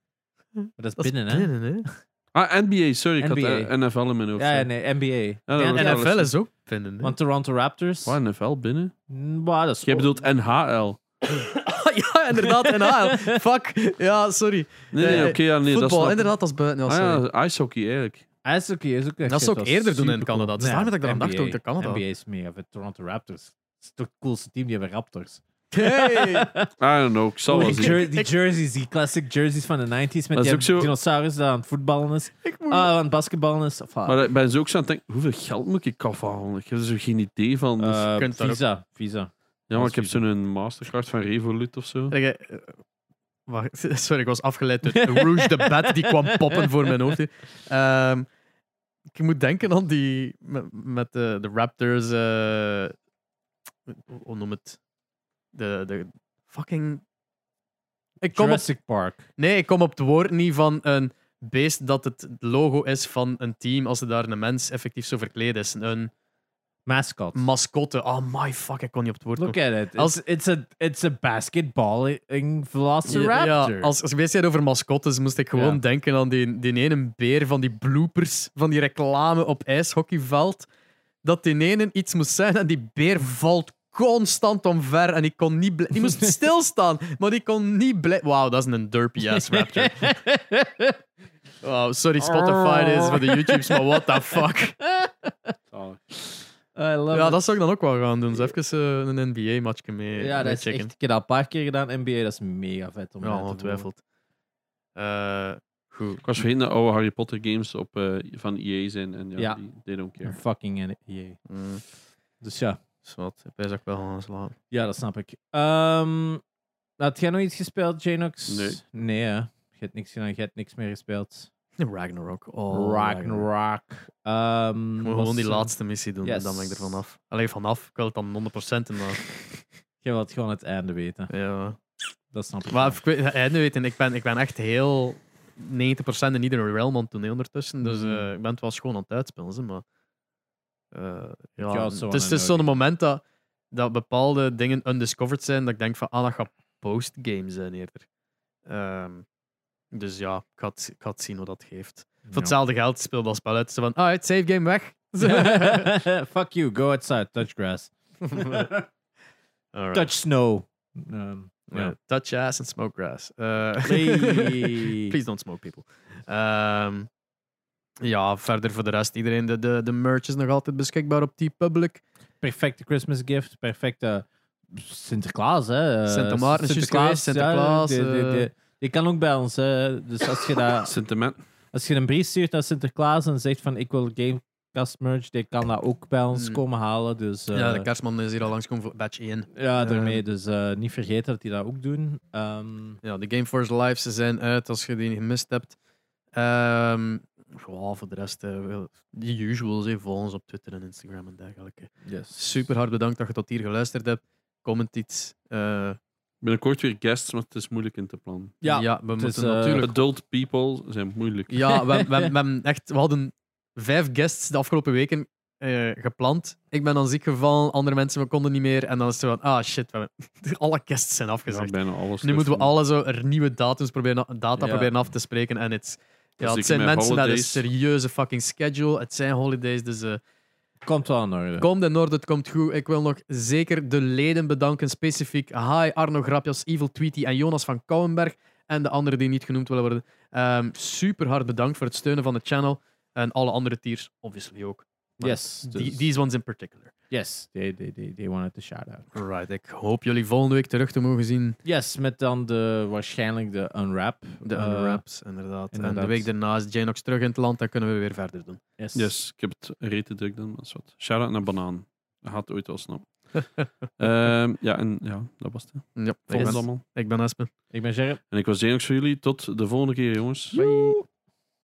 [SPEAKER 3] Maar dat is
[SPEAKER 2] Dat is
[SPEAKER 3] binnen, hè.
[SPEAKER 2] binnen, hè?
[SPEAKER 1] Ah, NBA, sorry. Ik
[SPEAKER 3] NBA.
[SPEAKER 1] had eh, NFL in mijn hoofd.
[SPEAKER 3] Ja, ja, nee, NBA.
[SPEAKER 1] dat
[SPEAKER 3] Ja,
[SPEAKER 1] wordt
[SPEAKER 3] en-
[SPEAKER 1] wel-
[SPEAKER 2] NFL is ook binnen, hè?
[SPEAKER 3] Want Toronto Raptors.
[SPEAKER 1] Waar, NFL binnen?
[SPEAKER 3] Mm, bah, dat is
[SPEAKER 1] Jij bedoelt NHL.
[SPEAKER 2] Ah, ja, inderdaad, NHL. Fuck. Ja, sorry.
[SPEAKER 1] Nee, nee,
[SPEAKER 2] Eh,
[SPEAKER 1] oké, ja, nee, dat
[SPEAKER 2] Voetbal,
[SPEAKER 1] snap ik.
[SPEAKER 2] inderdaad, dat is buiten. Ja, sorry.
[SPEAKER 1] Ah ja, icehockey eigenlijk.
[SPEAKER 3] Ah, is oké, is oké.
[SPEAKER 2] Dat ze ook
[SPEAKER 3] Shit,
[SPEAKER 2] eerder doen in
[SPEAKER 3] supercool.
[SPEAKER 2] Canada. Het is daarom dat ik eraan dacht
[SPEAKER 3] NBA.
[SPEAKER 2] ook te Canada.
[SPEAKER 3] NBA is meer van Toronto Raptors. Het is toch het coolste team, die hebben Raptors.
[SPEAKER 2] Hey.
[SPEAKER 1] I don't know, ik zal wel
[SPEAKER 3] Die,
[SPEAKER 1] zien.
[SPEAKER 3] jer- die jerseys, die classic jerseys van de 90s met
[SPEAKER 1] is
[SPEAKER 3] die
[SPEAKER 1] ook zo-
[SPEAKER 3] dinosaurus dat aan het voetballen is.
[SPEAKER 2] Ik
[SPEAKER 3] Ah,
[SPEAKER 2] moet...
[SPEAKER 3] aan het basketballen is. Of, ah,
[SPEAKER 1] Maar eh, ik ben zo ook zo aan het denken, hoeveel geld moet ik afhalen? Ik heb er zo geen idee van. Dus-
[SPEAKER 3] eh,
[SPEAKER 2] kunt daar ook-
[SPEAKER 3] visa, visa.
[SPEAKER 1] ja, maar ik heb
[SPEAKER 3] precies.
[SPEAKER 1] zo'n mastercard van Revolut of zo.
[SPEAKER 2] Zeg, eh, eh, wacht, sorry, ik was afgeleid door Rouge de Bat, die kwam poppen voor mijn hoofd. hier. Ehm, ik moet denken aan die met, met de, de Raptors. eh, hoe- hoe noem het? De, de fucking. Ik kom op,
[SPEAKER 3] Jurassic Park.
[SPEAKER 2] nee, ik kom op het woord niet van een beest dat het logo is van een team als er daar een mens effectief zo verkleed is. Een
[SPEAKER 3] Mascot.
[SPEAKER 2] mascotte. Oh my fuck, ik kon niet op het woord komen.
[SPEAKER 3] Look at it. It's,
[SPEAKER 2] Mm. Als-
[SPEAKER 3] it's, a, it's a basketballing velociraptor.
[SPEAKER 2] Ja, als, als je bezig bent over mascottes, moest ik gewoon
[SPEAKER 3] Ja.
[SPEAKER 2] denken aan die, die ene beer van die bloopers van die reclame op ijshockeyveld. Dat die ene iets moest zijn en die beer valt constant omver en ik kon niet blij- Die moest stilstaan, maar die kon niet blij... Wauw, dat is een derpy-ass raptor. Wauw, sorry Spotify is voor de YouTubes, maar what the fuck.
[SPEAKER 3] I love
[SPEAKER 2] Ja,
[SPEAKER 3] it.
[SPEAKER 2] dat zou ik dan ook wel gaan doen. Dus even eh, een NBA-matchje mee
[SPEAKER 3] Ja,
[SPEAKER 2] mee
[SPEAKER 3] dat is
[SPEAKER 2] checken.
[SPEAKER 3] echt, ik heb dat een paar keer gedaan. NBA, dat is mega vet om
[SPEAKER 2] Ja,
[SPEAKER 3] uit te voeren.
[SPEAKER 2] ongetwijfeld. Eh, goed.
[SPEAKER 1] Ik was vergeten dat oude Harry Potter games op, eh, van EA zijn. En ja,
[SPEAKER 3] Ja.
[SPEAKER 1] Die, they don't care.
[SPEAKER 3] Fucking en- jee.
[SPEAKER 2] Mm,
[SPEAKER 3] Dus ja,
[SPEAKER 2] zwart. Ik ben ook wel gaan slapen.
[SPEAKER 3] ja, dat snap ik. Ehm had jij nog iets gespeeld, Janox?
[SPEAKER 1] Nee.
[SPEAKER 3] Nee, hè? Je hebt niks gedaan, je hebt niks meer gespeeld.
[SPEAKER 2] Ragnarok. Oh,
[SPEAKER 3] Ragnarok. Ehm,
[SPEAKER 2] Ik moet
[SPEAKER 3] was-
[SPEAKER 2] gewoon die laatste missie doen
[SPEAKER 3] Yes.
[SPEAKER 2] en dan ben ik er vanaf. Alleen vanaf, ik wil het dan 100% in, maar.
[SPEAKER 3] Je wilt gewoon het einde weten.
[SPEAKER 2] Ja.
[SPEAKER 3] Dat snap ik.
[SPEAKER 2] Maar ik weet, het einde weten, ik ben, ik ben echt heel 90% in iedere realm aan het doen hè, ondertussen. Dus
[SPEAKER 3] Mm.
[SPEAKER 2] eh, ik ben het wel schoon aan het uitspelen. Ze, maar, eh, ja,
[SPEAKER 3] Ja,
[SPEAKER 2] het
[SPEAKER 3] het is
[SPEAKER 2] is,
[SPEAKER 3] zo
[SPEAKER 2] het is
[SPEAKER 3] aan-
[SPEAKER 2] zo'n moment dat, dat bepaalde dingen undiscovered zijn. Dat ik denk van, ah, dat gaat postgame zijn eerder. Ehm, dus ja, ik ga, het, ik ga het zien hoe dat geeft. Voor hetzelfde geld speel dat spel uit. Ze van, ah, het save game weg.
[SPEAKER 3] Fuck you, go outside, touch grass.
[SPEAKER 2] Alright.
[SPEAKER 3] Touch snow. Um,
[SPEAKER 2] Ja, Touch ass and smoke grass. Eh,
[SPEAKER 3] Hey.
[SPEAKER 2] Please don't smoke people. Ehm, ja, verder voor de rest. Iedereen, de, de, de merch is nog altijd beschikbaar op T-Public.
[SPEAKER 3] Perfecte Christmas gift, perfecte Sinterklaas, hè. eh,
[SPEAKER 2] Sint Maarten is juist geweest, Sinterklaas,
[SPEAKER 3] ja, die- die-
[SPEAKER 2] eh.
[SPEAKER 3] die- die kan ook bij ons, hè. Dus als je, daar,
[SPEAKER 1] Sentiment.
[SPEAKER 3] als je een brief stuurt naar Sinterklaas en zegt van ik wil Gamecast merch, die kan dat ook bij ons
[SPEAKER 2] Hmm.
[SPEAKER 3] komen halen. Dus, eh,
[SPEAKER 2] ja, de kerstman is hier al langskomen voor batch 1.
[SPEAKER 3] Ja,
[SPEAKER 2] Ehm.
[SPEAKER 3] daarmee. Dus eh, niet vergeten dat die dat ook doen. Ehm,
[SPEAKER 2] Ja, de Gameforce Live, ze zijn uit als je die niet gemist hebt. Ehm ja, voor de rest, eh, wel, de usuals, eh, volg ons op Twitter en Instagram en dergelijke.
[SPEAKER 3] yes.
[SPEAKER 2] Super hard bedankt dat je tot hier geluisterd hebt. Comment iets. Eh,
[SPEAKER 1] Binnenkort weer guests, want het is moeilijk in te plannen.
[SPEAKER 3] Ja,
[SPEAKER 2] ja, we
[SPEAKER 3] het
[SPEAKER 2] moeten
[SPEAKER 3] is, eh,
[SPEAKER 2] natuurlijk
[SPEAKER 1] Adult people zijn moeilijk.
[SPEAKER 2] Ja, we, hebben- we, hebben- we hebben echt, we hadden vijf guests de afgelopen weken eh, gepland. Ik ben dan ziek gevallen, andere mensen we konden niet meer. En dan is het zo van, ah shit, we hebben, alle guests zijn
[SPEAKER 1] Ja, dus-
[SPEAKER 2] afgezegd.
[SPEAKER 1] bijna alles.
[SPEAKER 2] nu moeten we alle zo er nieuwe datums proberen, data
[SPEAKER 3] Ja.
[SPEAKER 2] proberen af te spreken. En het, ja,
[SPEAKER 1] zeker
[SPEAKER 2] het zijn
[SPEAKER 1] met
[SPEAKER 2] mensen met een
[SPEAKER 1] holidays.
[SPEAKER 2] serieuze fucking schedule. Het zijn holidays, dus... eh,
[SPEAKER 3] Komt wel in orde.
[SPEAKER 2] Komt in orde, het komt goed. Ik wil nog zeker de leden bedanken, specifiek Hi, Arno Grapjas, Evil Tweety en Jonas van Kouwenberg en de anderen die niet genoemd willen worden. Ehm, super hard bedankt voor het steunen van de channel en alle andere tiers, obviously ook. Maar
[SPEAKER 3] Yes.
[SPEAKER 2] Die,
[SPEAKER 3] dus-
[SPEAKER 2] these ones in particular.
[SPEAKER 3] yes. They, they, they, they wanted to shout out.
[SPEAKER 2] Right, ik hoop jullie volgende week terug te mogen zien.
[SPEAKER 3] Yes, met dan de, waarschijnlijk de unwrap.
[SPEAKER 2] De
[SPEAKER 3] Eh,
[SPEAKER 2] unwraps, inderdaad. En
[SPEAKER 3] inderdaad.
[SPEAKER 2] de week daarna is Janox terug in het land, dan kunnen we weer verder doen.
[SPEAKER 3] yes.
[SPEAKER 1] Yes, ik heb het rete druk dan, maar dat is wat. Shout-out naar Banaan. Dat gaat ooit wel snel. Ehm, ja, en ja, dat was het. hè.
[SPEAKER 2] Ja,
[SPEAKER 1] Volgens
[SPEAKER 2] ik ben,
[SPEAKER 1] allemaal.
[SPEAKER 2] ik ben Espen.
[SPEAKER 3] Ik ben Gerrit.
[SPEAKER 1] En ik was Jenox voor jullie. Tot de volgende keer, jongens.
[SPEAKER 2] Bye.
[SPEAKER 3] Joe.